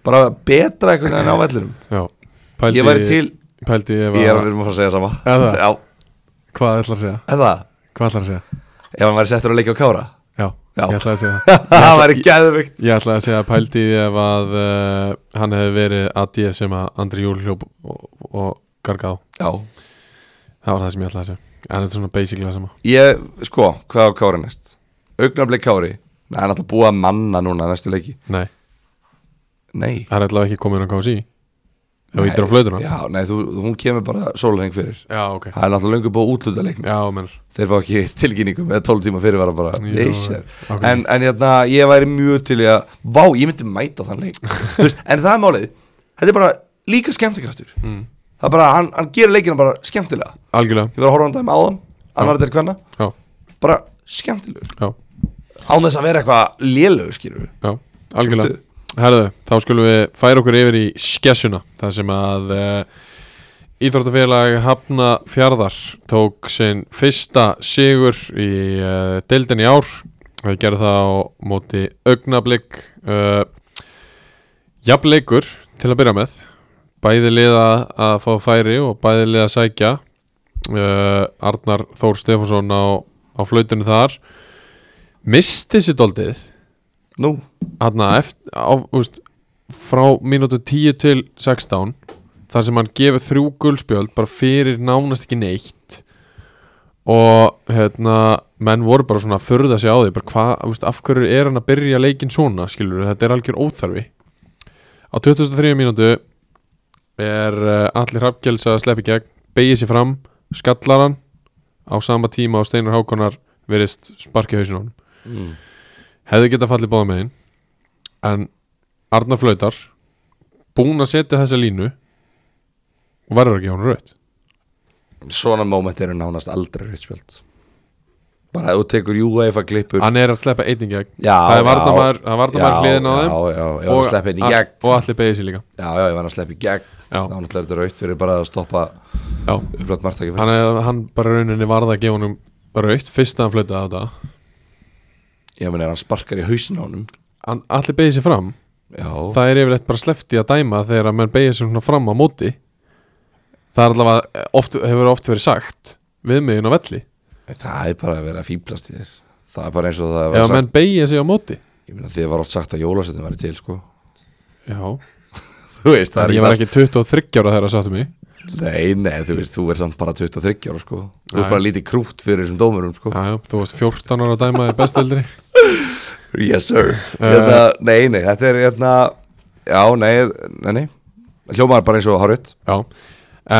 bara betra einhvern veginn á vellinum
Já, pældi
Ég væri til
Pældi ef
Ég er að
að
vera með að fara að segja sama
Eða?
Já,
Hvað ætlar að segja?
eða
Hvað ætlar að segja?
Ef hann væri settur að leika á kára
Já,
Já.
ég ætla að segja það.
Það væri geðvikt
Ég ætla að segja pældi ef að uh, hann hefði verið að ég sem að Andri Júl hljóp og, og gargað á
Já
Það var það sem ég ætla að segja En þetta er svona basically það sama
Ég, sko, hvað á kára næst? Augnablik kári Nei, hann ætla að búa að manna núna næstu leiki
Nei,
Nei
það er alltaf ekki komin að kási í Ef
Nei.
ítir á flöðuna
Já, nei, þú, hún kemur bara sólheng fyrir
Já, ok
Það er náttúrulega löngu búið að útluta leiknum
Já, menn
Þeir fá ekki tilkynningu með 12 tíma fyrir var bara
Jú,
Leysir
ok.
En, en hérna, ég væri mjög til í að Vá, ég myndi mæta þann leik Þú veist, En það er málið Þetta er bara líka skemmtikraftur
Mm.
Það er bara, hann, hann gerir leikina bara skemmtilega
Algjörlega,
Ég var að horfa á hann dæmi áðan Annar til hvenna
já,
Bara skemmtilegur
já,
Án þess að vera eitthvað lélögur skilur við
já Algjörlega Herðu, þá skulum við færa okkur yfir í skessuna þar sem að uh, Íþróttafélag Hafna Fjarðar tók sinn fyrsta sigur í uh, deildin í ár við gerum það á móti augnablik uh, jafnleikur til að byrja með bæði liða að fá færi og bæði liða að sækja uh, Arnar Þór Stefánsson á, á flautinu þar misti sér doldið
Nú,
hérna eftir, á, úst, frá mínútu 10 til 16 þar sem hann gefur þrjú gulspjöld bara fyrir nánast ekki neitt og hérna menn voru bara svona að förða sig á því bara hvað, úst, af hverju er hann að byrja leikinn svona skilur, þetta er algjör óþarfi á 23 mínútu er uh, allir hafgjels að sleppi gegn, beigir sér fram skallar hann á sama tíma og Steinar Hákonar verist sparki hausinn á hann
Mm.
hefði getað fallið báða megin en Arnar Flautar búinn að setja þessa línu og verður ekki hún rautt
svona moment eru nánast aldrei rauðspjöld Bara ef þú tekur UEFA klippur
hann er að sleppa einning gegn
Já,
það er
já.
varnamaður- það er varnamaður
Já,
hliðin á
já,
þeim
já, já, ef hann
og-
sleppir henni í
a-
gegn.
og allir beigir sér líka
Já, já, ég var að sleppa í gegn
Já.
Nánast er þetta rauðt fyrir bara að stoppa
já.
upplætt margtæki fyrir
hann, er, hann bara rauninni varða að gefa honum rautt fyrst að hann flautaði á þetta
Ég meni, ef hann sparkar í hausin á honum
hann, allir beigir sér fram
Já,
það er yfirleitt bara slefti að dæma þegar að menn beigja sér svona fram á móti það er allavega oft, hefur oft verið sagt við miðin á velli
það er bara að vera að fýblast í þér Það er bara eins og það var
ef að
sagt
menn beigja sér á móti
Ég meina þið var oft sagt að jólasetum væri til sko
já,
Þú veist, það
En
er
ég var ekki 23 ára þegar það sattu mig
allt- Nei, nei, þú veist, þú er samt bara 23 ára sko Þú
Nei.
er bara lítið krútt fyrir þessum dómurum sko
Já, já, þú varst 14 ára að dæma í bestildri
Yes sir hérna, Nei, nei, þetta er hérna Já, nei, nei, nei Hljómar bara eins og horfitt
Já,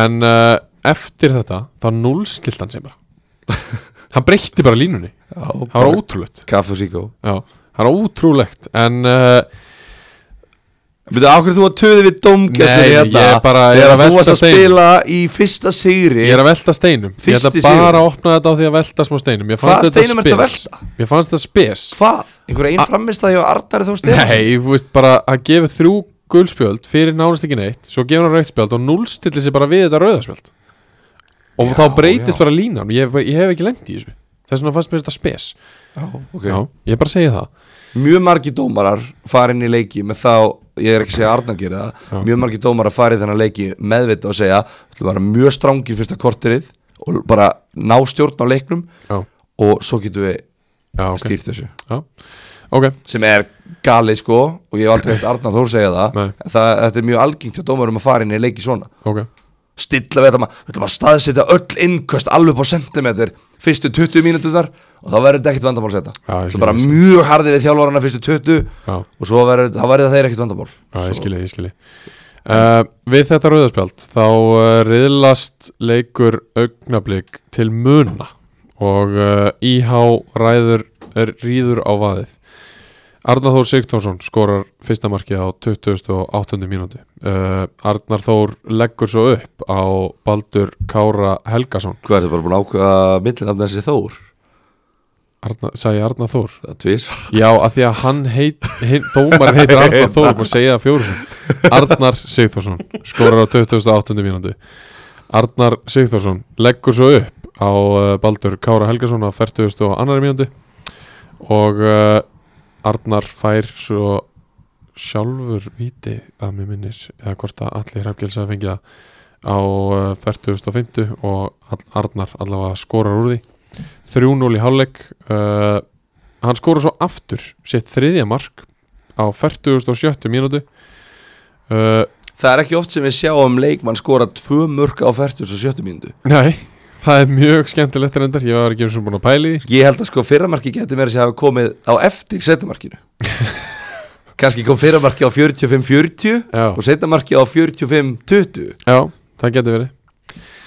en uh, eftir þetta þá núlstilt hann sem bara Hann breytti bara línunni Það var ótrúlegt
Kaffu síkó
Já, það var ótrúlegt En uh,
Veitu, á hverju þú var töðið við domgæstur
Nei,
hérna
ég er bara- ég er
Þegar
að
þú varst
velta
að
stein.
spila í fyrsta sigri
ég er að velta steinum Ég ætla
Fyrsti sigurinn.
bara að opna þetta á því að velta smá steinum Mér
Hvaða
fannst þetta
steinum ertu að
spes Mér fannst þetta spes
Hvað? Einhver einn framist að ég var Arnari þó stefn
Nei, þú veist bara að gefa þrjú gulspjöld fyrir nánast ekki neitt Svo gefa hann rauðspjöld og núlstilli sér bara við þetta rauðaspjöld Og þá breytist bara línan ég, hef bara- ég hef ekki lengt í þessu Þess vegna fannst mér þetta spes Já,
okay.
ég bara segi það
Mjög margi dómarar farin í leiki með þá Ég er ekki að segja að Arnar gerir það Mjög margi dómarar farið þennan leiki meðvita og segja Þú var mjög strangi fyrsta korterið Og bara ná stjórn á leiknum
Já,
Og svo getum við
já ok
okay. stýrt þessu
Já, ok,
sem er galið sko og ég hef aldrei hægt Arnar Þór segja það,
Nei.
En það þetta er mjög algengt hjá dómarum að fara inn í leiki svona
ok
stilla við þetta maður, þetta maður staðsetja öll innköst alveg upp á sentimeter fyrstu 20 mínútunar og þá verður þetta ekkert vandamál að setja
Já, ég
það er bara
skil.
mjög harðið við þjálfarana fyrstu 20
Já,
og svo verður það verður þeir ekkert vandamál
já ég skilji, ég skilji uh, Við þetta rauðaspjöld þá uh, riðlast leikur augnablík til muna og uh, IH ræður er rýður á vaðið Arnar Þór Sigtonsson skorar fyrsta markið á 28. mínúti uh, Arnar Þór leggur svo upp á Baldur Kára Helgason
hvað er þetta bara búin að ákveða millinafn þessi Þór
Arna, sagði ég Arnar Þór
það er tvís
Já, af því að hann heit, heit dómarinn heitir Arnar Þór og segja það fjórum Arnar Sigþórsson skorar á 2008. mínútu Arnar Sigþórsson leggur svo upp á uh, Baldur Kára Helgason á 42. mínútu og uh, Arnar fær svo sjálfur viti að mér minnir eða hvort að allir hreppgjöls að fengja á uh, 45. og all, Arnar allavega skorar úr því 3-0 í hálfleik uh, hann skora svo aftur sitt þriðja mark á 47. mínútu uh,
það er ekki oft sem við sjáum leikmann skora tvö mörg á 47 mínútu
Nei, það er mjög skemmtilegt reyndar, ég var ekki eins og búin að pæli því
ég held að sko fyrramarki geti meira sér að hafa komið á eftir setnamarkinu kannski kom fyrramarki á 45-40
Já,
og setnamarki á 45-20
já það getur verið,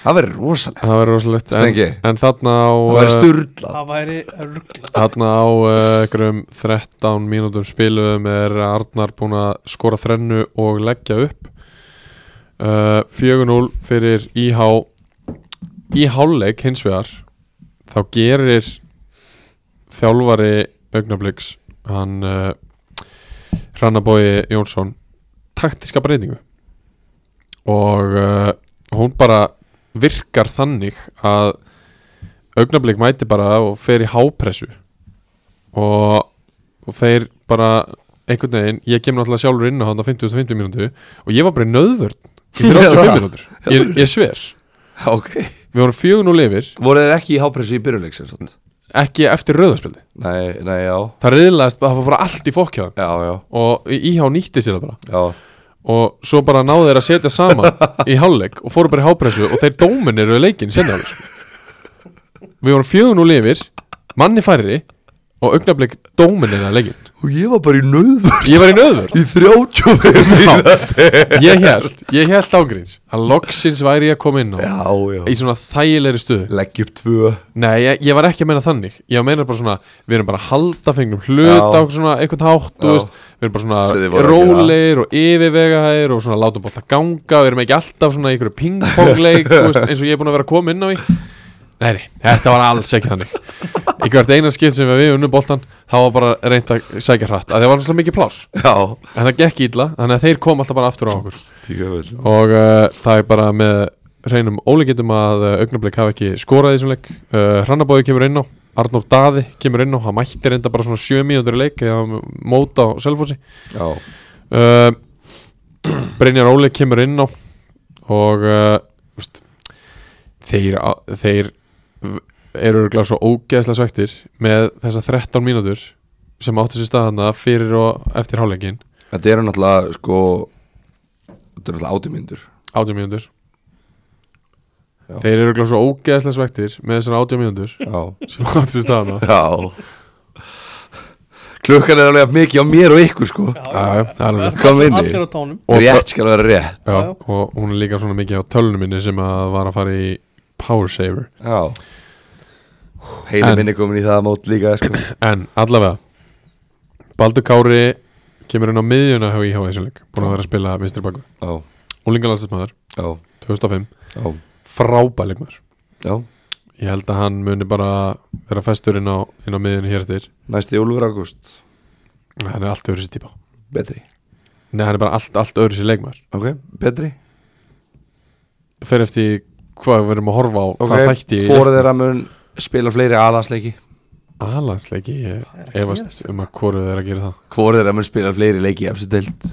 það verður rosalega
það verður rosalegt en,
Stengi.
en þarna á
það verður
uh,
styrlað
Það væri ruggla
þarna á uh, einhverjum 13 mínútum spiluðum er Arnar búin að skora þrennu og leggja upp uh, 4-0 fyrir IH í hálfleik hins vegar þá gerir þjálfari augnabliks hann uh, Hrannabói Jónsson taktiska breytingu og uh, hún bara virkar þannig að augnablik mæti bara og fer í hápressu og, og þeir bara einhvern veginn, ég kemur náttúrulega sjálfur inn á hann á 50-50 mínútu og ég var bara í nöðvörn í 35 mínútur, ég, ég sver
Ok
við vorum fjögun og lifir,
Voru þeir ekki í hápressu í byrjunleiksins?
ekki eftir rauðarspildi
Nei, nei, já
það reyðlaðist, það var bara allt í fokkjáðan
Já, já,
og íhá nýtti sér það bara
já
og svo bara náðu þeir að setja saman í hálfleik og fóru bara í hápressu og þeir dóminiru leikin senna alveg sko. við vorum fjögun og lifir manni færri og augnablik dóminina leikin
Og ég var bara í nöðvörn
ég var í nöður
Í 35
ég held, ég held ágríns að loksins væri ég að koma inn á
Já, já
í svona þægilegri stöðu
Legg upp tvö
Nei, ég, ég var ekki að meina þannig Ég meina bara svona, við erum bara að halda fengnum hlut
Já.
á svona einhvern hátt, þú
Já.
veist Við erum bara
Sem þið
svona
voru að
rólegir og yfirvegaðir og svona látum bótt að ganga Við erum ekki alltaf svona í einhverju pingpongleik, þú veist, eins og ég er búin að vera að koma inn á í Nei, nei, þetta var alls ekki þannig Í hvert eina skipt sem við unnum boltan, þá var bara reynd að sækja hratt að Það var svona mikið pláss,
Já
en það gekk illa, þannig að þeir kom alltaf bara aftur á okkur
Tíkjöfull
og uh, það er bara með reynum ólíkindum að uh, augnablik hafa ekki skorað í þessum leik uh, Hrannabóði kemur inn á, Arnór Daði kemur inn á hann mætti reynda bara svona sjö mínútur í leik eða hann móta á Selfossi
Já
uh, Brynjar Óli kemur inn á og uh, úst, þeir, á- þeir v- eru örugglega svo ógeðslega svektir með þessa 13 mínútur sem áttu sér staðana fyrir og eftir hálfleikin
Þetta eru náttúrulega, sko Þetta eru náttúrulega átimyndur
18 mínútur
Já.
Þeir eru gláð svo ógeðslega svektir með þessar 18 mínútur
Já
sem átt sér staðna
Já Klukkan er alveg jafn mikið á mér og ykkur, sko
Já, já, það er alveg rétt.
Hvað meini?
Allir á tánum
Og-
Rétt skal vera rétt
Já,
já.
og hún er líka svona mikið á tölunum minni sem að var að fara í Power Saver
Já Heili
En-
minni komin í það mót líka sko.
En allavega Baldur Kári kemur inn á miðjuna hjá IH þessum leik búin að vera að spila vinstri bakur
Já,
Úlingalandstismæður
já,
2005
já,
frábæleikmar
já
Ég held að hann muni bara vera festur inn á, inn á miðjuna hér eftir
Næsti Úlfur Ágúst
Hann er allt öðru sér típa
Betri
Nei, hann er bara allt, allt öðru sér leikmar
Ok, betri
fer eftir því hvað við erum að horfa á
Ok,
hvað þætti í
fóruð þeirra mun spila fleiri alansleiki
Alansleiki, ég efast um að hvoru þeir að gera það
Hvor þeirra mun spila fleiri leiki í efstu deild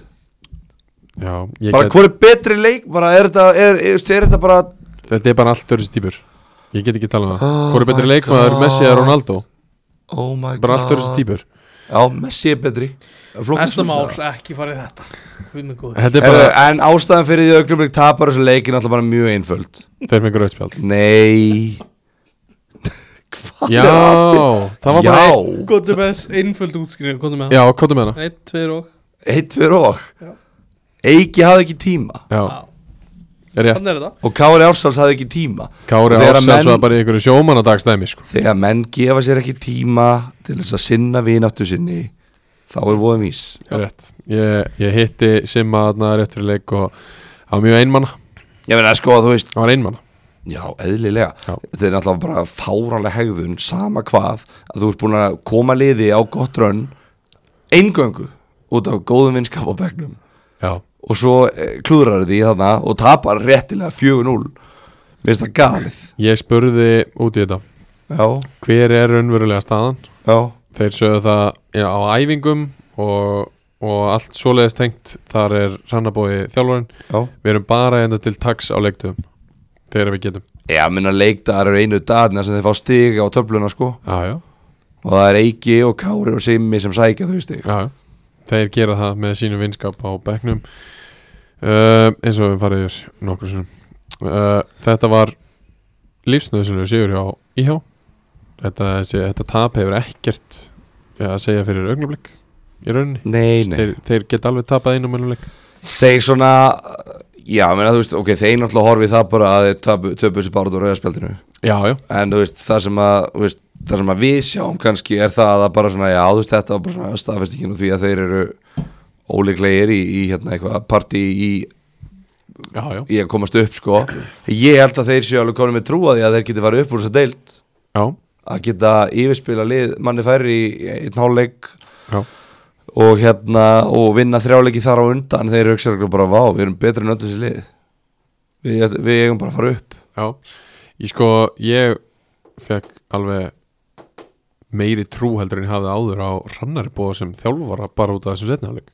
Já, ég
Bara
get,
hvor er betri leik Bara er þetta, er, er, er þetta bara
þetta er bara allt öðru sér típur Ég get ekki talað um það
Oh
Hvor er betri
my
leikmaður,
God.
Messi eða Ronaldo
Oh my
Bara allt öðru sér típur
Já, Messi er betri Flókið
Næsta
svona.
mál, ekki farið í þetta Guð minn góður
Þetta er
Herru,
bara,
En ástæðan fyrir því augnumleik tapar þessu leikin alltaf bara mjög einföld
þeir fengur auðspjald
Nei
Já, það var bara
Já
ein-
Góttu með þess einföld útskrifu, góttu með það
Já, kóta með hana
Einn, tveir og
Eitt fyrir og
Já.
Eiki hafði ekki tíma
Já,
Á,
rétt
Þannig er þetta
Og Kári Ársals hafði ekki tíma
Kári
Þegar
Ársæls
menn-
var bara í einhverju sjómanadagsdæmi sko.
Þegar menn gefa sér ekki tíma Til þess að sinna vináttu sinni Þá er voðum ís
Rétt, ég, ég hitti Simma þarna rétt fyrir leik og hann var mjög einmanna,
Ég meina sko þú veist
hann var einmanna
Já, eðlilega
Já.
Þetta er náttúrulega bara fáránlega hegðun Sama hvað að þú ert búin að koma liði á gott rönn Eingöngu Út af góðum vinskap á begnum
Já,
Og svo eh, klúðrar því þarna Og tapar réttilega 4-0 Mér finnst það galið
ég spurði út í þetta
Já,
Hver er raunverulega staðan?
já,
Þeir sögðu það já, á æfingum og, og allt svoleiðist tengt þar er Rannabói þjálfarinn
já
Við erum bara enda til tax á leiktöðum þegar við getum
Já, minna leikdagar eru einu dagarna sem þeir fá stig á töfluna sko
Já, já,
og það er Eiki og Kári og Simmi sem sækja þau stig
já, já. Þeir gera það með sínum vinskap á bekknum uh, eins og við höfum farið yfir nokkur sinnum uh, Þetta var lífsnöðsynlega sigur hjá IH Þetta, þessi, þetta tap hefur ekkert ja, að segja fyrir augnablik í rauninni
Nei, nei,
þeir, þeir geta alveg tapað einum önum leik
þeir svona já, menna, þú veist, ok, þeir náttúrulega horfið það bara að þeir töpu, töpu sér bara út á rauðaspjaldinu
Já, já,
en þú veist, það sem að þú veist, það sem að við sjáum kannski er það að það bara svona, já, þú veist, þetta var bara svona staðfestingin og því að þeir eru óleiklegir í, í hérna eitthvað partí í,
já, já,
í að komast upp, sko ég held að þeir séu alveg konum með trúa því að þeir geti farið upp úr þess að deilt
já,
að geta yfirspila lið manni færri í, í, í náleik
já.
og hérna og vinna þrjáleiki þar á undan þeir hugsaðu bara vá, við erum betri en öllu sér lið við, við eigum bara að fara upp
Já, ég sko, ég fekk alveg meiri trú heldur en ég hafði áður á rannari bóða sem þjálfara bara út af þessum setnafleik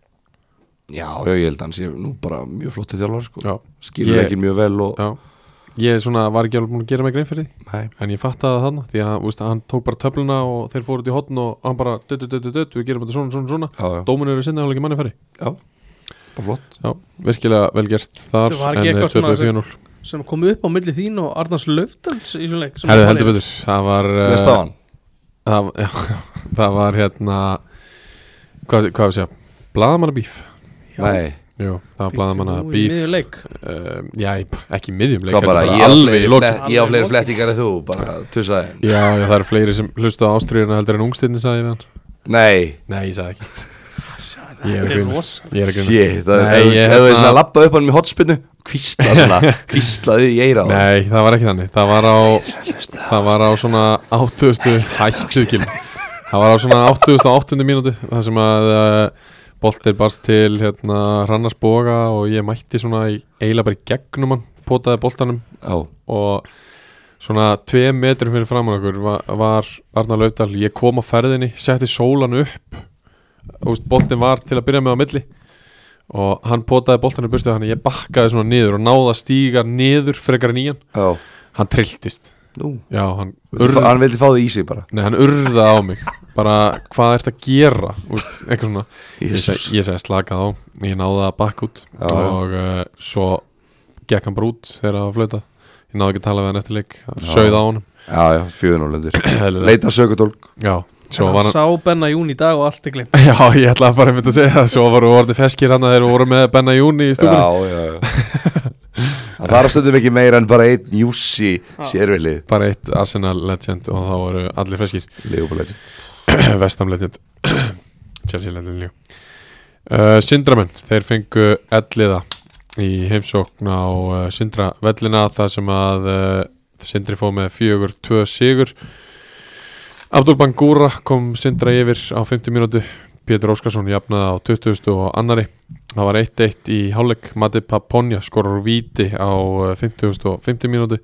já, já, ég held að hans, ég er nú bara mjög flottu þjálfar sko.
Já,
skilur
Ég-
ekki mjög vel og
já Ég svona var ekki alveg múin að gera mig grein fyrir því
Nei.
En ég fattaði það þarna Því að úst, hann tók bara töfluna og þeir fóru út í hotn og hann bara dött, dött, dött, dött, við gerum þetta svona, svona, svona
já, já,
Dómin eru sinna hálfleiki manni færi
já, bara flott
Já, virkilega vel gert þar
Það
En eh,
var ekki
þeir
eitthvað svona
töpuðu 4-0
sem kom upp á milli þín og Arnars Löfdals í svona leik sem
Herðu
var
heldur
í-
betur Það var
uh,
eh,
staðan,
það, já, það var hérna Hvað, hvað við segja? Blaðamannabíf
já.
nei,
Jú, það var
Bíddu
blaðamanna
nú í
bíf
miðjum leik.
uh, Já, í- ekki í miðjum leik
hvað
heldur
bara, ég á
alveg
fleiri
í lokin
flett- ég á
Alveg í
fleiri
lokin.
flettingar en þú bara, tusaði,
Já, já, það eru fleiri sem hlusta á ástriðuna heldur en ungstirni sagði ég við hann
nei
Nei, ég sagði ekki Ég er
þetta
að
er
grínast Ég er að
Shit,
grínast
það er,
Nei,
ef-
ég,
ef þú er svona
hérna-
að lappa upp hann í hotspinnu Kvísla svona, kvíslaðu í eira á honum.
Nei, það var ekki þannig Það var á, það var á svona áttuðustu Hættu ekki Það var á svona áttuðustu áttundu mínútu Það sem að uh, boltir barst til hérna, Rannarsboga og ég mætti svona í- eiginlega bara í gegnum hann Potaði boltanum
Já,
og svona tveim metrum fyrir framann okkur var, var Arnar Laufdal ég kom á ferðinni, setti sólan upp og boltin var til að byrja með á milli og hann potaði boltinu burtu þannig að ég bakkaði svona niður og náði að stíga niður frekar en í hann
já,
hann trilltist
nú
já, hann,
Fa-
urð,
Hann vildi fá þig í sig bara
nei, hann urða á mig bara hvað ert að gera úst, eitthvað svona ég
Jesus.
seg- ég segi slakað á, ég náði það bakk út
Já, já.
og uh, svo gekk hann bara út þegar það var flöta ég náði ekki að tala við hann eftir leik sögð á honum
Já, já, fjöðun og lundir
Eðlilega.
Leita sökutólk
já, svo
Hann
var hann
sá Benna Jún í dag og allt er glimt
já, ég ætlaði bara einmitt að segja það svo voru orðið feskir hann að þeir voru með Benna Jún í
Já,
stúkunni
já, já Það þarf stundum ekki meira en bara einn Jússi sérvilið
bara eitt Arsenal legend og þá voru allir feskir
Leifupúleiti
Vestam legend Chelsea legend líka uh, Sindramenn, þeir fengu elliða í heimsókn á uh, Sindra vellina þar sem að uh, Sindri fóð með fjögur, tvö sigur Abdul Bangura kom Sindra yfir á 50 mínútu Pétur Óskarsson jafnaði á 20. og annari það var 1-1 í hálfleik Mati Paponja skorur víti á uh, 50. og 50 mínútu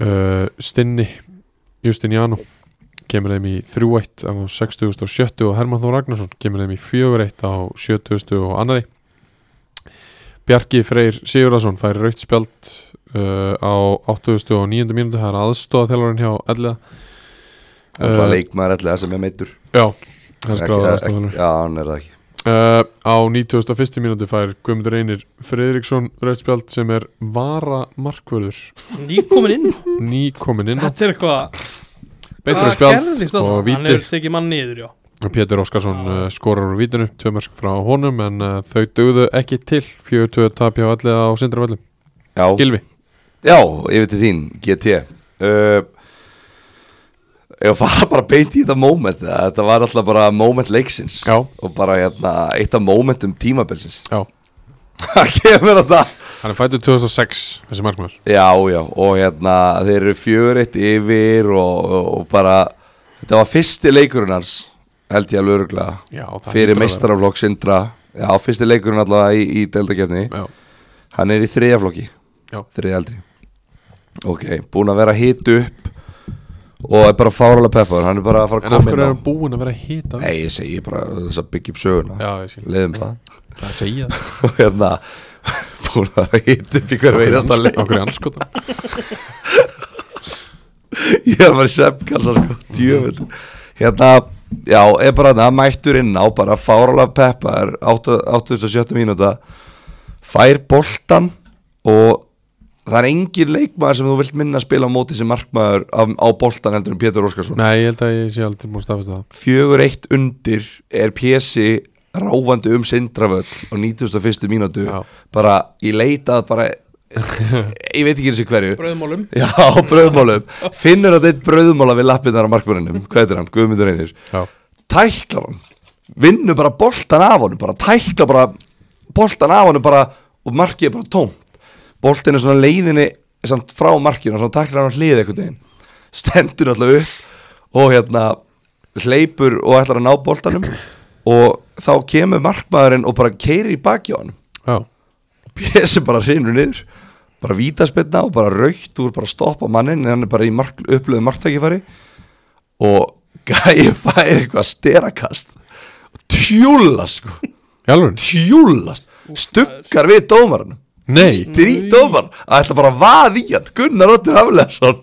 uh, Stinni Justin Jánu kemur þeim í 3-1 á 60. og 70. og Hermann Þór Ragnarsson kemur þeim í 4-1 á 70. og annari Bjarki Freyr Sigurðarsson fær raukt spjald uh, á 80. og 90. mínútu það er aðstóða hjá elliða
Það
Eh,
er leikmaður allega sem er meittur
Já, hann
Ekki-
skráði
ekki-
aðstofanur
Já, hann er það ekki
uh, Á 91. mínúti fær Guðmundur Einir Fredriksson Rauðspjald sem er vara markvörður
nýkomin inn
Ný komin inn á
þetta er eitthvað
Beintur
Hvað
á spjald
gerðist þarna?
og
hann
víti
er tekið mann niður já
og Pétur Óskarsson uh, skorar úr vítinu tvö mörg frá honum en uh, þau dögðu ekki til 4-2 tapja á allir á sindravalli
Já,
Gilvi
já yfir til þín, GT uh, Ég fara bara beint í þetta moment Þetta var alltaf bara moment leiksins
Já.
Og bara hérna, eitt af momentum tímabilsins
Já,
Það kemur að það
hann er fættur 2006 þessi markmaður
Já, já, og hérna þeir eru fjögur eitt yfir og, og, og bara, þetta var fyrsti leikurinn hans, held ég alveg öruglega
Já, það
fyrir
hlýtur að
meistaraflokk Sindra, já, fyrsti leikurinn allavega í, í deildakefni,
vera. Já,
hann er í þriðjaflokki,
Já.
þriðjaldri Ok, búin að vera hit upp og er bara fáralega peppar, hann er bara að fara
en
að
af
koma
hverju
inn á
er hann búinn að vera hita?
Nei, ég segi bara þess að byggja upp söguna,
Já, ég skil,
leiðum það
það segja það
og hérna, búin að vera hit upp í hverju einasta leik
Af hverju anskotan?
ég er bara sveppkalsa sko, djöfull hérna, já, er bara það mættur inn á bara fárálega peppa er 87 mínúta fær boltan og það er engin leikmaður sem þú vilt minna að spila á móti sem markmaður á, á boltan heldur en Pétur Óskarsson
Nei, ég held að ég sé alveg tilbúin að staðfesta það
fjögur eitt undir er PSI ráfandi um Sindraföll á 91. mínútu
Já.
bara í leitað bara ég veit ekki eins og hverju
bröðmálum
Já, á brauðmálum Finnur að eitt brauðmála við lappinnar á markmanninum Hvað heitir hann? Guðmundur Einir
Já,
Tæklar hann Vinnur bara boltan af honum bara Tæklar bara boltan af honum bara Og markið er bara tómt Boltin er svona leiðinni samt frá markinu Og svona tæklar hann á hlið einhvern veginn Stendur náttúrulega upp Og hérna hleypur og ætlar að ná boltanum og þá kemur markmaðurinn og bara keiri í baki á hann
já,
PSI bara hrinur niður bara vítaspilna og bara raukt úr bara stoppa mannin en hann er bara í mark, upplöðu marktækifæri og gæi fær eitthvað sterakast og tjúlast sko
í alveg
tjúlast stukkar við dómarinn
Nei.
drít dómar að ætla bara að vaða í hann Gunnar Ottur Hafleðsson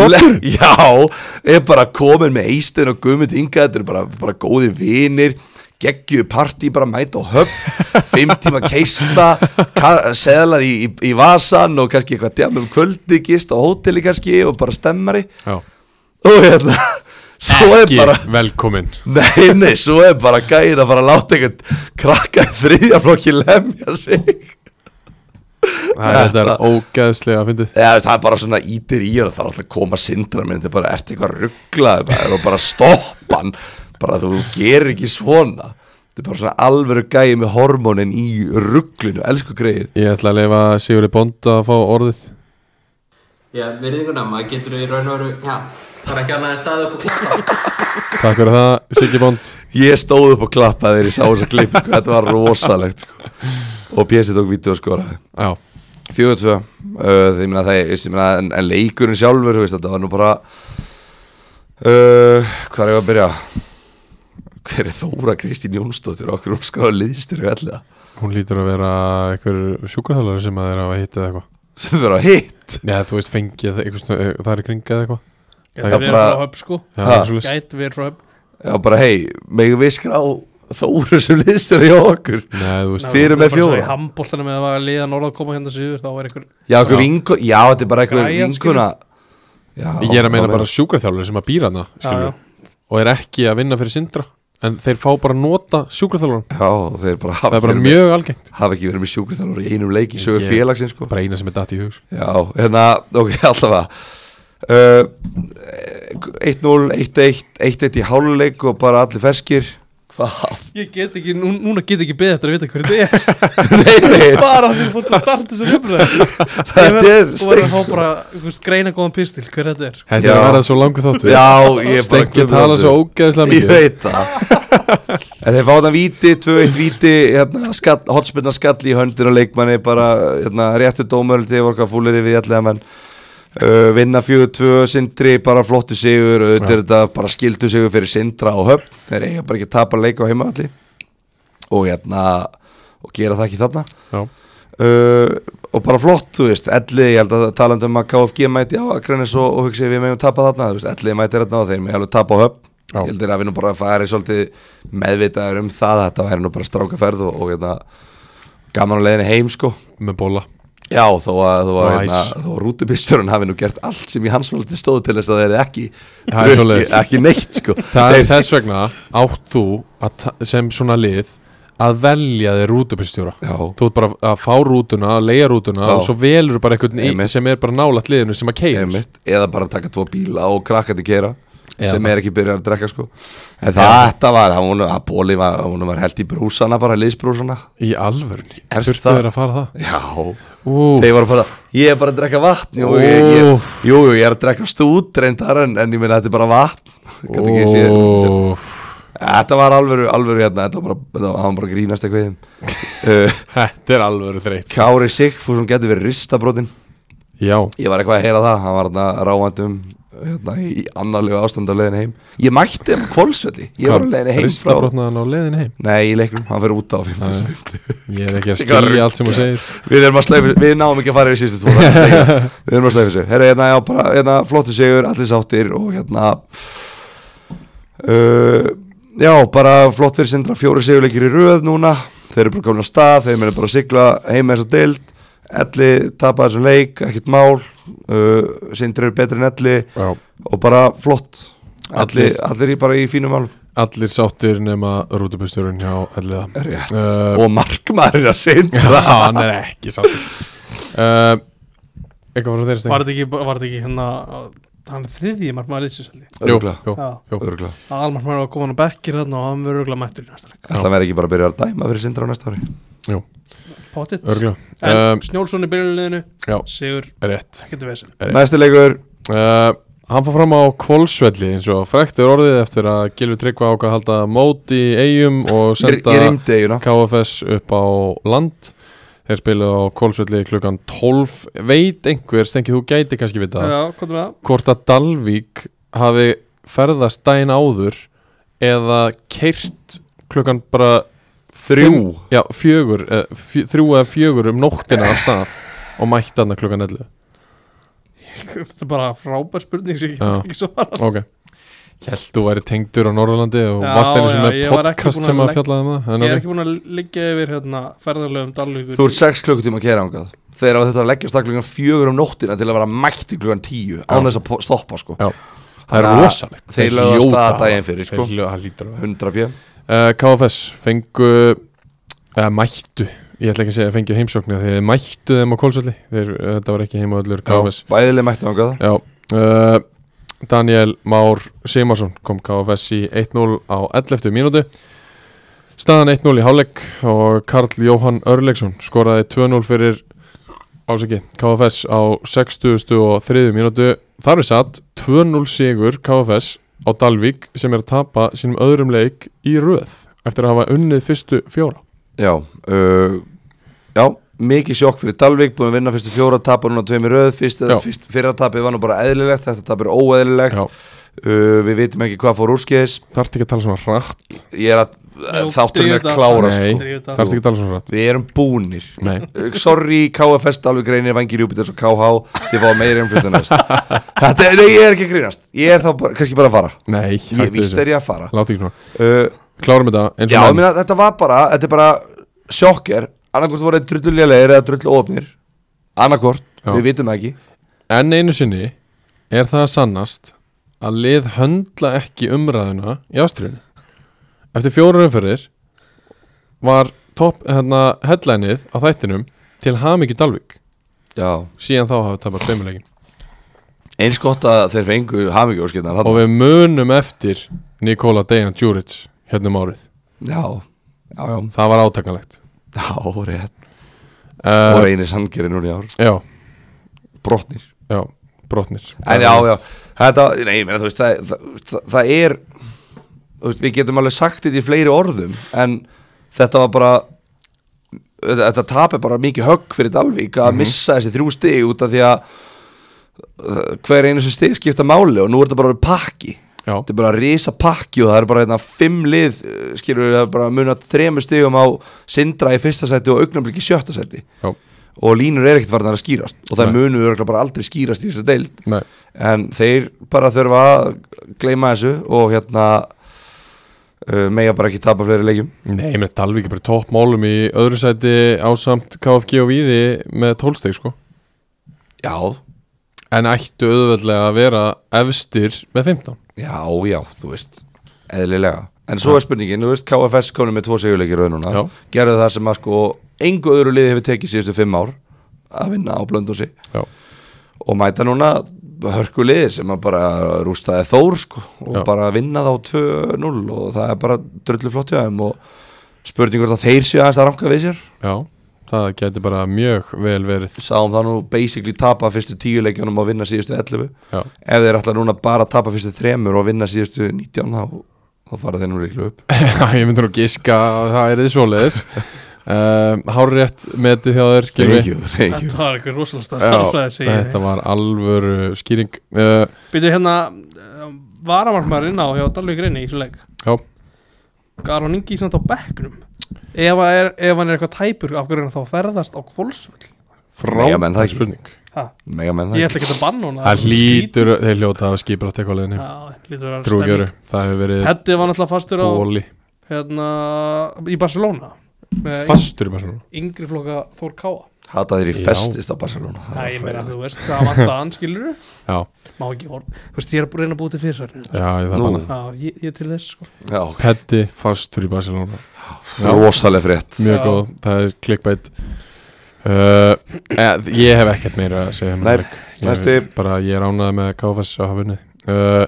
Góður.
já, er bara komin með Eistein og Guðmund Inga þetta eru bara, bara góðir vinir geggju partí, bara mæta á höfn fimm tíma keisla ka- seðlar í, í, í vasan og kannski eitthvað djamum kvöldi gist á hóteli kannski og bara stemmari
já.
og hérna svo er
ekki
bara
velkomin
Nei, nei, svo er bara gæðin að fara að láta einhvern krakka í þriðja flokki lemja sig
það er, þetta er ógæðslega að fyndið
Já, veist, það er bara svona ítir í og það er alltaf að koma sindra minn, þetta er bara, ertu eitthvað rugglaði bara, og bara stoppan bara þú gerir ekki svona þetta er bara svona alvöru gæði með hormónin í rugglinu, elsku greið
ég ætla að leifa Sigurði Bond að fá orðið
Já, virðinguna, maður getur í raun og veru, já, bara ekki annað en staðið upp og klappa.
takk fyrir það, Siggi Bond
ég stóð upp og klappaði þegar ég sá þess að klipp sko, þetta var rosalegt sko. og pjessi tók vídeo og skoraði
já,
4-2 uh, því minna það er, veist, ég minna, en, en leikurinn sjálfur, þú veist, þetta var nú bara uh, hvað er ég að byrja hver er Þóra Kristín Jónsdóttir okkur hún skráði liðstur og allega
hún lítur að vera einhver sjúkraþjálfari sem að þeir hafa hitt eða eitthvað
sem vera hitt
Já, þú veist, fengið eða eitthvað, svona, eh, það er í kringa eða eitthvað
Gæti verið
bara-
frá höf sko
Já,
Ha.
eitthvað svoleiðis.
Gæti verið frá höf
já bara hei, megum við skrá Þóra sem liðstur hjá okkur
Nei, þú veist,
Þið eru með fjóra.
Í handbóltanum eða var að liða norða að koma hérna síður Þá var einhver
já, okkur vinkona, já þetta er bara einhver
Græjan,
vinkona já,
ég er að meina bara sjúkraþjálfari sem að býra hana
Já, já.
skilur, og er ekki að vinna fyrir sindra en þeir fá bara að nota sjúkraþjálfaran
já, þeir bara
það
hafa,
er bara
verið með-
mjög algengt
hafa ekki verið með sjúkriðanar í einum leik í sögur
Ég-
félagsins sko.
bara eina sem er datt í hug sko.
Já, hérna, ok, allavega uh, 1-0, 1-1, 1-1 í háluleik og bara allir ferskir Hvað?
Ég get ekki, nú, núna get ekki beðið eftir að vita hverju þetta
nei, nei,
er Bara því fórst að starta sem umræð
þetta er
Þú verður að fá
steikt
bara einhvers greina góðan pistil hver þetta er sko.
Þetta
Já.
er að vera svo langu þáttu
Já, ég er bara
Stengi tala svo ógeðslega
Ég
mikið
veit það En þeir fá það víti, 2-1 víti hérna, skall, hotspinna skall í höndin og leikmanni bara hérna, réttu dómur þegar voru hvað fúlir við allega menn uh, vinna 4-2 sindri bara flottu sigur auðvitað er þetta bara skildu sigur fyrir sindra og höfn þeir eiga bara ekki að tapa leik á heimavalli og hérna og gera það ekki þarna
Já,
uh, og bara flott, þú veist, elli ég held að talandi um að KFG mæti á Akranes og, og hugsi við meðum tapa þarna, þú veist, elli mæti þarna og þeir með alveg tapa á höfn
Já.
ég held að við nú bara að fara svolítið meðvitaður um það, þetta væri nú bara strákaferð og, og hérna, gaman á leiðinni heim sko
með bóla
Já, þó að, þó að,
Nice.
hérna, þó að rútubýrsturinn hafi nú gert allt sem í hans valdi stóð til þess að þeir ekki,
Það er
ekki,
svoleiðis.
ekki neitt sko
Það er
Þeir-
þess vegna átt þú að ta- sem svona lið að velja þér rútubyrstjóra
Já.
Þú ert bara að fá rútuna, að leia rútuna
Já.
og svo velur bara einhvern í,
Einmitt.
sem er bara nálægt liðinu sem að keir
Einmitt, eða bara taka tvo bíla og krakkandi kera
Eða
sem
það.
er ekki byrjað að drekka sko en það þetta var, hún, að Bóli var, hún var held í brúsana bara, liðsbrúsana
Í alvörni,
Er
þurftu
það-
þeir að fara það
já,
Ú,
þeir voru bara ég er bara að drekka vatn jú, ég, ég,
Úff.
jú, jú, ég er að drekka stút reyndar en, en ég meina þetta er bara vatn Gat ekki séð- séð- þetta var alvöru, alvöru hérna þetta var bara, þetta var, hann bara að grínast eitthvað í þeim. uh,
Þetta er alvöru þreytt
Kári Sigfússon getur verið ristabrotin
Já,
Ég var eitthvað að heyra það, hann var þarna ráandi um hérna, í annarlegu ástand á leiðin heim Ég mætti hann á kvolsvelli, ég var á leiðin heim frá
ristabrotnaðan á leiðin heim
Nei, í leiknum, hann fyrir út á 50
Ég er ekki að
Ég var að
skilja allt sem þú segir
Við erum að sleifu, við náum ekki að fara í sístu tvo Við erum að sleifu sig Herra, hérna, já, bara, hérna, flottu sigur, allir sáttir og hérna uh, Já, bara flott fyrir sindra fjóri sigurleikir í röð núna Þeir eru bara komin á stað, þeir meina bara að sigla heim eins og deild Elli tapaði þessum leik, ekkert mál uh, Sindri eru betri en Elli
Já.
og bara flott
Allir-
allir, allir í bara í fínum málum
Allir sáttir nema rútubyrstjórun hjá Elliða
Rétt.
Eh,
og markmaður er
Já,
að sindra
hann er ekki sáttur uh, Eitthvað frá þeirra
Var
stengi
þetta ekki, var þetta ekki hérna Hann er þriðji margmaður lýsins held ég
Jú,
Örugglega.
jú,
Já.
jú
Örugglega.
Almargmaður var komin á bekkir hérna og hann verður örgulega mættur í næsta leik
Ætla maður ekki bara að byrja að dæma fyrir sindra á næsta ári
Pottitt
Örgla
En
um,
Snjólfsson í byrjunliðinu
Já,
Sigur
rétt
Ekkert vesen
Rétt.
Næsti leikur
uh, Hann fór fram á kvolsvelli eins og frekt er orðið eftir að Gilvi Tryggva ákvað að halda mót í eigum og
Ég,
senda
ég rýmdi eiguna
KFS upp á land Þeir spiluðu á kvolsvelli klukkan 12 Veit einhver, stengið þú gæti kannski við það
Já, hvað er það?
Hvort að Dalvík hafi ferðast dæin áður eða keirt klukkan bara
Þrjú
Já, fjögur, eh, fjö, þrjú eða fjögur um nóttina af stað og mætti hann klukkan 11
Þetta er bara frábær spurning sem ég
Já.
get ekki svara
Ok Hjælt þú væri tengdur á Norðurlandi og
Já,
varst einu
já,
sem
ég
er
var ekki
podcast
búinn að
sem að
legg-
fjallaði um það en
Ég er
ok.
ekki búin að liggja yfir hérna ferðarlegum dalvíkur
Þú ert 6 klukkutíma að kera ángað Þegar þetta að leggja staklingan fjögur um nóttina til að vera mætti klukkan 10 án þess að po- stoppa sko
Já. Það er
Þannig að
rosalegt
Ah, Þeir lögðu af stað daginn fyrir sko
Þeir hljóta, það lítur að
100 bjö
vera. Eh, KFS fengu eða mættu Ég ætla ekki að segja fengju heimsóknir Þeir mættu þeim á kólsvalli Þeir, eh, þetta var ekki heimavöllur KFS
Bæðileg mætti ángað
Já uh, Daniel Már Simarsson kom KFS í 1-0 á 11. mínútu Staðan 1-0 í hálfleik og Karl Jóhann Örleksson skoraði 2-0 fyrir ásaki KFS á 60. og 3. mínútu Þar er satt 2-0 sigur KFS á Dalvík sem er að tapa sínum öðrum leik í röð eftir að hafa unnið fyrstu fjóra
Já uh, Já Mikið sjokk fyrir Dalvik Búin að vinna fyrstu fjóra Tapa núna tveimur röð fyrst,
Já.
fyrst, Fyrra tapið var nú bara eðlilegt Þetta tap er óeðlilegt
Já,
uh, Við vitum ekki hvað fór úrskeiðis
þarf ekki að tala svona rætt
Ég er að
Jú,
Þátturinn er
drífðu þetta.
klárast
Nei,
sko.
Drífðu þetta.
þarf ekki að tala svona rætt
Við erum búnir
Nei.
Uh, Sorry KFS Dalvik reynir Vangir Júpiters og KH Þið fá meiri umfjöldun næst Þetta er, nei, ég er ekki að grínast Ég er þá bara, kannski bara að fara
Nei,
Ég
hættu
víst
þessu.
er ég að fara
Láttu ekki svona
uh,
Klárum þetta eins og
Já,
menn.
ég meina, þetta var bara, þetta er bara sjokker, annarkvort voru þeir drullulegir eða drulluofnir, annarkvort
Já.
við vitum það ekki,
enn einu sinni er það að sannast að lið höndla ekki umræðuna í ástriðinu eftir fjóra umferðir var top, hérna, headlineið á þættinum til Hamiki Dalvik
já.
síðan þá hafa tapað tveimilegin
eins gott að þeir fengu hamingjóskirnar
og við munum eftir Nikola Dejan Djuric hérna um árið
já, já, já,
það var átakanlegt
já, rétt og
uh,
reynir sangeri núna í ár,
já,
brotnir
já, brotnir
en já, já, þetta, nei, ég meina, þú veist það, það, það, það er þú veist, við getum alveg sagt þetta í fleiri orðum en þetta var bara þetta þetta tap er bara mikið högg fyrir Dalvík að missa þessi þrjú stig út af því að uh, hver einu sem stig skipta máli og nú er þetta bara orðið pakki
já,
þetta er bara risa pakki og það er bara hérna, fimm lið uh, skilur við það er bara munat þremur stigum á Sindra í fyrsta seti og augnablik í sjötta seti
já,
og línur er ekkert varðan að skýrast og
Nei.
það munu örugglega bara aldrei skýrast í þessu deild
nei
en þeir bara þurfa að gleyma þessu og hérna uh, mega bara ekki tapa fleiri leikjum
Nei, ég með Dalvík er bara toppmálum í öðru sæti ásamt KFG og Víði með tólsteg sko
já,
en ættu auðveldlega að vera efstir með 15
já, já, þú veist eðlilega, en svo er spurningin þú veist, KFS konum með tvo segjuleikir raun núna
Já.
gerðu það sem að sko engu öðru liði hefur tekið síðustu fimm ár að vinna á blöndósi
Já,
og mæta núna hörku liði sem að bara rústaði Þór sko, og
Já.
bara vinna þá 2-0 og það er bara drullu flott hjá þeim og spurningur það þeir séu aðeins að ranka við sér
já, það geti bara mjög vel verið
sáum það nú basically tapa fyrstu tíu leikjunum og vinna síðustu 11
Já,
ef þeir ætla núna bara að tapa fyrstu þremur og vinna síðustu 19 þá, þá fara þeir nú líklega upp
ég myndi nú giska að það er þið svoleiðis um, Hárrétt metið hjá þér Gylfi.
you, thank
Þetta var eitthvað rosalasta
Já,
starffræði segi ég.
þetta var alvöru skýring uh,
Býtu hérna Varamarkmaður inn á hjá Dalvík reyni í svo leik
Já,
Aron Ingi samt á bekknum Ef, að er, ef hann er eitthvað tæpur Af hverju er hann þá að ferðast á kvolsvöll
Mega menn, það
frábær
ekki.
spurning
Ha,
mega menn
Ég
það
ætla ekki að banna hún
Það lítur, þeir hljóta að skipra átt eitthvað leðinni Trúgjöru,
Trúgjöru
það hefur verið
Heddi var náttúrulega fastur á
bóli
hérna, Í Barcelona Með
Fastur í Barcelona
yngri flokka Þór Káa
hata þeir í
Já.
festist á Barcelona Það
Æ, ég
var
meina
hræðilegt.
þú veist Það vant að hann skilur
Já,
Má ekki orð Þú veist, ég er að reyna að búið til fyrirsæknir
já, ég það
Nú.
banna
Já, ég, ég til þess sko.
já, ok.
Petti fastur í Barcelona Já.
rosalega frétt
Mjög
Já.
góð, það er clickbait uh, eð, Ég hef ekkert meira að segja um
Nei,
þennan leik. Ég-
næsti.
Bara ég er ánægð með KFS að hafa unnið uh,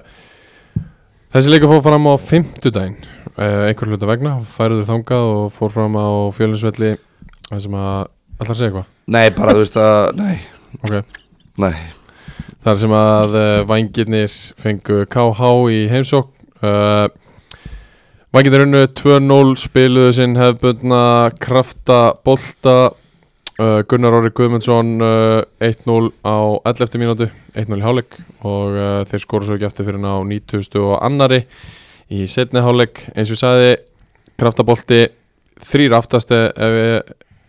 Þessi leikur fór fram á fimmtudaginn uh, einhver hluta vegna, færuðu þangað og fór fram á fjölinsvelli það sem að, allar segja eitthvað
nei, bara þú veist að, nei,
okay.
nei
þar sem að uh, vængirnir fengu KH í heimsókn uh, Vængirnir unnu 2-0 spiluðu sinn hefðbundna krafta bolta uh, Gunnar Orri Guðmundsson uh, 1-0 á 11. mínútu 1-0 í hálfleik og uh, þeir skoru svo ekki eftir fyrir á 90. og annari í setni hálfleik eins og ég sagði kraftabolti þrýr aftast ef við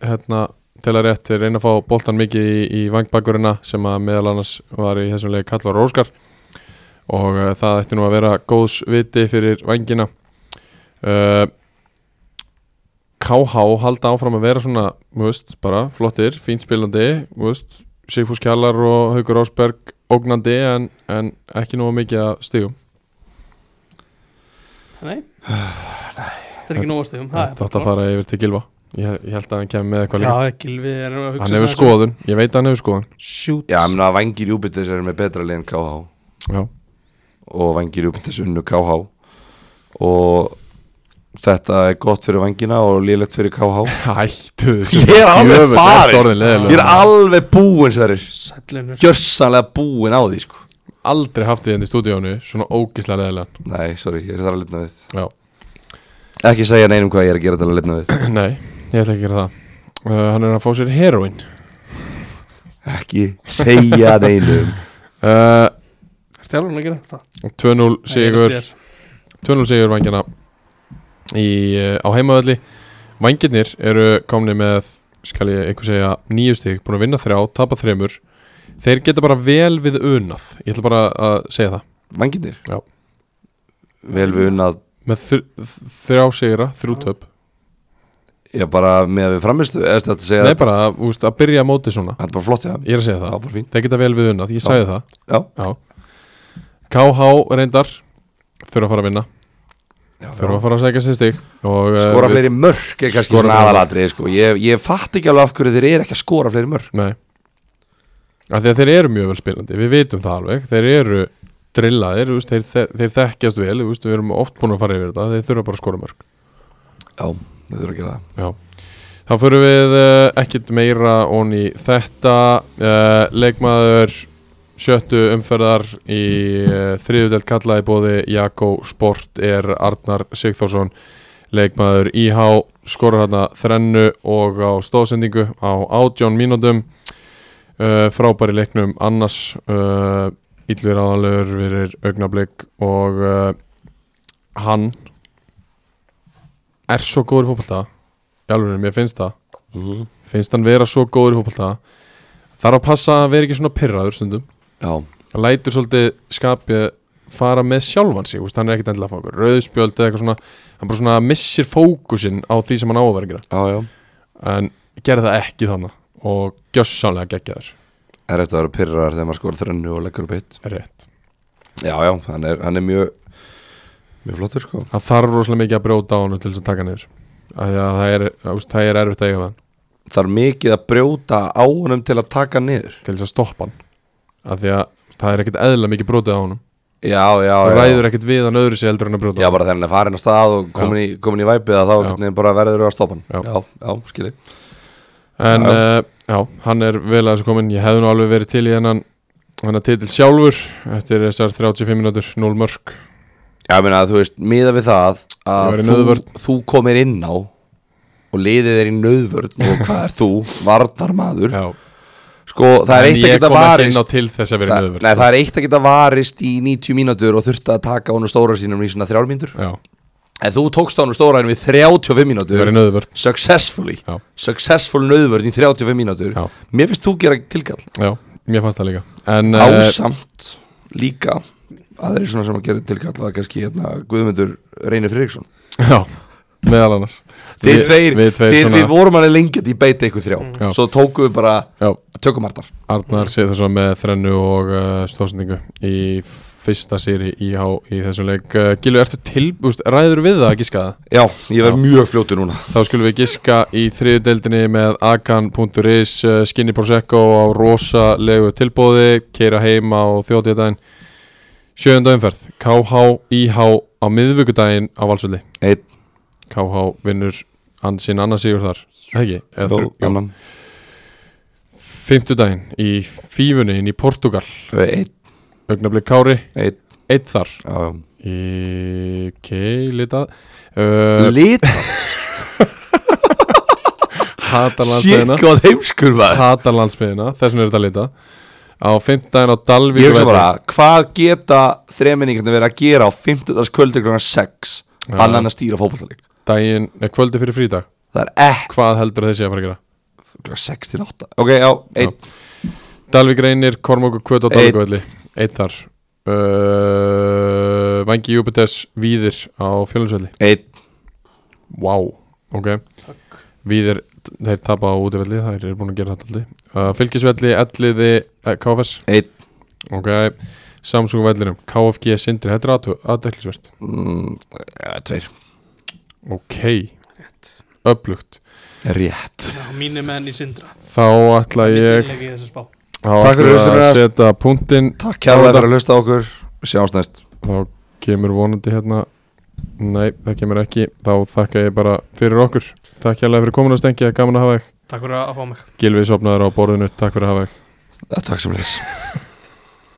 hérna, tela rétt við reyna að fá boltan mikið í, í vangbakkurina sem að meðal annars var í þessum leik Kallar Óskar og uh, það ætti nú að vera góðs viti fyrir vangina uh, KH halda áfram að vera svona þú veist, bara flottir, fínt spilandi þú veist, Sigfús Kjallar og Haukur Ásberg ógnandi en, en ekki nú mikið að stigum
Nei Þetta er ekki nóg stegum
þetta átt að fara yfir til Gilva ég, ég held að hann kemur með eitthvað líka
Já, Gilvi er að hugsa
hann hefur
sig
skoðun, ég veit að hann hefur skoðun
aðeins um. Shoot
Já, ég meina að vangir Júpiters eru með betra liðin KH
já,
og vangir Júpiters unnu KH og þetta er gott fyrir vangina og lélegt fyrir KH
hættu þessu
Ég er alveg
Djöfull, ertu orðinn
farin
leiðinlegur.
Ég er alveg búinn sverir
Sællunur
Gjörsanlega búinn á því sko
aldrei haft því henni í stúdíónu svona ógislega leðilegan
Nei, sorry, ég þarf að lifna við
já,
Ekki segja neinum hvað ég er að gera til að lifna við
nei, ég ætla ekki að gera það uh, hann er að fá sér heroin
Ekki segja neinum
uh,
Ertu alveg að gera þetta?
2-0
Nei,
sigur
ég veist
2-0 sigur vangina í, uh, á heimavölli vangirnir eru komni með skal ég einhver segja nýju stig búin að vinna þrjá, tapa þremur þeir geta bara vel við unað ég ætla bara að segja það
Vanginir
Já.
Vel við unnað
með þr þrjá sigra, þrjú töp
Já, bara með við framistu Eða þetta segja
nei bara úst, að byrja móti svona
Þetta er bara flott, já
ég er að segja
Það
það
er bara fín
Þeir geta vel við unnað, ég sagði það
Já.
Já. KH reyndar þurfa að fara að vinna þurfa að fara að segja sér stig og, eh,
Skora
við-
fleiri mörk er kannski
Skora
svona
fleiri
aðalatri sko. ég, ég fatt ekki alveg af hverju þeir eru ekki að skora fleiri mörk
Nei að Því að þeir eru mjög vel spilandi, við vitum það alveg Þeir eru drillaðir, þú veist, þeir, þeir, þeir þekkjast vel þú veist, Við erum oft búin að fara yfir þetta, þeir þurfa bara að skora mörg
Já, þau þurfa að gera það
Já, þá förum við uh, ekkert meira onni þetta uh, leikmaður sjöttu umferðar í uh, þriðudelt kallaði bóði Jakko Sport er Arnar Sigþórsson leikmaður IH skorur hérna þrennu og á stóðsendingu á átjón mínútum uh, frábæri leiknum annars uh, illur áðanlegur verið augnablik og uh, hann er svo góður í fótbolta í alveg, mér finnst það
Mhm.
finnst hann vera svo góður í fótbolta þarf að passa að vera ekki svona pirraður stundum
Já,
hann lætur svolítið skapið fara með sjálfan sig, þú veist, hann er ekkit endilega að fá okkur rauðspjöld eða eitthvað svona hann bara svona missir fókusinn á því sem hann á að vera að gera
já, já
en gerði það ekki þannig og gjössanlega geggjaður
Það er eftir að vera pyrrar þegar maður skora þrennu og leggur upp hitt
rétt
Já, já, hann er, hann er mjög mjög flottur sko
hann þarf rosalega mikið að brjóta á hann til þess að taka hann niður Af því að það er, þú veist, það er erfitt að eiga við hann
Það er mikið að brjóta á honum til að taka hann niður
til þess að stoppa hann af því að það er ekkit eðla mikið brotið á honum
Já, já,
og
já
ræður ekkit við hann öðru sér heldur en að brjóta á
Já, bara þegar hann er farin á stað og komin, í, komin í væpið að þá
Já.
hvernig bara verður að stoppa hann
Já.
já, já skilji
En
Já,
já, já hann er vel að þessu kominn Ég hefði nú alveg verið til í hennan Hann að titil sjálfur Eftir þessar 35 minútur, 0 mörg
Já, ég meina að þú veist, miða við það
Það
að
væri
þú,
nauðvörn.
þú komir inn á og liðið er í nöðvörn og hvað er þú? Varnarmadur
Já,
Sko, það er
En
eitt að
ég
geta
kom ekki inn á
varist
til þess að vera
það,
nöðvörn
Nei, það er eitt að geta varist í 90 mínútur og þurfti að taka honum stóra sínum í svona þrjár mínútur
Já,
En þú tókst honum stóra sínum í 35
það
mínútur
verið nöðvörn
Successfully
Já.
Successful nöðvörn í 35 mínútur
Já.
Mér finnst þú gera tilkall
Já, mér fannst það líka En eh,
Ásamt líka aðeir svona sem að gera tilkall að kannski hérna, Guðmundur Reynir Friðriksson
Já, meðal annars
Þið
Við-
tveir,
Við tveir
þið,
svona
við vorum alveg lengi í beita ykkur þrjá
Já.
Svo tókum við bara
Já,
tökum hartar
Arnar séð þess að með þrennu og uh, stóðsendingu í fyrsta sýri íhá í þessum leik uh, Gilu, ertu tilbúst, ræður við það ekki skaða?
Já, ég verð
Já.
mjög fljótu núna
Þá skulum við giska í þriðu deildinni með akan.is, eh, Skinny Prosecco á rosalegu tilbóði, keira heim á þjóðtíðdæðin. Sjöðunda umferð, KH, IH á miðvíkudaginn á Valsvöldi.
Einn,
KH vinnur ann- sinn annars sigur þar, Er það ekki? Eða
þó,
þrjú- jú.
annan
Fimmtudaginn í Fífunni inn í Portugal
Eitt,
Ögnablik Kári,
eitt
eitt þar
já,
Í keilitað uh,
Lít,
Hata
shit,
landsmiðina
hvað heimskur maður
Hata landsmiðina, þessum er þetta lita Á fimmtudaginn á Dalvík
Ég hugsa bara, hvað geta þreminningarnir verið að gera á 50. kvöldu klokkan 6
Já.
annan að stýra fótballtalik
Daginn, eh, kvöldi fyrir frídag
Það er ekki
Hvað heldur þessi að fara að gera?
klokkan 6 til 8 Ok, já, eitt
Dalvík reynir, Kormók og Kvöt á
Einn.
Dalvíkvelli Eitt þar uh, Vangi Júpiters Víðir á Fjölundsvelli
Eitt,
Vá, ok Víðir, þeir tapa á útivelli Þeir eru búin að gera þetta aldrei uh, Fylgisvelli, Elliði, eh, KFS
eitt
Ok, Samsung vellinum KFG, Sindri, þetta er aðdeklisvert
mm, ja, Tveir
Ok, öflugt
Rétt
Mínu menn í sindra
Þá ætla ég
Leik í þessu spá.
Þá
Takk
ætla
fyrir
ég
hlustunina.
að setja punktinn
Takk kærlega fyrir að hlusta á okkur Sjáumst næst
þá kemur vonandi hérna nei, það kemur ekki þá þakka ég bara fyrir okkur takk hérlega fyrir komin að stengja, gaman að hafa þig
Takk fyrir að fá mig
Gilvi sopnaður á borðinu, takk fyrir að hafa þig
Ja, Takk sem leys